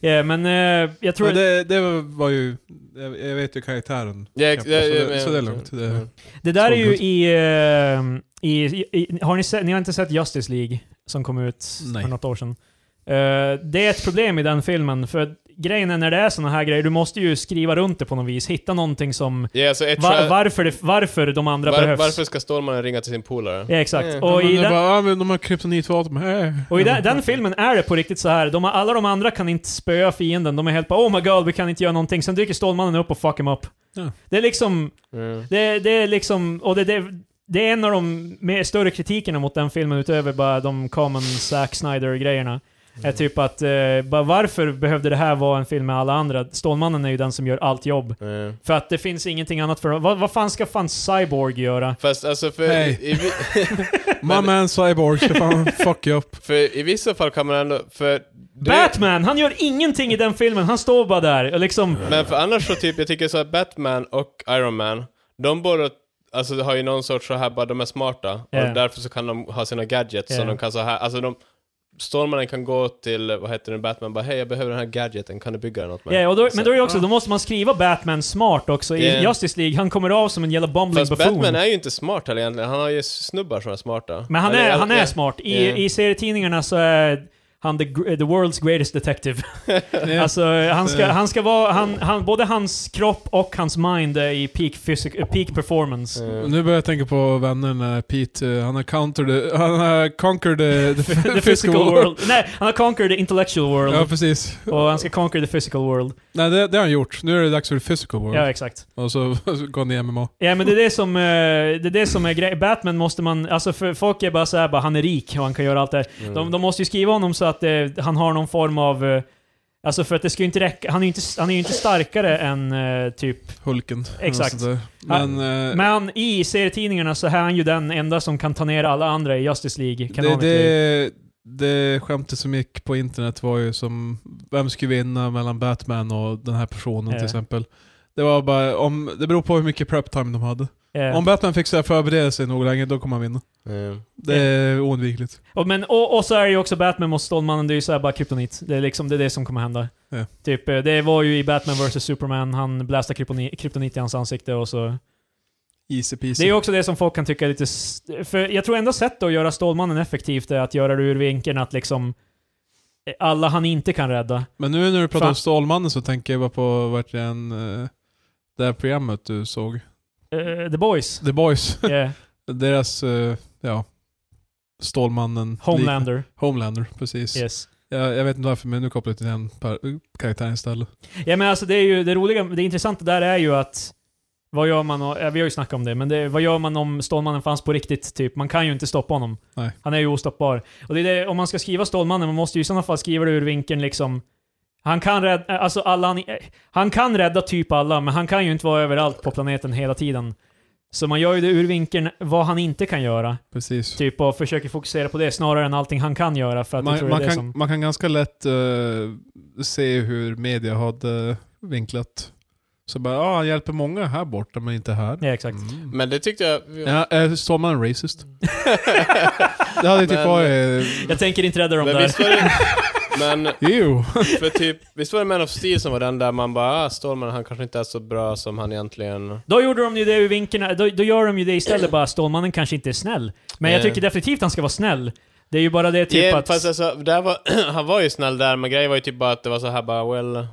S1: Ja, men eh, jag tror...
S3: Men
S1: Det,
S3: det, det var ju, jag jag vet ju karaktären.
S2: Ja, ex-
S3: Så
S2: ja, ja,
S3: det-
S2: men-
S3: så det är lugnt. Det-
S2: Mm.
S1: där är ju
S3: Stålgud.
S1: i, eh, i, i... Har ni sett... Ni har inte sett Justice League som kom ut
S3: Nej.
S1: för något år sedan? Eh, det är ett problem i den filmen, för grejen är när det är såna här grejer, du måste ju skriva runt det på något vis. Hitta någonting som...
S2: Ja, så ett
S1: Var,
S2: tra-
S1: varför, det, varför de andra
S2: Var-
S1: behövs.
S2: Varför ska Stålmannen ringa till sin polare?
S1: Ja, exakt.
S2: Mm.
S1: Och
S3: men
S1: i
S3: det
S1: den,
S3: bara, ah, men de har kryptonitvapen. Äh. Hey.
S1: Och i den, den filmen är det på riktigt så här. De, har- alla de andra kan inte spöa fienden. De är helt bara oh my god, vi kan inte göra någonting. Sen dyker Stålmannen upp och fuck him up.
S3: Ja.
S1: Det är liksom,
S2: Mm.
S1: det, det är liksom, och det, det, det är en av de mer större kritikerna mot den filmen utöver bara de common Zack Snyder-grejerna. Är
S2: Mm.
S1: typ att, eh, bara varför behövde det här vara en film med alla andra? Stålmannen är ju den som gör allt jobb.
S2: Mm.
S1: För att det finns ingenting annat för Vad, vad fan ska fan Cyborg göra?
S2: Fast alltså för,
S3: Hej.
S2: i, i,
S3: My man cyborg, så fan fuck you up.
S2: för i vissa fall kan man ändå... För det-
S1: Batman, han gör ingenting i den filmen. Han står bara där och liksom...
S2: Men för annars så typ, jag tycker så att Batman och Iron Man, de båda alltså, har ju någon sorts så här, bara de är smarta.
S1: Ja.
S2: Och därför så kan de ha sina gadgets
S1: Ja.
S2: som de kan så här, alltså de... Stålmannen kan gå till, vad heter det, Batman bara hej jag behöver den här gadgeten, kan du bygga den åt mig?
S1: Ja, och då, men då är det också,
S3: Ja.
S1: då måste man skriva Batman smart också i
S2: Ja.
S1: Justice League. Han kommer av som en jävla bumbling
S2: Fast
S1: buffoon.
S2: Batman är ju inte smart heller egentligen, han har ju snubbar som är smarta.
S1: Men han
S2: Eller-
S1: är, han är
S2: ja.
S1: smart. I,
S2: Ja.
S1: I serietidningarna så är... han the, gr- the world's greatest detective. Alltså, han ska, han ska vara, han, han, både hans kropp och hans mind är i peak, physic, eh, peak performance.
S2: Eh,
S3: Nu börjar jag tänka på vännen eh, Pete. eh, Han har, countered, eh, han har conquered eh, the,
S1: the physical, world. Nej, han har conquered the intellectual world.
S3: Ja, precis.
S1: och han ska conquer the physical world.
S3: Nej, det, det har han gjort. Nu är det dags för the physical world.
S1: Ja, exakt.
S3: Och så, så går han i MMA.
S1: Ja, men det är det som, eh, det är, det som är grejen. Batman måste man... Alltså, för folk är bara såhär bara, han är rik och han kan göra allt det här.
S2: mm.
S1: De, de måste ju skriva honom så att eh, han har någon form av... Eh, alltså, för att det ska ju inte räcka. Han är ju inte, han är ju inte starkare än eh, typ...
S3: Hulken.
S1: Exakt.
S3: Och sånt där. Men, eh,
S1: Men i serietidningarna så är han ju den enda som kan ta ner alla andra i Justice League.
S3: det,
S1: canonically.
S3: det, det skämtet som gick på internet var ju som, vem skulle vinna mellan Batman och den här personen
S1: Ja.
S3: till exempel? Det var bara, om, det beror på hur mycket prep time de hade.
S1: Eh,
S3: Om Batman fick så här förbereda sig nog länge, då kommer han vinna.
S2: Eh,
S3: Det är oundvikligt.
S1: Och, men, och, och så är det ju också Batman mot Stålmannen, det är ju såhär bara kryptonit. Det är liksom det, är det som kommer hända.
S3: Ja.
S1: Typ, eh, det var ju i Batman vs Superman, han blästade kryptoni- kryptonit i hans ansikte och så...
S3: Easy peasy.
S1: Det är ju också det som folk kan tycka är lite... s- För jag tror enda sättet att göra Stålmannen effektivt är att göra det ur vinkeln att liksom... eh, Alla han inte kan rädda.
S3: Men nu när du pratar
S1: Fan.
S3: om Stålmannen så tänker jag bara på vart den, eh, det här programmet du såg.
S1: Eh, The Boys.
S3: The Boys.
S1: Yeah.
S3: Deras, eh, ja, Stålmannen.
S1: Homelander.
S3: Homelander, precis.
S1: Yes.
S3: Jag, jag vet inte varför, men nu kopplar jag till den par- karaktären istället.
S1: Ja men alltså det är ju det roliga, det intressanta där är ju att vad gör man, och, ja, vi har ju snackat om det, men det, vad gör man om Stålmannen fanns på riktigt? Typ, man kan ju inte stoppa honom.
S3: Nej.
S1: Han är ju ostoppbar. Och det är det, om man ska skriva Stålmannen, man måste ju i sådana fall skriva det ur vinkeln liksom. Han kan rädda, alltså alla han, eh, han kan rädda typ alla, men han kan ju inte vara överallt på planeten hela tiden. Så man gör ju det ur vinkeln vad han inte kan göra,
S3: Precis.
S1: typ, och försöker fokusera på det snarare än allting han kan göra, för att jag
S3: Man,
S1: tror
S3: man,
S1: det är
S3: kan,
S1: det som...
S3: man kan ganska lätt eh, se hur media hade vinklat. Så bara, ja, han hjälper många här borta, men inte här.
S1: Ja, exakt. Mm.
S3: Mm.
S2: Men det tyckte jag...
S3: Ja, eh, Stålmannen racist. Det hade typ
S2: Men-
S3: varit...
S1: Jag tänker inte rädda dem
S2: men
S1: där.
S2: visst var det... Men
S3: Ew.
S2: för typ, visst var det Man of Steel som var den där man bara ah, Stålman han kanske inte är så bra som han egentligen...
S1: Då gjorde de ju det ur vinkeln, då, då gör de ju det istället bara Stålmannen kanske inte är snäll. Men jag
S2: Eh.
S1: tycker definitivt han ska vara snäll. Det är ju bara det typ
S2: Ja,
S1: att...
S2: Fast alltså, där var, han var ju snäll där, men grejen var ju typ bara att det var så här bara well...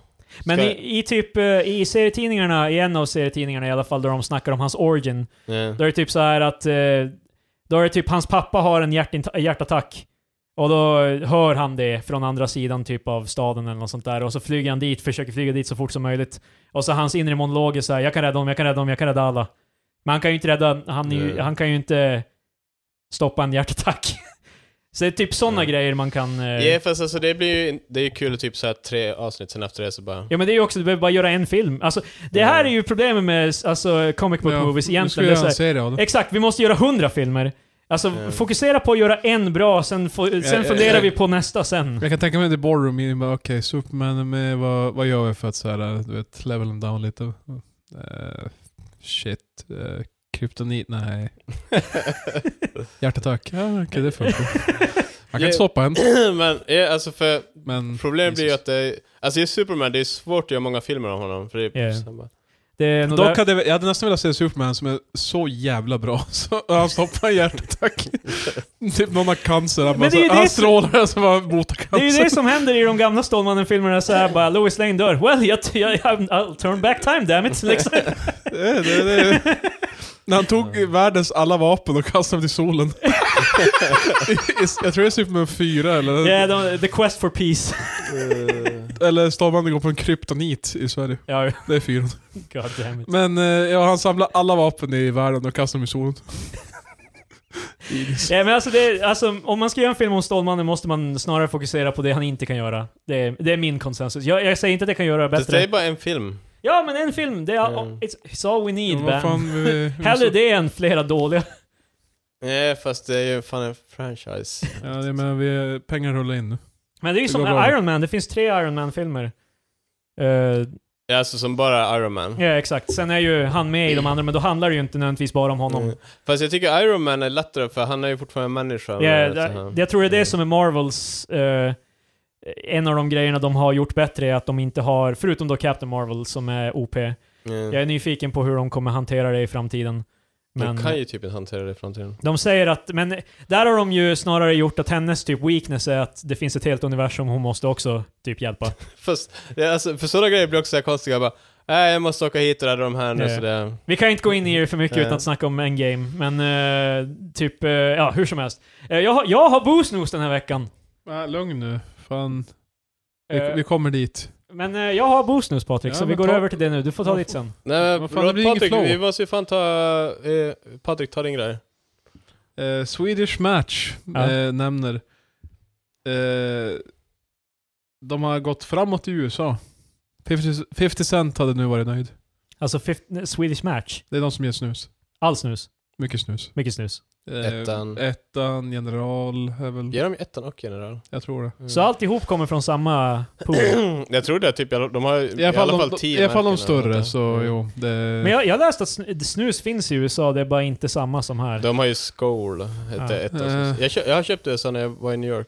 S1: men
S2: ska-
S1: i, i typ, eh, i serietidningarna, i en av serietidningarna i alla fall, där de snackar om hans origin,
S2: Yeah.
S1: då är det typ så här att... eh, Då är det typ, hans pappa har en hjärtinta- hjärtattack. Och då hör han det från andra sidan typ av staden eller något sånt där. Och så flyger han dit, försöker flyga dit så fort som möjligt. Och så hans inre monolog är så här, jag kan rädda honom, jag kan rädda honom, jag kan rädda alla. Men han kan ju inte rädda, han, är ju,
S2: Nej.
S1: han kan ju inte stoppa en hjärtattack. så det är typ sådana
S2: Nej.
S1: grejer man kan... eh,
S2: Ja, fast alltså det blir ju, det är ju kul typ så här tre avsnitt sen efter det så bara...
S1: Ja men det är ju också, du behöver bara göra en film. Alltså, det här är ju problemet med alltså, comic book movies
S3: Nu ska vi
S1: egentligen. Det är
S3: göra
S1: så här,
S3: en serie av det.
S1: Exakt, vi måste göra hundra filmer. Alltså,
S3: Eh.
S2: Ja.
S1: fokusera på att göra en bra, sen, få, sen
S3: ja,
S1: funderar
S3: ja.
S1: vi på nästa sen.
S3: Jag kan tänka mig The Boardroom, jag bara, okej, Superman, är med, vad, vad gör vi för att så här, eh, du vet, level them down lite? Eh, shit, eh, kryptonit, nej. Hjärtattack, ja okej det funkar. Man kan
S2: Ja.
S3: inte stoppa en,
S2: men ja, alltså för
S3: men...
S2: problemet blir ju
S3: Jesus.
S2: att det... Alltså i Superman, det är svårt att göra många filmer om honom, för det är
S1: Ja.
S2: så här bara...
S1: Det är nog där-
S3: Dock hade, jag jag hade nästan velat se Superman som är så jävla bra, så han stoppar en hjärtattack. typ någon har cancer, han,
S1: Men
S3: bara,
S1: det är ju
S3: så, han
S1: det som-
S3: strålar och så bara botar cancer.
S1: det är ju det som händer i de gamla Stålmannen-filmerna, såhär bara Lois Lane dör. Well, jag, jag, I'll turn back time, damn it. Liksom.
S3: Det, det, det. När han tog världens alla vapen och kastade dem till solen. jag tror det är Superman 4 eller,
S1: yeah, de, the quest for peace.
S3: eller Stålmannen går på en kryptonit i Sverige.
S1: ja,
S3: Det är 4.
S1: god damn it.
S3: Men eh, ja, han samlar alla vapen i världen och kastar dem i solen.
S1: Ja, men alltså, det, alltså, om man ska göra en film om Stålmannen måste man snarare fokusera på det han inte kan göra. Det är, det är min konsensus. Jag, jag säger inte att jag kan göra det
S2: Bättre. Det är
S1: bättre.
S2: bara en film.
S1: Ja, men en film, det är all,
S2: Mm.
S1: it's, it's all we need,
S3: Men Eh.
S1: man.
S3: vad fan, vi, vi
S1: Hellre
S3: måste-
S1: det än flera dåliga.
S2: Nej, fast det är ju fan en franchise.
S3: Ja, det, men vi, pengar rullar in nu.
S1: Men det är ju
S3: Det
S1: som
S3: går bra.
S1: Iron Man, det finns tre Iron Man-filmer. Eh,
S2: Ja, alltså som bara Iron Man.
S1: ja, exakt. Sen är ju han med i de andra, men då handlar det ju inte nödvändigtvis bara om honom.
S2: Mm. Fast jag tycker Iron Man är lättare för han är ju fortfarande en människa.
S1: Ja,
S2: men,
S1: det-
S2: så här.
S1: jag tror det är det
S2: Mm.
S1: som är Marvels... eh, en av de grejerna de har gjort bättre är att de inte har, förutom då Captain Marvel som är OP,
S2: Mm.
S1: jag är nyfiken på hur de kommer hantera det i framtiden. Men
S2: De kan ju typ inte hantera det i framtiden.
S1: de säger att, men där har de ju snarare gjort att hennes typ weakness är att det finns ett helt universum hon måste också typ hjälpa.
S2: Fast, det, är alltså, för sådana grejer blir också så här konstiga. Jag bara, nej jag måste åka hit och rädda de här nu
S1: Ja.
S2: så det...
S1: Vi kan inte gå in i det för mycket
S2: Nej.
S1: utan
S3: Eh.
S1: att snacka om endgame, men eh, typ, eh, ja hur som helst. Eh, jag, har- jag har boosnos den här veckan.
S3: Nej, Äh, lugn nu. Fan. Vi,
S1: Eh,
S3: vi kommer dit.
S1: Men eh, jag har boosnos Patrik,
S3: Ja,
S1: så vi
S3: men
S1: går
S3: ta-
S1: över till det nu. Du får ta
S3: Ja,
S1: ditt sen.
S2: Nej men
S3: Vad fan, det blir ingen
S2: Patrik,
S3: flow.
S2: vi måste ju fan ta... Eh, Patrik, ta din grej.
S3: Eh, Swedish Match
S1: Ja.
S3: eh, nämner. Eh, de har gått framåt i USA. 50, 50 Cent hade nu varit nöjd.
S1: Alltså fif- Swedish Match.
S3: Det är de som ger snus.
S1: All snus.
S3: Mycket snus.
S1: Mycket snus.
S3: Eh,
S2: Ettan.
S3: Ettan, general, är väl,
S2: Ger de ettan och general?
S3: jag tror det.
S2: Mm.
S1: Så alltihop kommer från samma pool.
S3: Mm.
S2: jag tror det, typ, de har
S3: I alla fall, de,
S2: tio
S3: i alla fall de
S2: märken eller
S3: större,
S2: något.
S3: så
S2: Mm.
S3: jo. Det,
S1: Men jag, jag läste att sn- snus finns i USA, det är bara inte samma som här.
S2: De har ju Skål, hette
S1: Ja.
S2: ett av
S3: Eh.
S2: jag, kö- jag köpte det sen när jag var i New York.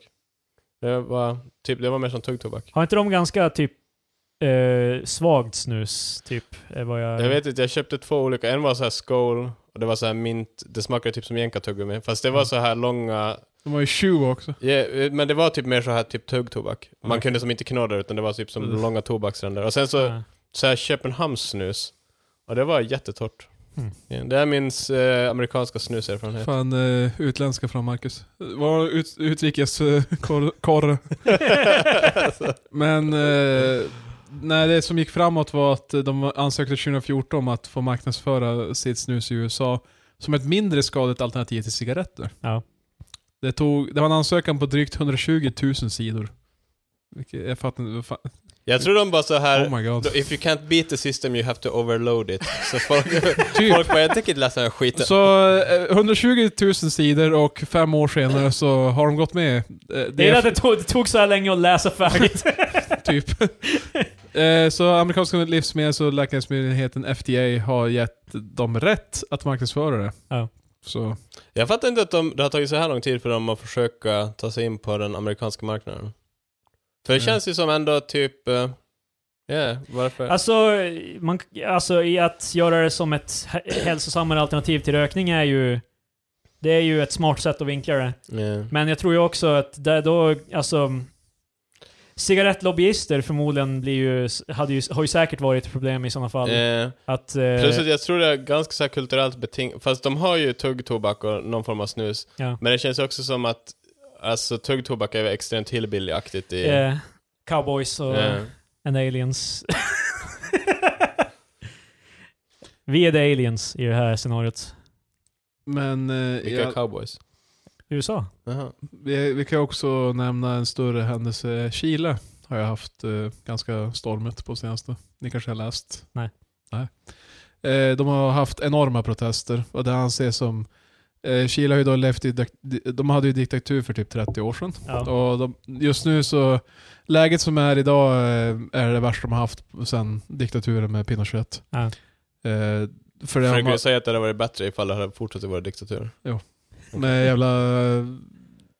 S2: Det var, typ, det var mer som tuggtobak.
S1: Har inte de ganska typ eh, svagt snus? Typ, är vad jag...
S2: Jag vet inte, jag köpte två olika. En var så här Skål, och det var så här mint. Det smakade typ som jänkartuggummi. Fast det
S3: Mm.
S2: var så här långa...
S3: de har ju 20 också.
S2: ja, eh, men det var typ mer så här typ tuggtobak. Man
S3: Mm.
S2: kunde som inte knåda utan det var typ som
S3: Mm.
S2: långa tobaksränder. Och sen så,
S1: Ja.
S2: så här Köpenhamnssnus. Och det var jättetort.
S1: Mm.
S2: Ja, Det är min eh, amerikanska snuserfarenhet.
S3: Fan, eh, utländska från Marcus. Var ut, utrikes eh, korr. korr. Men eh, nej, det som gick framåt var att de ansökte 2014 om att få marknadsföra sitt snus i USA som ett mindre skadligt alternativ till cigaretter.
S1: Ja.
S3: Det, tog, det var en ansökan på drygt 120 000 sidor. Vilket, jag fattar inte, vad fan-
S2: Jag tror de bara så här...
S3: oh my god.
S2: If you can't beat the system you have to overload it. Så folk,
S3: Typ.
S2: folk bara, jag tänker inte läsa den här skiten.
S3: Så eh, 120 000 sidor och fem år senare så har de gått med. Eh,
S1: Det är att det tog, det tog så här länge att läsa färdigt.
S3: typ. Eh, så amerikanska livsmedels och läkemedelsmyndigheten FDA har gett dem rätt att marknadsföra det.
S1: Ja.
S3: Så,
S2: Jag fattar inte att de, det har tagit så här lång tid för dem att försöka ta sig in på den amerikanska marknaden. För det
S3: Mm.
S2: känns ju som ändå typ... eh, Ja, varför?
S1: alltså, man, alltså, i att göra det som ett hä- hälsosammare alternativ till rökning är ju... Det är ju ett smart sätt att vinkla det.
S2: Ja.
S1: Men jag tror ju också att där då, alltså... Cigarettlobbyister förmodligen blir ju, hade ju, har ju säkert varit ett problem i sådana fall.
S2: Ja.
S1: Att, eh,
S2: Plus att jag tror det är ganska så här kulturellt beting. Fast de har ju tuggtobak och någon form av snus.
S1: Ja.
S2: Men det känns också som att alltså, tuggtobak är extremt hillbilly-aktigt i... eh,
S1: eh, cowboys och
S2: Ja.
S1: and aliens. Vi är the aliens i det här scenariot.
S3: men eh,
S2: Vilka
S3: ja,
S2: cowboys?
S1: USA.
S2: Jaha.
S3: vi, vi kan också nämna en större händelse. Chile har jag haft eh, ganska stormigt på senaste. Ni kanske har läst?
S1: Nej.
S3: Nej. Eh, de har haft enorma protester och det anses som eh, Chile har ju då levt i, dik- de hade ju diktatur för typ 30 år sedan.
S1: Ja.
S3: Och de, just nu så, läget som är idag eh, är det värsta de har haft sedan diktaturen med Pinochet.
S1: Ja.
S3: Eh, för det
S2: Försöker
S3: har
S2: du säga att det hade varit bättre ifall det hade fortsatt att vara diktatur?
S3: man, med jävla...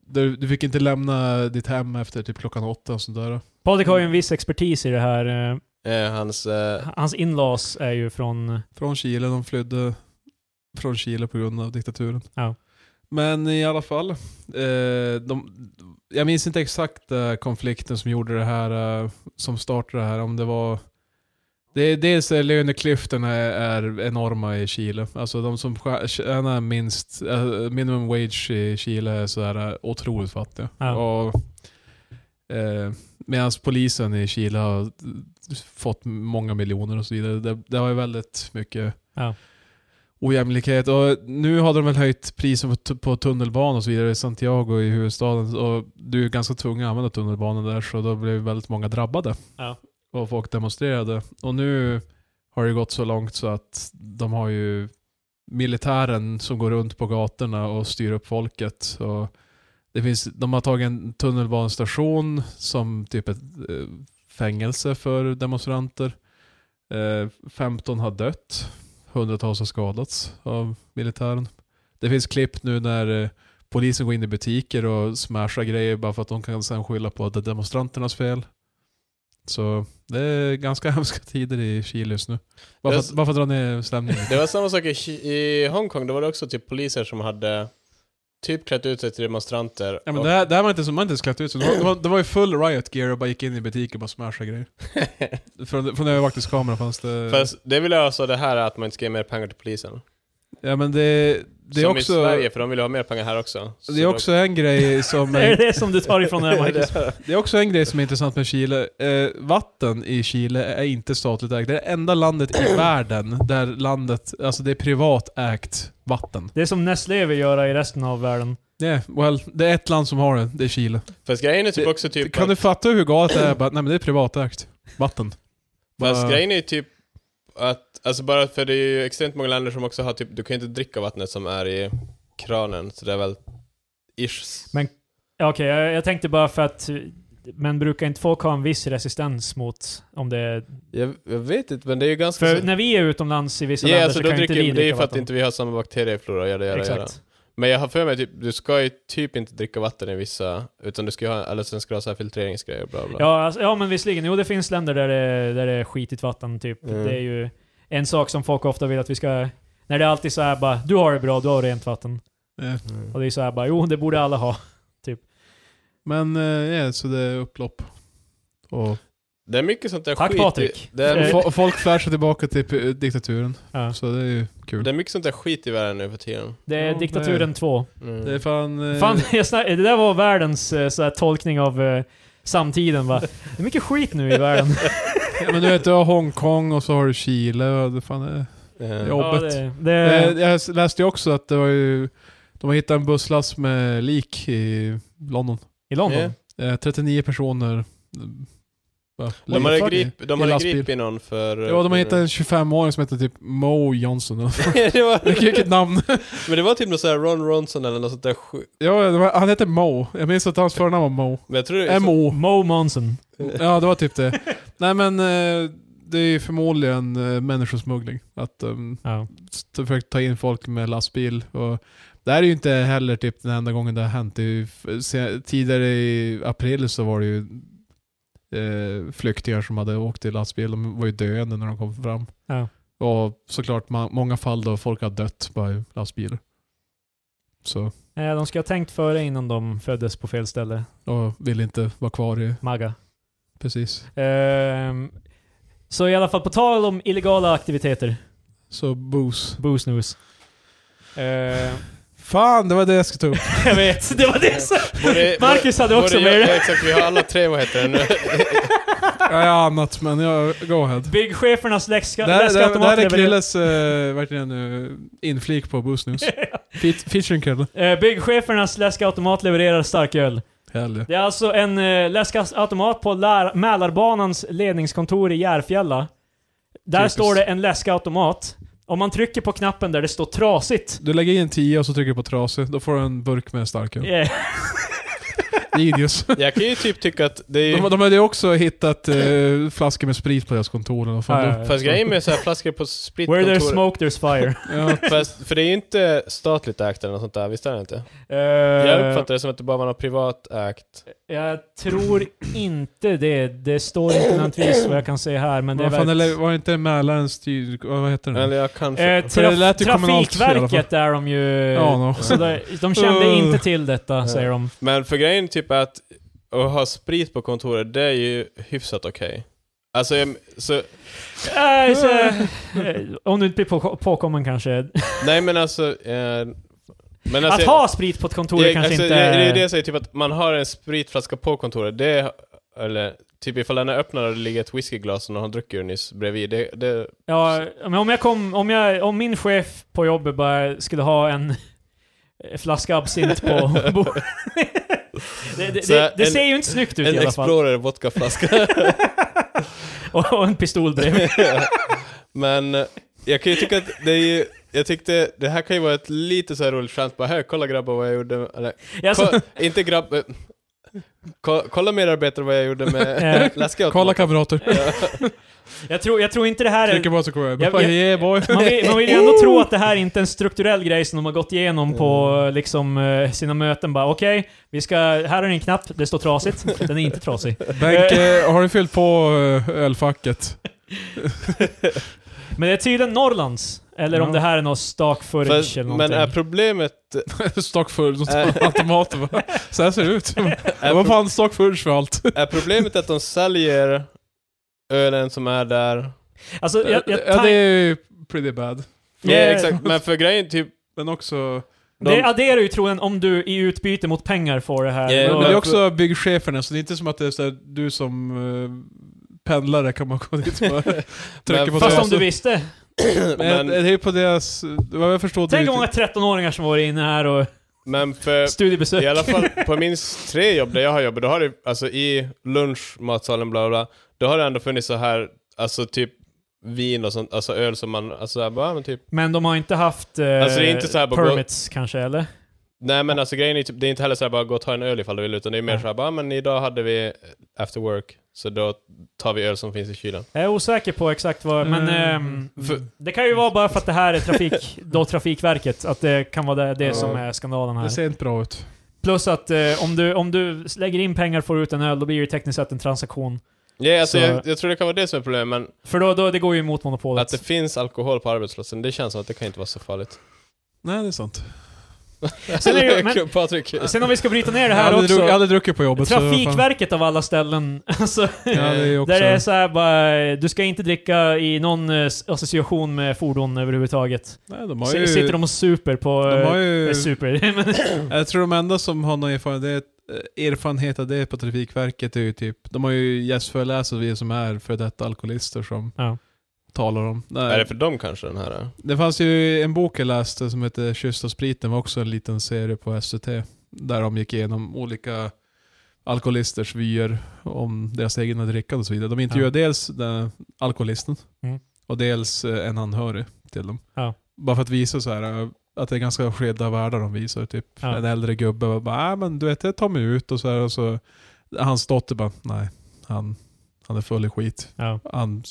S3: Du, du fick inte lämna ditt hem efter typ klockan åtta och sånt där.
S1: Patrik har ju en viss expertis i det här. eh,
S2: Eh, hans... Eh,
S1: Hans inlaws är ju från...
S3: Från Chile, de flydde från Chile på grund av diktaturen.
S1: Ja.
S3: Men i alla fall, eh, de, jag minns inte exakt eh, konflikten som gjorde det här, eh, som startade det här, om det var det, dels är löneklyftorna är, är enorma i Chile. Alltså de som skär- tjänar minst, eh, minimum wage i Chile är sådär eh, otroligt fattiga.
S1: Ja.
S3: Och, eh, Medan polisen i Chile har fått många miljoner och så vidare. Det, det har ju väldigt mycket
S1: Ja.
S3: ojämlikhet. Och nu har de väl höjt priset på, tu- på tunnelbanan och så vidare i Santiago i huvudstaden. Och du är ju ganska tvungen att använda tunnelbanan där så då blev väldigt många drabbade.
S1: Ja.
S3: Och folk demonstrerade. Och nu har det gått så långt så att de har ju militären som går runt på gatorna och styr upp folket. Och det finns, de har tagit en tunnelbanestation som typ ett eh, fängelse för demonstranter. Eh, 15 har dött, hundratals har skadats av militären. Det finns klipp nu när eh, polisen går in i butiker och smashar grejer bara för att de kan sen skylla på att det är demonstranternas fel. Så det är ganska hemska tider i Chile just nu. Bara för att-
S2: Det är-
S3: bara för att dra ner stämningen.
S2: Det var samma sak i, Ki- i Hongkong, då var det också typ poliser som hade typ klätt ut sig till demonstranter.
S3: Ja, men
S2: och-
S3: det, här, det här var inte så, man hade inte skrattat ut så. Det var, det, var, det var ju full riot gear och bara gick in i butiker och bara smashade grejer. Från, från övervakningskameran fanns det...
S2: Fast det vill jag alltså det här är att man inte ska ge mer pengar till polisen.
S3: ja men det, det är
S2: som i
S3: också...
S2: Sverige, för de vill ha mer pengar här också. Så
S3: Det är också en grej som...
S1: Är det det som du tar ifrån det här Marcus?
S3: Det är också en grej som är intressant med Chile. Eh, vatten i Chile är inte statligt ägt. Det är det enda landet i världen där landet, alltså det är privat ägt vatten.
S1: Det är som Nestlé vill göra i resten av världen.
S3: Yeah, well, det är ett land som har det, det är Chile.
S2: Fast grejen är typ
S3: Det-
S2: också typ...
S3: kan
S2: Kan
S3: du fatta hur galet det är? Bara, nej men det är privatägt. Vatten.
S2: Fast
S3: Bara-
S2: grejen är typ att, alltså bara för det är ju extremt många länder som också har typ, du kan ju inte dricka vattnet som är i kranen, så det är väl ish.
S1: Men- Ja, Okej, jag, jag tänkte bara för att... eh, Men brukar inte folk ha en viss resistens mot om det är...
S2: jag, jag vet inte, men det är ju ganska...
S1: För när vi är utomlands i vissa
S2: Ja,
S1: länder
S2: alltså,
S1: så
S2: då
S1: kan inte
S2: dricker,
S1: vi
S2: det är ju
S1: dricka
S2: för att
S1: vatten.
S2: inte vi har samma bakterieflora, göra, göra, göra.
S1: Exakt.
S2: Men jag har för mig typ, du ska ju typ inte dricka vatten i vissa, utan du ska ju ha, eller sen ska du ha så här filtreringsgrejer och bla bla.
S1: Ja, alltså, ja, men visserligen. Jo, det finns länder där det, där det är skitigt vatten, typ.
S2: Mm.
S1: Det är ju en sak som folk ofta vill att vi ska... När det är alltid så här bara, du har det bra, du har rent vatten.
S3: Eh,
S1: Och det är så här bara, jo, det borde alla ha.
S3: Men eh, ja, så det är upplopp. Och
S2: Det är mycket sånt där
S1: Tack,
S2: skit.
S1: Patrik.
S2: I, det, är,
S3: fo- folk flashar tillbaka till p- diktaturen.
S1: Ja.
S3: Så det är ju kul.
S2: det är mycket sånt där skit i världen nu för tiden.
S1: Det är
S3: Ja, det-
S1: diktaturen 2.
S2: Mm.
S3: Det är fan... eh,
S1: Fan, jag snack, det där var världens eh, så här, tolkning av eh, samtiden va. Det är mycket skit nu i världen.
S3: ja, men du vet, du har Hongkong och så har du Chile. och Det fan är...
S2: Eh,
S3: Ja. Jobbet.
S1: det,
S3: Eh,
S1: det,
S3: Jag läste ju också att det var ju... De har hittat en busslast med lik i London.
S1: I London.
S2: Ja.
S3: Eh, 39 personer. Bara,
S2: De hade
S3: lik.
S2: grip, de
S3: I
S2: hade
S3: lastbil.
S2: gripit någon för... mm.
S3: Ja, de har hittat en 25-åring som heter typ Mo Johnson.
S2: det var,
S3: Vilket namn?
S2: men det var typ någon sån här Ron Ronson eller något sånt där skit.
S3: ja, det var, han heter Mo. Jag minns att hans förnamn var Mo.
S2: Men jag tror det är så,
S3: M-O.
S1: Mo Monson.
S3: Ja, det var typ det. Nej men eh, det är ju förmodligen eh, människosmuggling. Att ehm, de
S1: Ja.
S3: försöker ta in folk med lastbil. Och det här är ju inte heller typ den enda gången det har hänt. Det är ju, f- se- tidigare i april så var det ju eh, flyktingar som hade åkt i lastbil. De var ju döende när de kom fram.
S1: Ja.
S3: Och såklart ma- många fall då folk har dött bara i lastbilar. Så,
S1: Eh, De ska ha tänkt före innan de föddes på fel ställe.
S3: och vill inte vara kvar i,
S1: Maga.
S3: precis.
S1: Ehm, så i alla fall, på tal om illegala aktiviteter.
S3: Så booze.
S1: Booze news. Ehm,
S3: Fan, det var det jag skulle ta upp.
S1: jag vet, det var det som...
S2: Både-
S1: Marcus hade också
S2: både jag-
S1: med det.
S2: ja, Exakt, vi har alla tre, vad heter det nu?
S3: Ja, jag har annat, men jag, go ahead.
S1: Byggchefernas läska,
S3: Det här, det här, det här är
S1: läskautomat levererar...
S3: Krilles eh, verkligen uh, inflik på Boosnews. Fe- Featuring Krille.
S1: Eh, Byggchefernas läskautomat levererar starköl.
S3: Hell yeah.
S1: Det är alltså en eh, läskautomat på Lär- Mälarbanans ledningskontor i Järfälla. Där
S3: Typiskt.
S1: står det en läskautomat. Om man trycker på knappen där det står trasigt.
S3: Du lägger in 10 och så trycker du på trasig, då får du en burk med starköl.
S1: Eh,
S3: Genius.
S2: Jag kan ju typ tycka att det är ju...
S3: De, de hade ju också hittat eh, flaskor med sprit på deras kontor. eller vad fan
S1: Ja,
S3: det-
S1: ja, ja.
S2: Fast grejen med så här flaskor på spritkontor...
S1: Where there's smoke there's fire.
S3: Ja,
S2: Fast, för det är ju inte statligt ägt eller något sånt där, visst är det inte?
S1: Eh,
S2: Jag uppfattar det som att det bara var något privat ägt.
S1: jag tror inte det. Det står inte nödvändigtvis vad jag kan se här, men det är
S3: vad fan,
S1: väl...
S3: eller var det inte Mälaren styr... Vad heter den?
S2: Eller jag kanske...
S1: Eh,
S3: För det lät ju kommunalt i alla fall.
S1: trafikverket är de ju...
S3: Ja, no.
S1: Så där, de kände
S3: Uh.
S1: inte till detta, säger de.
S2: Men för grejen typ är att, att ha sprit på kontoret, det är ju hyfsat okej. Alltså, jag, så,
S1: Äh, så, eh, om du inte blir på, påkommen kanske.
S2: nej men alltså... Eh, men alltså
S1: att ha sprit på ett kontor är
S2: jag,
S1: kanske
S2: alltså,
S1: inte...
S2: jag, det är det jag säger, typ att man har en spritflaska på kontoret, det är, eller typ ifall den är öppnad och det ligger ett whiskyglas som någon har druckit ur nyss bredvid, det, det
S1: Ja, men om jag kom... Om, jag, om min chef på jobbet bara skulle ha en flaska absint på bordet. Det, det,
S2: Så
S1: det, det
S2: en-
S1: ser ju inte snyggt ut
S2: en
S1: Typ i alla fall.
S2: Explorer vodkaflaska.
S1: Och, och en pistol bredvid.
S2: Men eh, jag kan ju tycka att det är ju, jag tyckte det här kan ju vara ett lite så här roligt skämt, bara hej kolla grabbar vad jag gjorde, eller
S1: Alltså,
S2: Ko- inte grabb... eh, Ko- Kolla medarbetare vad jag gjorde med
S1: Eh,
S2: läskautomat.
S3: Kolla kamrater.
S1: Jag tror, jag tror inte det här
S3: Trycker
S1: är...
S3: bara så går jag.
S1: Jag-
S3: Bara,
S1: jag-
S3: Yeah boy.
S1: Man vill, man vill ju ändå tro att det här inte är en strukturell grej som de har gått igenom på
S2: Mm.
S1: eh, liksom, eh, sina möten. Bara okej, vi ska... Här är en knapp, det står trasigt. Den är inte trasig.
S3: Benke, har du fyllt på eh, ölfacket?
S1: Men det är tydligen Norrlands. Eller om
S3: Ja.
S1: det här är något stakföring
S2: För-
S1: eller någonting.
S2: Men är problemet...
S3: Stockfudge, de tar
S2: Äh.
S3: automater va? Så här ser det ut.
S2: Är,
S3: Vad
S2: pro-
S3: fan stockfudge för allt?
S2: är problemet att de säljer ölen som är där?
S1: Alltså, jag, jag,
S3: ja, det är ju pretty bad.
S2: Ja,
S1: Yeah.
S2: exakt. Men för grejen typ...
S3: Men också...
S2: De-
S1: Det adderar ju troligen om du i utbyte mot pengar får det här.
S2: Ja,
S1: Då-
S3: Men det är
S2: men-
S3: också byggcheferna, så det är inte som att det är så här, du som eh, pendlare kan man gå dit och bara trycka
S2: Men
S3: på
S1: fast om
S3: deras-
S1: du visste.
S3: Men, det
S2: Men,
S3: är ju på deras... Vad jag förstår det är
S1: Tänk
S3: ju
S1: hur många
S3: typ-
S1: 13-åringar som varit inne här och
S2: men för...
S1: studiebesök.
S2: I alla fall på minst tre jobb där jag har jobbat, då har det, alltså i lunch, matsalen, bla bla, bla, då har det ändå funnits så här, alltså typ vin och sånt, alltså öl som man, alltså så här, bara, men typ,
S1: Men de har inte haft eh,
S2: Alltså, det är inte så här bara gå-
S1: permits kanske, eller?
S2: nej men alltså grejen är typ, det är inte heller så här bara gå och ta en öl ifall du vill, utan det är mer
S1: Nej.
S2: så här bara, men idag hade vi after work, så då tar vi öl som finns i kylen.
S1: Jag är osäker på exakt vad, men
S3: Mm.
S1: ehm,
S2: För,
S1: det kan ju vara bara för att det här är trafik, då Trafikverket, att det kan vara det, det
S3: Ja.
S1: som är skandalen
S3: Det
S1: här.
S3: ser inte bra ut.
S1: Plus att eh, om, du, om du lägger in pengar och får ut en öl, då blir det ju tekniskt sett en transaktion.
S2: ja, alltså,
S1: Så-
S2: jag, jag tror det kan vara det som är problemet, men
S1: För då, då det går ju emot
S2: att det
S1: monopolet.
S2: finns alkohol på arbetsplatsen, det känns som att det kan inte vara så farligt.
S3: Nej, det är sant.
S1: Sen är det ju- men-
S2: Patrik,
S1: Sen om vi ska bryta ner det
S3: Jag
S1: här
S3: hade, druck, jag
S1: också.
S3: hade druckit på jobbet. så vad fan.
S1: Trafikverket av alla ställen. Alltså,
S3: Ja, det är ju också...
S1: Där det är så här bara, du ska inte dricka i någon eh, association med fordon överhuvudtaget.
S3: Nej, de har
S1: Så
S3: ju...
S1: sitter de och super på...
S3: de har ju...
S1: eh, super. men,
S3: Jag tror de enda som har någon erfarenhet, eh, erfarenhet av det på Trafikverket är ju typ, de har ju gästföreläsare vi som är för detta alkoholister som
S1: Ja.
S3: talar om. Nej,
S2: är det för dem kanske den här? är?
S3: Det fanns ju en bok jag läste som hette Kysst och spriten, var också en liten serie på SVT. Där de gick igenom olika alkoholisters vyer om deras egna drickande och så vidare. De intervjuade dels den alkoholisten
S1: Mm.
S3: och dels eh, en anhörig till dem.
S1: Ja.
S3: Bara för att visa så här eh, att det är ganska skilda världar de visar. Typ
S1: Ja.
S3: en äldre gubbe och bara "Ah, men du vet jag tar mig ut och så här och så hans dotter bara nej, han, han är full i skit.
S1: ja.
S3: Han,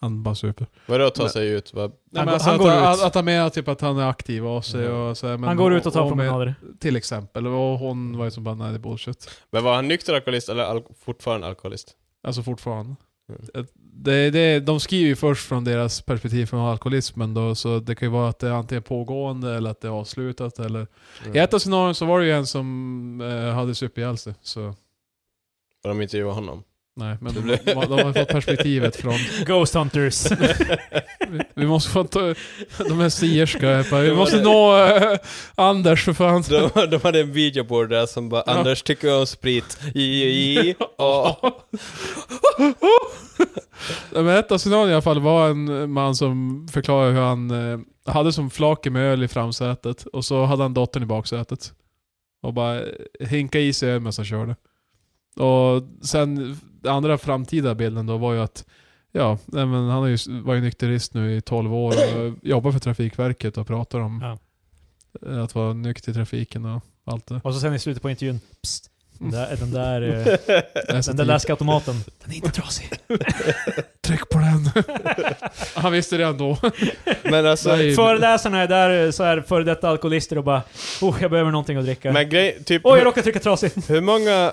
S3: han bara super.
S2: Vadå ta
S3: Men-
S2: sig ut? Vad-
S3: Nej,
S1: Han
S3: men
S1: går-
S3: alltså
S1: han
S3: att,
S1: går
S3: han-
S1: ut.
S3: att, att han menar typ att han är aktiv av sig
S2: Mm.
S3: och så här, men
S1: Han går ut och tar
S3: och med-
S1: promenader.
S3: Till exempel. Och hon var ju som bara, nej det är bullshit.
S2: Men var han nykter alkoholist eller al fortfarande alkoholist?
S3: Alltså fortfarande.
S2: Mm.
S3: Det- Det, det, de skriver ju först från deras perspektiv från alkoholismen då, så det kan ju vara att det är antingen pågående eller att det är avslutat eller...
S1: Mm.
S3: I ett av scenarierna så var det ju en som eh, hade supit ihjäl sig, så...
S2: Och de intervjuade honom.
S3: Nej, men
S2: Det
S3: de,
S2: blev-
S3: de, har ju fått perspektivet från...
S1: Ghost Hunters.
S3: Vi, vi måste få ta... De är sierska, jag bara, vi måste nå eh, Anders för fan.
S2: De, de hade en videoboard där som bara
S3: Ja.
S2: Anders tycker du om sprit? I, i, i. Och,
S3: Ja, Men ett av scenarierna i alla fall var en man som förklarade hur han eh, hade som flake med öl i framsätet och så hade han dottern i baksätet. Och bara eh, hinka i sig öl medan han körde. Och sen den andra framtida bilden då var ju att ja, nej, men han har ju, s- var ju nykterist nu i 12 år och jobbar för Trafikverket och pratar om eh, att vara nykter i trafiken och allt det.
S1: och så sen i slutet på intervjun. Psst, den där, den där, eh, den där läskautomaten. Den är inte trasig.
S3: Tryck på den! han visste det ändå.
S2: men alltså,
S3: Nej.
S1: Föreläsarna är där eh, så här före detta alkoholister och bara oh, jag behöver någonting att dricka.
S2: men grej, typ
S1: Oj, jag råkade trycka trasig.
S2: hur många...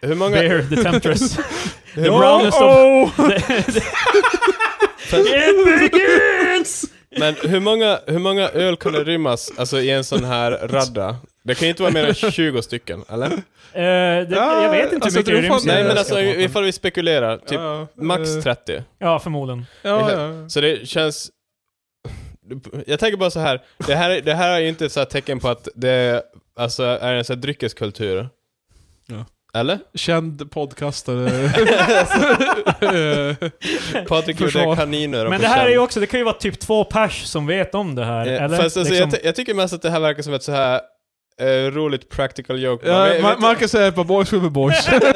S2: Hur många...
S1: Beer, the temptress.
S2: Hur,
S1: Ja. brownest of-
S3: Oh!
S1: It begins!
S2: men hur många, hur många öl kan det rymmas alltså, i en sån här radda? Det kan ju inte vara mer än 20 stycken, eller?
S1: Eh, det, jag vet inte hur mycket
S3: Alltså,
S1: det
S3: jag tror fan-
S1: ryms i
S2: Nej
S1: den
S2: men
S1: där
S2: alltså
S1: läskautomaten.
S2: ifall vi spekulerar, typ
S3: Ja,
S2: max
S3: eh,
S2: 30.
S1: Ja, förmodligen.
S3: Ja, ja.
S2: Så det känns... Jag tänker bara så här. det här, det här är ju inte ett så här tecken på att det alltså, är en så här dryckeskultur.
S3: Ja.
S2: Eller?
S3: Känd podcastare.
S2: Patrik gjorde
S3: Försvar.
S2: kaniner och
S1: Men
S2: på
S1: det här
S2: känn.
S1: är ju också, det kan ju vara typ två pers som vet om det här.
S2: Eh,
S1: eller?
S2: Fast, alltså,
S1: Liksom-
S2: jag, ty- jag tycker mest att det här verkar som ett så här eh, roligt practical joke. Man
S3: ja,
S2: vet-
S3: Ma-
S2: vet-
S3: Marcus säger på boys will be boys. äh.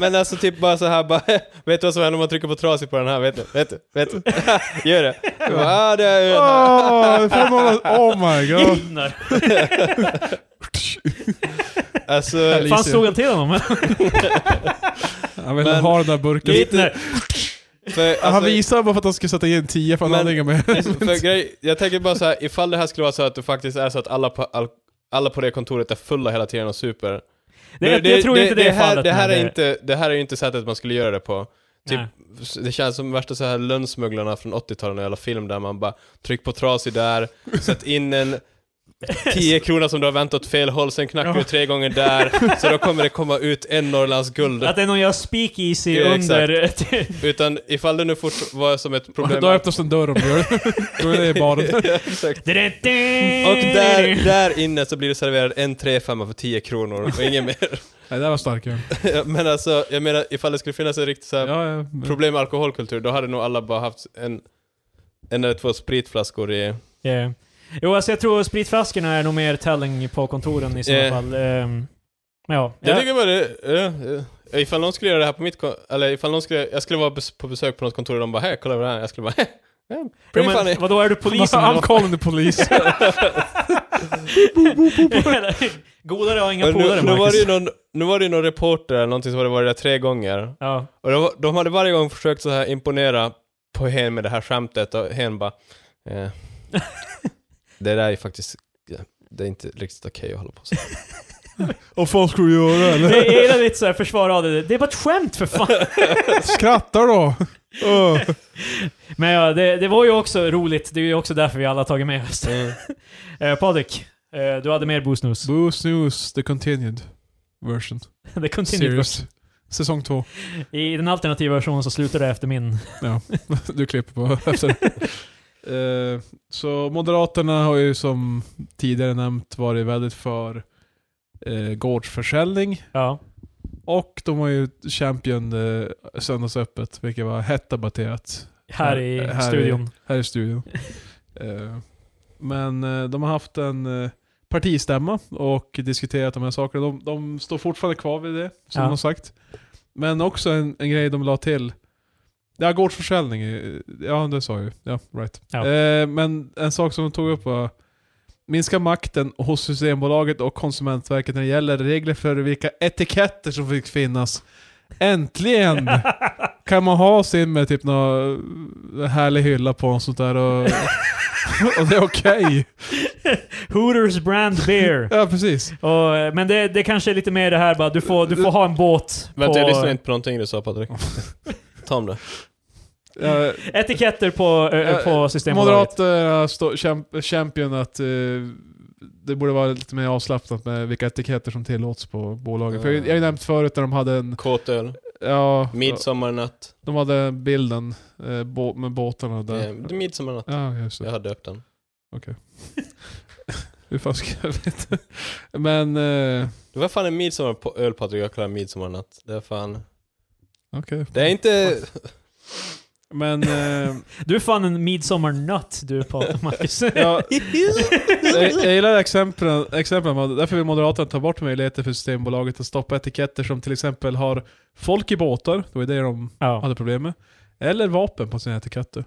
S2: men alltså typ bara så här, bara, vet du vad som händer om man trycker på trasig på den här? Vet du? Vet du? Vet du? Gör det? Jag bara, ah, det är ölen här.
S3: oh, fem månader. oh my god.
S1: Gidnar.
S2: Alltså,
S3: Eller-
S1: Fan
S3: Alicia.
S1: slog han till honom?
S3: Jag vill
S2: Men-
S3: ha den där burken.
S1: Hitler!
S2: för, alltså,
S3: han visar bara för att han ska sätta in 10 för han
S2: Men-
S3: hade inga med.
S2: för grej, jag tänker bara så här, ifall det här skulle vara så att det faktiskt är så att alla på, all, alla på det kontoret är fulla hela tiden och super.
S1: Det, jag, jag tror inte det, är
S2: här,
S1: fallet.
S2: Det här
S1: men
S2: är, inte, det här är ju inte sättet man skulle göra det på. Typ,
S1: Nej.
S2: det känns som värsta så här lönnsmugglarna från 80-talet, eller film där man bara tryck på trasig där, sätt in en 10 kronor som du har vänt åt fel håll, sen knackar du
S1: Ja.
S2: tre gånger där, så då kommer det komma ut en Norrlands guld.
S1: Att det är någon jag speakeasy
S2: Ja, exakt.
S1: under...
S2: Utan ifall det nu fort var som ett problem...
S3: Då öppnas en dörr om du gör det. Då är det i baren.
S2: ja, exakt. Och
S1: Mm.
S2: där, där inne så blir det serverad en 3-5 för 10 kronor och inget mer.
S3: Nej, det var stark öl.
S2: Men alltså, jag menar ifall det skulle finnas en riktig så här
S3: Ja, ja. men-
S2: problem med alkoholkultur, då hade nog alla bara haft en, en eller två spritflaskor i...
S1: Yeah. Jo, alltså jag tror spritflaskorna är nog mer telling på kontoren i så
S2: Ja.
S1: fall. Ehm, ja.
S2: Jag
S1: Ja.
S2: tycker bara Eh. det... ja, ja. ifall någon skulle göra det här på mitt kon- eller ifall någon skulle, jag skulle vara bes- på besök på något kontor och de bara hej, kolla vad det här Jag skulle bara hej, yeah,
S1: Jo,
S2: pretty funny.
S1: men, vadå, är du polisen eller
S3: I'm
S1: vad?
S3: calling the police.
S1: Godare har inga
S2: Och
S1: polare,
S2: nu, nu, var
S1: Marcus.
S2: det ju någon, nu var det ju någon reporter eller någonting som hade varit där tre gånger.
S1: Ja.
S2: Och de, de hade varje gång försökt så här imponera på hen med det här skämtet och hen bara... Eh, det där är ju faktiskt... ja, Det är inte riktigt okej att hålla på så.
S3: Vad fan ska du göra eller?
S1: Jag gillar ditt såhär försvar av det. Det är bara ett skämt för fan.
S3: Skratta då! Öh.
S1: Men ja, det, det var ju också roligt. Det är ju också därför vi alla har tagit med oss det.
S2: Mm.
S1: Eh, Patrik, eh, du hade mer boosnus.
S3: Booze News, the continued version.
S1: Det continued
S3: Series. Säsong två.
S1: I den alternativa versionen så slutar det efter min.
S3: Du klipper på efter. Eh, så Moderaterna har ju som tidigare nämnt varit väldigt för eh, gårdsförsäljning.
S1: Ja.
S3: Och de har ju Champion eh, söndagsöppet, vilket var hett debatterat
S1: Här i
S3: Här i-
S1: studion.
S3: här i studion. Eh, men eh, de har haft en eh, partistämma och diskuterat de här sakerna. De, de står fortfarande kvar vid det, som
S1: Ja.
S3: de har sagt. Men också en, en grej de la till. Ja, gårdsförsäljning. eh, Ja, det sa jag ju. Ja, right.
S1: Ja.
S3: Eh, men en sak som de tog upp var Minska makten hos Systembolaget och Konsumentverket när det gäller regler för vilka etiketter som fick finnas. Äntligen! kan man ha sin med typ någon härlig hylla på och sånt där och, och det är okej.
S1: Hooters brand beer.
S3: Ja, precis.
S1: Och, eh, men det, det kanske är lite mer det här bara, du får, du får ha en båt.
S2: Vänta, jag
S1: på-
S2: lyssnade inte på någonting du sa Patrik. Ta om det.
S3: Ja,
S1: Etiketter på, eh,
S3: Ja,
S1: på Systembolaget.
S3: Moderaterna står champ, champion att eh, det borde vara lite mer avslappnat med vilka etiketter som tillåts på bolagen. För jag jag har ju nämnt förut när de hade en,
S2: Kåtöl,
S3: ja,
S2: midsommarnatt.
S3: de hade bilden eh, bå- med båtarna där.
S2: Eh, det är midsommarnatt.
S3: Ja, just det.
S2: Jag har döpt den.
S3: Hur fan ska jag veta? Men, eh,
S2: Det var fan en midsommar på öl Patrik, jag klarar midsommarnatt. Det är fan...
S3: okej.
S2: Det är inte...
S3: Men, eh,
S1: Du är fan en midsommarnöt du Patrik Marcus.
S3: ja, jag, jag gillar exemplen, exemplen. man- Därför vill Moderaterna ta bort möjligheter för Systembolaget att stoppa etiketter som till exempel har folk i båtar, det var ju det de
S1: ja.
S3: hade problem med. Eller vapen på sina etiketter.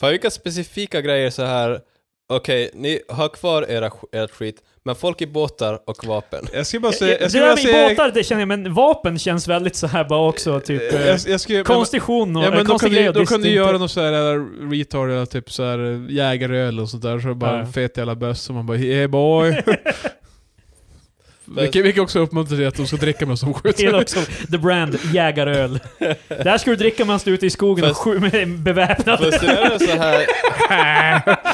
S2: Fan vilka specifika grejer så här. Okej, ni har kvar era, ert skit, men folk i båtar och vapen.
S3: Jag skulle bara säga...
S1: Det
S3: Jag skulle
S1: där
S3: bara
S1: med
S3: säga
S1: båtar, det känner jag, men vapen känns väldigt så här bara också, typ... eh,
S3: jag, jag skulle, men,
S1: Konstitution och...
S3: ja,
S1: eh,
S3: men då
S1: konstiga
S3: kan du,
S1: grejer,
S3: då kan du
S1: det är
S3: göra
S1: inte-
S3: något sådär här retard eller typ såhär jägaröl och sånt där, så är det bara
S1: Ja.
S3: en fet jävla böss och man bara yeah boy. vilket, vilket också uppmuntrar till att de ska dricka med som
S1: Till
S3: skjuter.
S1: också, the brand, jägaröl. det här ska du dricka medan du är ute i skogen och
S2: Fast-
S1: skjuter med beväpnad.
S2: Fast det är så här,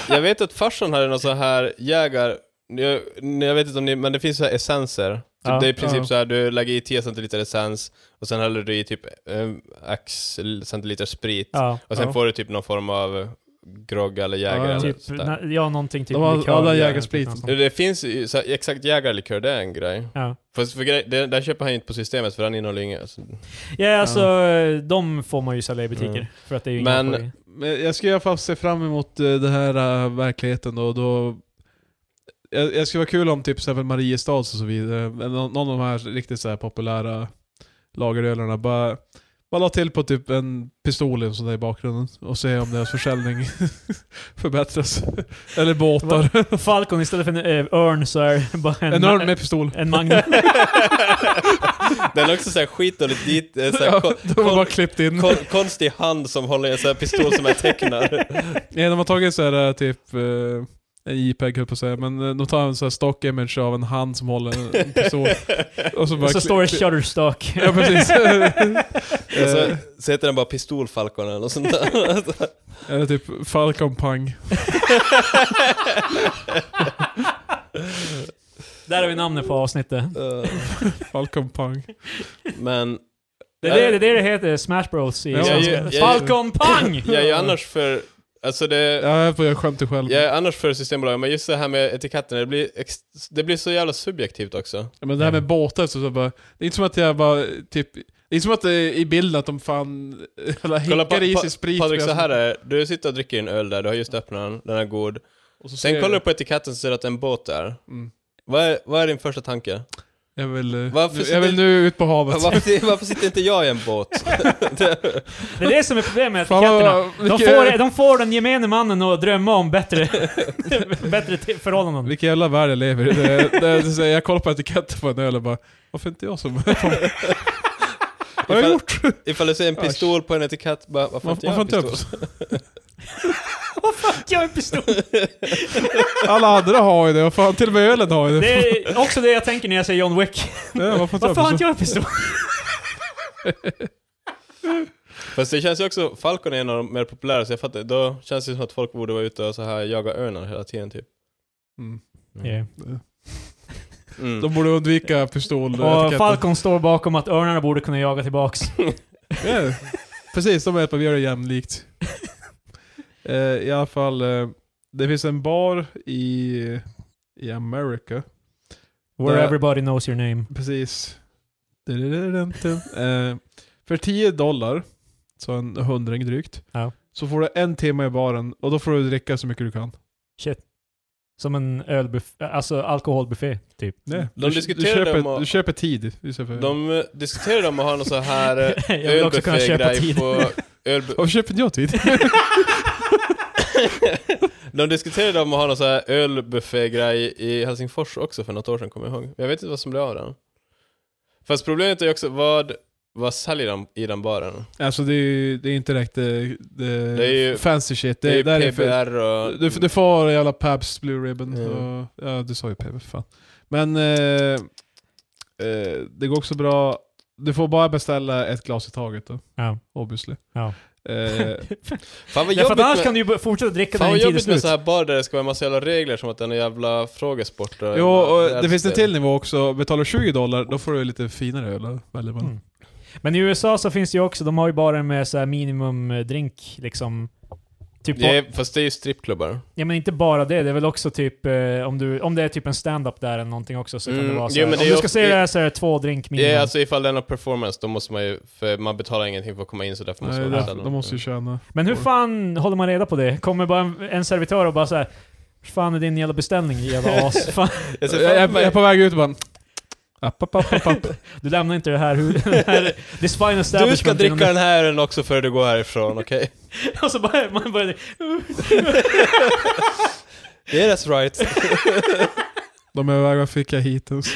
S2: jag vet att farsan hade någon så här jägar... Jag, jag vet inte om ni, men det finns så här essenser. Typ
S1: Ja.
S2: det är i princip
S3: Ja.
S2: så här, du lägger i 10 centiliter essens och sen häller du i typ eh, x centiliter sprit.
S1: ja,
S2: Och sen
S3: Ja.
S2: får du typ någon form av grogg eller
S3: Ja,
S2: jägare
S3: ja.
S2: eller
S1: typ,
S2: sådär.
S1: na, ja, någonting typ
S3: De har-
S1: likör,
S3: alla
S1: ja,
S3: jägarsprit.
S1: typ något sånt.
S2: Det finns ju, så här, exakt jägarlikör, det är en grej.
S1: Ja.
S2: Fast för grej, det, där köper han ju inte på systemet för den innehåller ju inget. alltså.
S1: ja, alltså de får man ju sälja i butiker.
S2: Mm.
S1: För att det är ju
S2: Men-
S1: inga poäng.
S3: Men jag ska i alla fall se fram emot eh, den här eh, verkligheten då. då jag, jag skulle vara kul om typ till exempel Mariestads och så vidare, eh, någon, någon av de här riktigt så här populära lagerölarna bara Man la till på typ en pistol eller sån där i bakgrunden och se om deras försäljning förbättras. Eller båtar.
S1: Falcon istället för en eh, örn så är det bara en,
S3: En örn med pistol.
S1: en magnum.
S2: Den är också såhär skitdåligt dit, eh, såhär,
S3: Ja,
S2: kon,
S3: de har bara klippt in.
S2: kon, konstig hand som håller i en sån här pistol som är tecknad.
S3: Ja, de har tagit så här eh, typ eh, en JPEG höll på att säga, men eh, de tar en så här stock image av en hand som håller en pistol. Och så bara
S1: så
S3: kli-
S1: står det
S3: kli-
S1: Shutterstock.
S3: Ja precis.
S2: Och så,
S3: Eh,
S2: så heter den bara Pistolfalkon eller något sånt där.
S3: Eller typ Falcon Pang.
S1: Där har vi namnet på avsnittet.
S2: Eh,
S3: Falcon Pang.
S2: Men
S1: Det är det det, är det, det heter, Smash Bros i
S3: Ja,
S1: svenska.
S2: jag- jag-
S1: Falcon Pang!
S2: jag är ju annars för, alltså det,
S3: Ja, jag får göra skämt till själv.
S2: jag är annars för Systembolaget, men just det här med etiketten, det blir, ex, det blir så jävla subjektivt också.
S3: Ja, Men det här med båtar, så, så bara, det är inte som att jag bara typ... Det är inte som att det är i bilden att de fan
S2: Kolla,
S3: eller, hinkar
S2: pa-
S3: i
S2: pa-
S3: sig sprit.
S2: Patrik,
S3: medan-
S2: så här är Du sitter och dricker din öl där, du har just öppnat den, den är god.
S3: och så ser
S2: Sen
S3: jag-
S2: kollar du på etiketten så ser du att det är en båt där.
S3: Mm.
S2: Vad är, vad är din första tanke?
S3: Jag vill, eh,
S2: Varför
S3: nu-
S2: sitter-
S3: jag vill nu ut på havet.
S2: Varför, varför sitter inte jag i en båt?
S1: Det är det som är problemet med
S3: Fan, vad-
S1: etiketterna. De
S3: vilket-
S1: får, de får den gemene mannen att drömma om bättre, bättre till- förhållanden.
S3: Vilken jävla värld jag lever i. Det, det, det, det, jag kollar på etiketten på en öl och bara, varför inte jag som... Vad har jag
S2: Ifall-
S3: gjort?
S2: Ifall du ser en pistol på en etikett, bara, varför inte jag
S3: Varför
S2: har en
S3: inte jag?
S2: pistol?
S1: Jag har en pistol.
S3: Alla andra har ju det, vad fan, till och med ölen har ju det.
S1: Det är också det jag tänker när jag säger John Wick.
S3: Ja, varför inte
S1: Varför har inte
S3: jag?
S1: jag en pistol?
S2: Fast det känns ju också, Falcon är en av de mer populära, så jag fattar, då känns det som att folk borde vara ute och så här jaga örnar hela tiden typ.
S3: Mm.
S1: Yeah.
S2: Mm.
S3: De borde undvika pistol
S1: Och Falcon står bakom att örnarna borde kunna jaga tillbaks.
S3: Ja, Precis, de hjälper, vi gör det jämlikt. Eh, I alla fall, eh, det finns en bar i, i America.
S1: Where
S3: Där-
S1: everybody knows your name.
S3: Precis. Eh, för 10 dollar, så en hundring drygt,
S1: Ja.
S3: så får du en timme i baren och då får du dricka så mycket du kan.
S1: Som en ölbuffé, alltså alkoholbuffé, typ.
S3: Nej,
S2: De
S3: du, du,
S2: diskuterade om
S3: köper,
S2: att-
S3: du köper tid. istället för-
S2: De eh, diskuterade om att ha någon så här eh,
S1: Jag vill också kunna köpa
S2: ölbuffé-grej
S1: tid.
S2: på... Ölbu-
S3: Varför köper inte jag tid?
S2: de diskuterade om att ha någon så här ölbuffé-grej i Helsingfors också för något år sedan, kommer jag ihåg. Jag vet inte vad som blev av den. Fast problemet är ju också, vad, vad säljer de i den baren?
S3: alltså det är, ju, det är inte direkt eh, det, det,
S2: Det är ju-
S3: fancy shit.
S2: Det, är ju
S3: där för-
S2: PBR och...
S3: Du, du får jävla Pabst Blue Ribbon.
S2: Mm.
S3: Och, ja, du sa ju PB, fan. Men eh, eh, det går också bra. Du får bara beställa ett glas i taget då,
S1: Ja.
S3: obviously.
S1: Ja.
S3: Eh,
S2: Fan vad
S1: Därför
S2: jobbigt
S1: att annars
S2: med-
S1: kan du ju b- fortsätta dricka
S2: Fan
S1: när
S2: vad
S1: din tid är
S2: jobbigt med
S1: slut.
S2: så här bar där det ska vara en massa jävla regler som att den är jävla frågesport och
S3: jo, och det
S2: jävla
S3: finns en
S2: rättsspel.
S3: till nivå också. Betalar du 20 dollar, då får du lite finare öl. Väljer man.
S1: Mm. Men i USA så finns det ju också, de har ju bara med så här minimumdrink liksom. Typ
S2: Det är, fast det är ju strippklubbar.
S1: Ja men inte bara det, det är väl också typ eh, om, du, om det är typ en stand-up där eller någonting också så kan
S2: Mm,
S1: det vara så
S2: jo,
S1: här,
S2: men
S1: Om
S2: det är
S1: du
S2: ju
S1: ska
S2: of-
S1: se
S2: det-
S1: det här så är det två drink
S2: Det
S1: minimum.
S2: är alltså ifall den har performance, då måste man ju, för man betalar ingenting för att komma in så därför måste
S3: Nej,
S2: man
S3: där,
S2: beställa.
S3: de måste ju tjäna.
S1: men hur fan håller man reda på det? Kommer bara en, en servitör och bara så här. "Vad fan är din jävla beställning jävla as? Fan,
S2: Jag
S3: Jag,
S2: ser framför
S3: jag, jag
S2: mig-
S3: är på väg ut och bara... App, app, app, app, app.
S1: du lämnar inte det här... hu- Det här this fine
S2: Du ska
S1: establishment
S2: dricka
S1: innan
S2: den här ölen också före du går härifrån, okej?
S1: Och så bara, man börjar...
S2: Yes right.
S3: De är på väg, vad fick jag hit ens?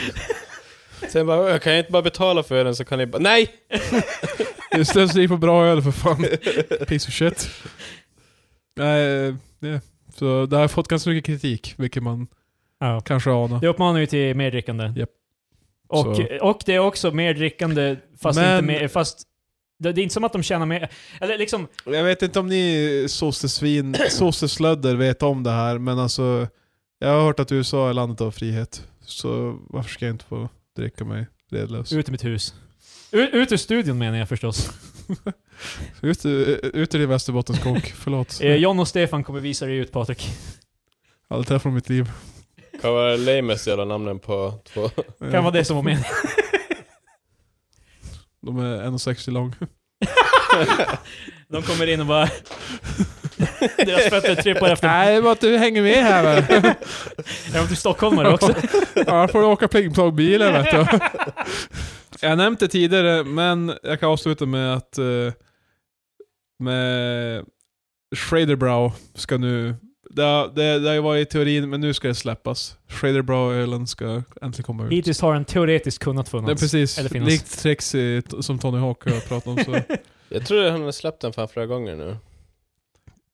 S2: Sen bara, jag kan jag inte bara betala för ölen så kan ni bara, nej!
S3: Det är slöseri på bra öl för fan. Piece of shit. Nej, eh, ja. Så det har fått ganska mycket kritik, vilket man
S1: Ja.
S3: kanske anar.
S1: Det uppmanar ju till mer drickande.
S3: Japp.
S1: Och,
S3: Så.
S1: och det är också mer drickande fast
S3: Men-
S1: inte mer... Fast det, det är inte som att de tjänar mer... Eller liksom...
S3: Jag vet inte om ni sossesvin, sosseslödder vet om det här, men alltså jag har hört att USA är landet av frihet. Så varför ska jag inte få dricka mig redlös?
S1: Ut ur mitt hus. Ut, ut ur studion menar jag förstås.
S3: Ut, eh, ut ur din Västerbottens kåk, förlåt.
S1: Eh, John och Stefan kommer visa dig ut Patrik.
S3: Allt det här från mitt liv.
S2: Kan vara lamest jävla namnen på två.
S1: Kan
S3: Eh,
S1: vara det som var meningen.
S3: De är 1,60 lång.
S1: De kommer in och bara... Deras fötter trippar efter...
S3: Nej, bara att du hänger med här väl.
S1: Är de till stockholmare också?
S3: Annars får du åka plingplongbilen vet du. Jag har nämnt det tidigare, men jag kan avsluta med att eh, med Schraderbrow ska nu... Det har, det, det har ju varit i teorin, men nu ska det släppas. Schraderbrow-ölen ska äntligen komma ut.
S1: Hittills har den teoretiskt kunnat
S3: det är
S1: funnits.
S3: precis.
S1: Eller finnas.
S3: Likt Trixie t- som Tony Hawk har pratat om. Så.
S2: Jag tror han har släppt den fan flera gånger nu.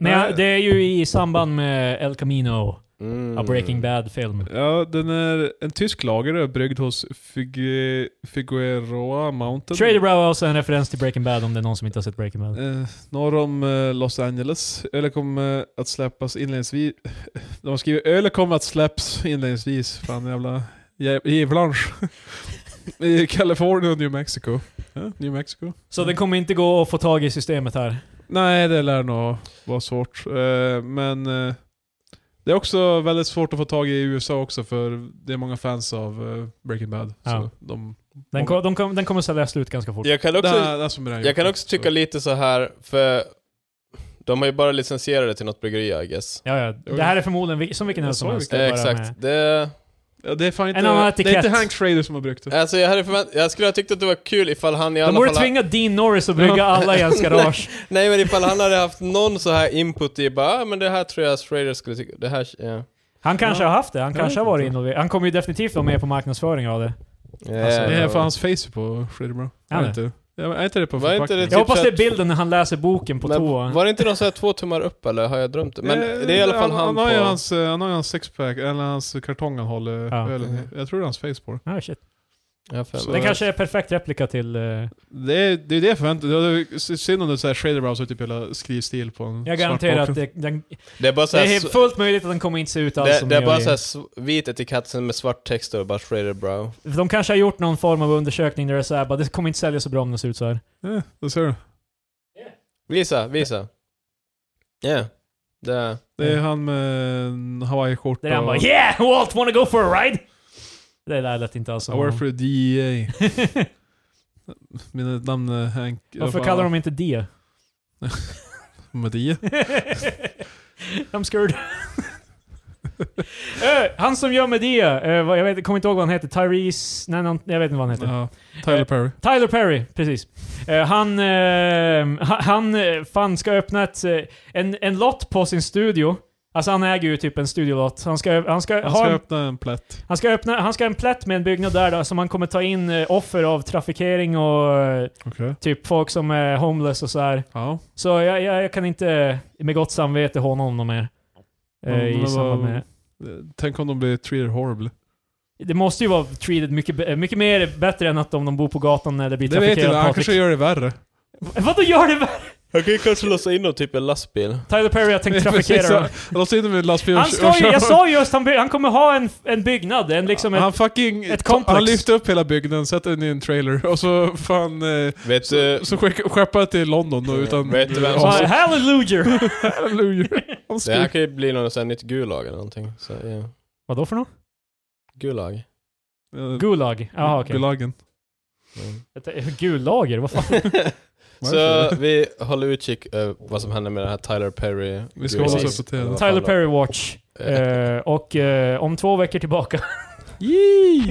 S1: Men ja,
S3: Nej.
S1: det är ju i samband med El Camino,
S2: Mm.
S1: a Breaking Bad-film.
S3: ja, den är en tysk lager och bryggd hos Figue, Figueroa Mountain.
S1: Trader Brow är också en referens till Breaking Bad om det är någon som inte har sett Breaking Bad.
S3: Eh, norr om eh, Los Angeles. Ölet kommer eh, att släppas inledningsvis. De skriver ölet kommer att släpps inledningsvis. Fan jävla jä- djävlansch. I Kalifornien och New Mexico. Ja, New Mexico.
S1: Så det kommer inte gå att få tag i systemet här.
S3: Nej, det lär nog vara svårt. Eh, men eh, det är också väldigt svårt att få tag i i USA också för det är många fans av eh, Breaking Bad.
S1: Ja.
S3: Så de,
S1: Den, ko- de kom, den kommer sälja slut ganska fort.
S2: Mm. Jag kan
S3: det
S2: också,
S3: här, det här som är det här
S2: jag kan
S3: gjort,
S2: också tycka lite så här för de har ju bara licensierat det till något bryggeri, I guess.
S1: Ja, ja. Det här är förmodligen vil- som vilken
S3: Jag
S1: helst som
S3: sa
S1: helst.
S3: Det
S2: Eh,
S1: Det är bara
S2: exakt. Det,
S3: ja, det är fan inte,
S1: En annan
S3: det är inte
S1: etikett.
S3: Hank Schrader som har bryggt det.
S2: alltså jag, hade förvänt, jag skulle ha tyckt att det var kul ifall han i
S1: Med. De
S2: alla
S1: borde
S2: fall... ha-
S1: tvinga Dean Norris att brygga alla i hans garage.
S2: Nej men ifall han hade haft någon så här input i bara, ah, men det här tror jag Schrader skulle tycka, det här, ja.
S1: Han kanske
S3: Ja.
S1: har haft det. Han
S3: Jag
S1: kanske
S3: vet
S1: har varit
S3: inte.
S1: involverad. Han kommer ju definitivt vara med på marknadsföring av det.
S3: Alltså, det är
S2: ja.
S3: för hans face på Schraderbrow.
S1: Ja,
S3: Är det
S1: det.
S3: inte? Ja, Är inte det på
S2: Var inte
S3: förpackningen?
S2: Typ
S1: Jag hoppas
S2: så
S1: det är
S2: att-
S1: bilden när han läser boken på
S2: Men
S1: toa.
S2: Var det inte någon så här två tummar upp eller har jag drömt det? Men
S3: Eh,
S2: det är i alla fall han,
S3: han,
S2: på...
S3: har ju hans, eh, han har ju hans sexpack, eller hans kartong han håller
S1: Ja.
S3: ölen
S2: Mm.
S3: i. Jag tror det är hans face på det.
S1: Ah, shit.
S2: Ja, fem.
S3: Så-
S1: Det kanske är perfekt replika till... eh,
S3: Det är det, är det jag förväntar mig. Synd om det är såhär shaderbrow så är typ hela skrivstil på
S1: jag
S3: en svart
S1: garanterar att
S3: bakgrund.
S1: det, den,
S2: Det är bara
S1: det
S2: så här,
S1: är
S2: det,
S1: fullt möjligt att den kommer inte se ut alls
S2: det,
S1: som
S2: är
S1: den
S2: bara
S1: gör i-
S2: så här sv- vit etikett sen med svart text och bara Schrader brow.
S1: De kanske har gjort någon form av undersökning där det är såhär bara, det kommer inte sälja så bra om den ser ut så här.
S3: Eh, det ser du.
S2: Visa, visa. Ja. Det är...
S3: Det är han med en hawaiiskjorta
S1: Det är han bara
S3: och-
S1: 'Yeah! Walt wanna go for a ride?' Det där lät inte alls som
S3: I work
S1: honom.
S3: for the DEA. Mina namn är Hank...
S1: Varför kallar de inte det?
S3: dem DEA?
S1: I'm scared. Eh, han som gör med det, eh, vad- jag vet, kommer inte ihåg vad han heter, Tyrese... Nej, någon, jag vet inte vad han heter.
S3: Ja, Tyler
S1: Eh,
S3: Perry.
S1: Tyler Perry, precis. Eh, han, eh, ha- han eh, fan ska öppna ett, eh, en, en lott på sin studio. Alltså han äger ju typ en studiolott. Han ska, han ska,
S3: Han
S1: ha
S3: ska
S1: en,
S3: öppna en plätt.
S1: han ska öppna, han ska ha en plätt med en byggnad där då, som han kommer ta in eh, offer av trafikering och eh,
S3: Okej.
S1: typ folk som är homeless och så här.
S3: Ja.
S1: Så jag, jag, jag kan inte eh, med gott samvete håna honom mer. Eh,
S3: Men
S1: i
S3: vad-
S1: samband med.
S3: Eh, Tänk om de blir treated horrible.
S1: Det måste ju vara treated mycket, be- mycket mer bättre än att om de bor på gatan när det blir
S3: Det vet jag inte,
S1: trafikerat.
S3: han kanske
S1: Patrik.
S3: gör det värre.
S1: Vadå gör det?
S2: Jag kan ju kanske låsa in någon typ i en lastbil.
S1: Tyler Perry har tänkt trafikera
S3: Precis,
S1: dem.
S3: han låser in dem i en lastbil och
S1: Han
S3: och
S1: ska ju,
S3: kör
S1: jag
S3: dem.
S1: sa ju just han, by- han kommer ha en, en byggnad, en liksom ett,
S3: han fucking...
S1: ett komplex.
S3: Han lyfte upp hela byggnaden, sätter den i en trailer och så fan... Eh,
S2: Vet du...
S3: så skick- skeppade till London då utan...
S2: Vet du vem
S1: så
S2: som-
S1: här, hallelujah!
S3: Halleluja. Han
S2: Det här
S3: skrek.
S2: kan ju bli någon sån här nytt Gulag eller någonting. Så, ja.
S1: Vadå för något?
S2: Gulag.
S3: Eh,
S1: Gulag? Jaha okej.
S3: Gulagen.
S2: Mm.
S1: Jag tänkte- Gulager? Vad fan?
S2: Så vi håller utkik eh, vad som händer med den här Tyler Perry.
S3: Vi ska
S2: Gulag.
S1: hålla oss
S3: uppdaterade.
S2: Eller vad fan eh,
S1: Tyler
S2: då?
S1: eh, Perry Watch. Eh, och eh, om två veckor tillbaka.
S3: Yee!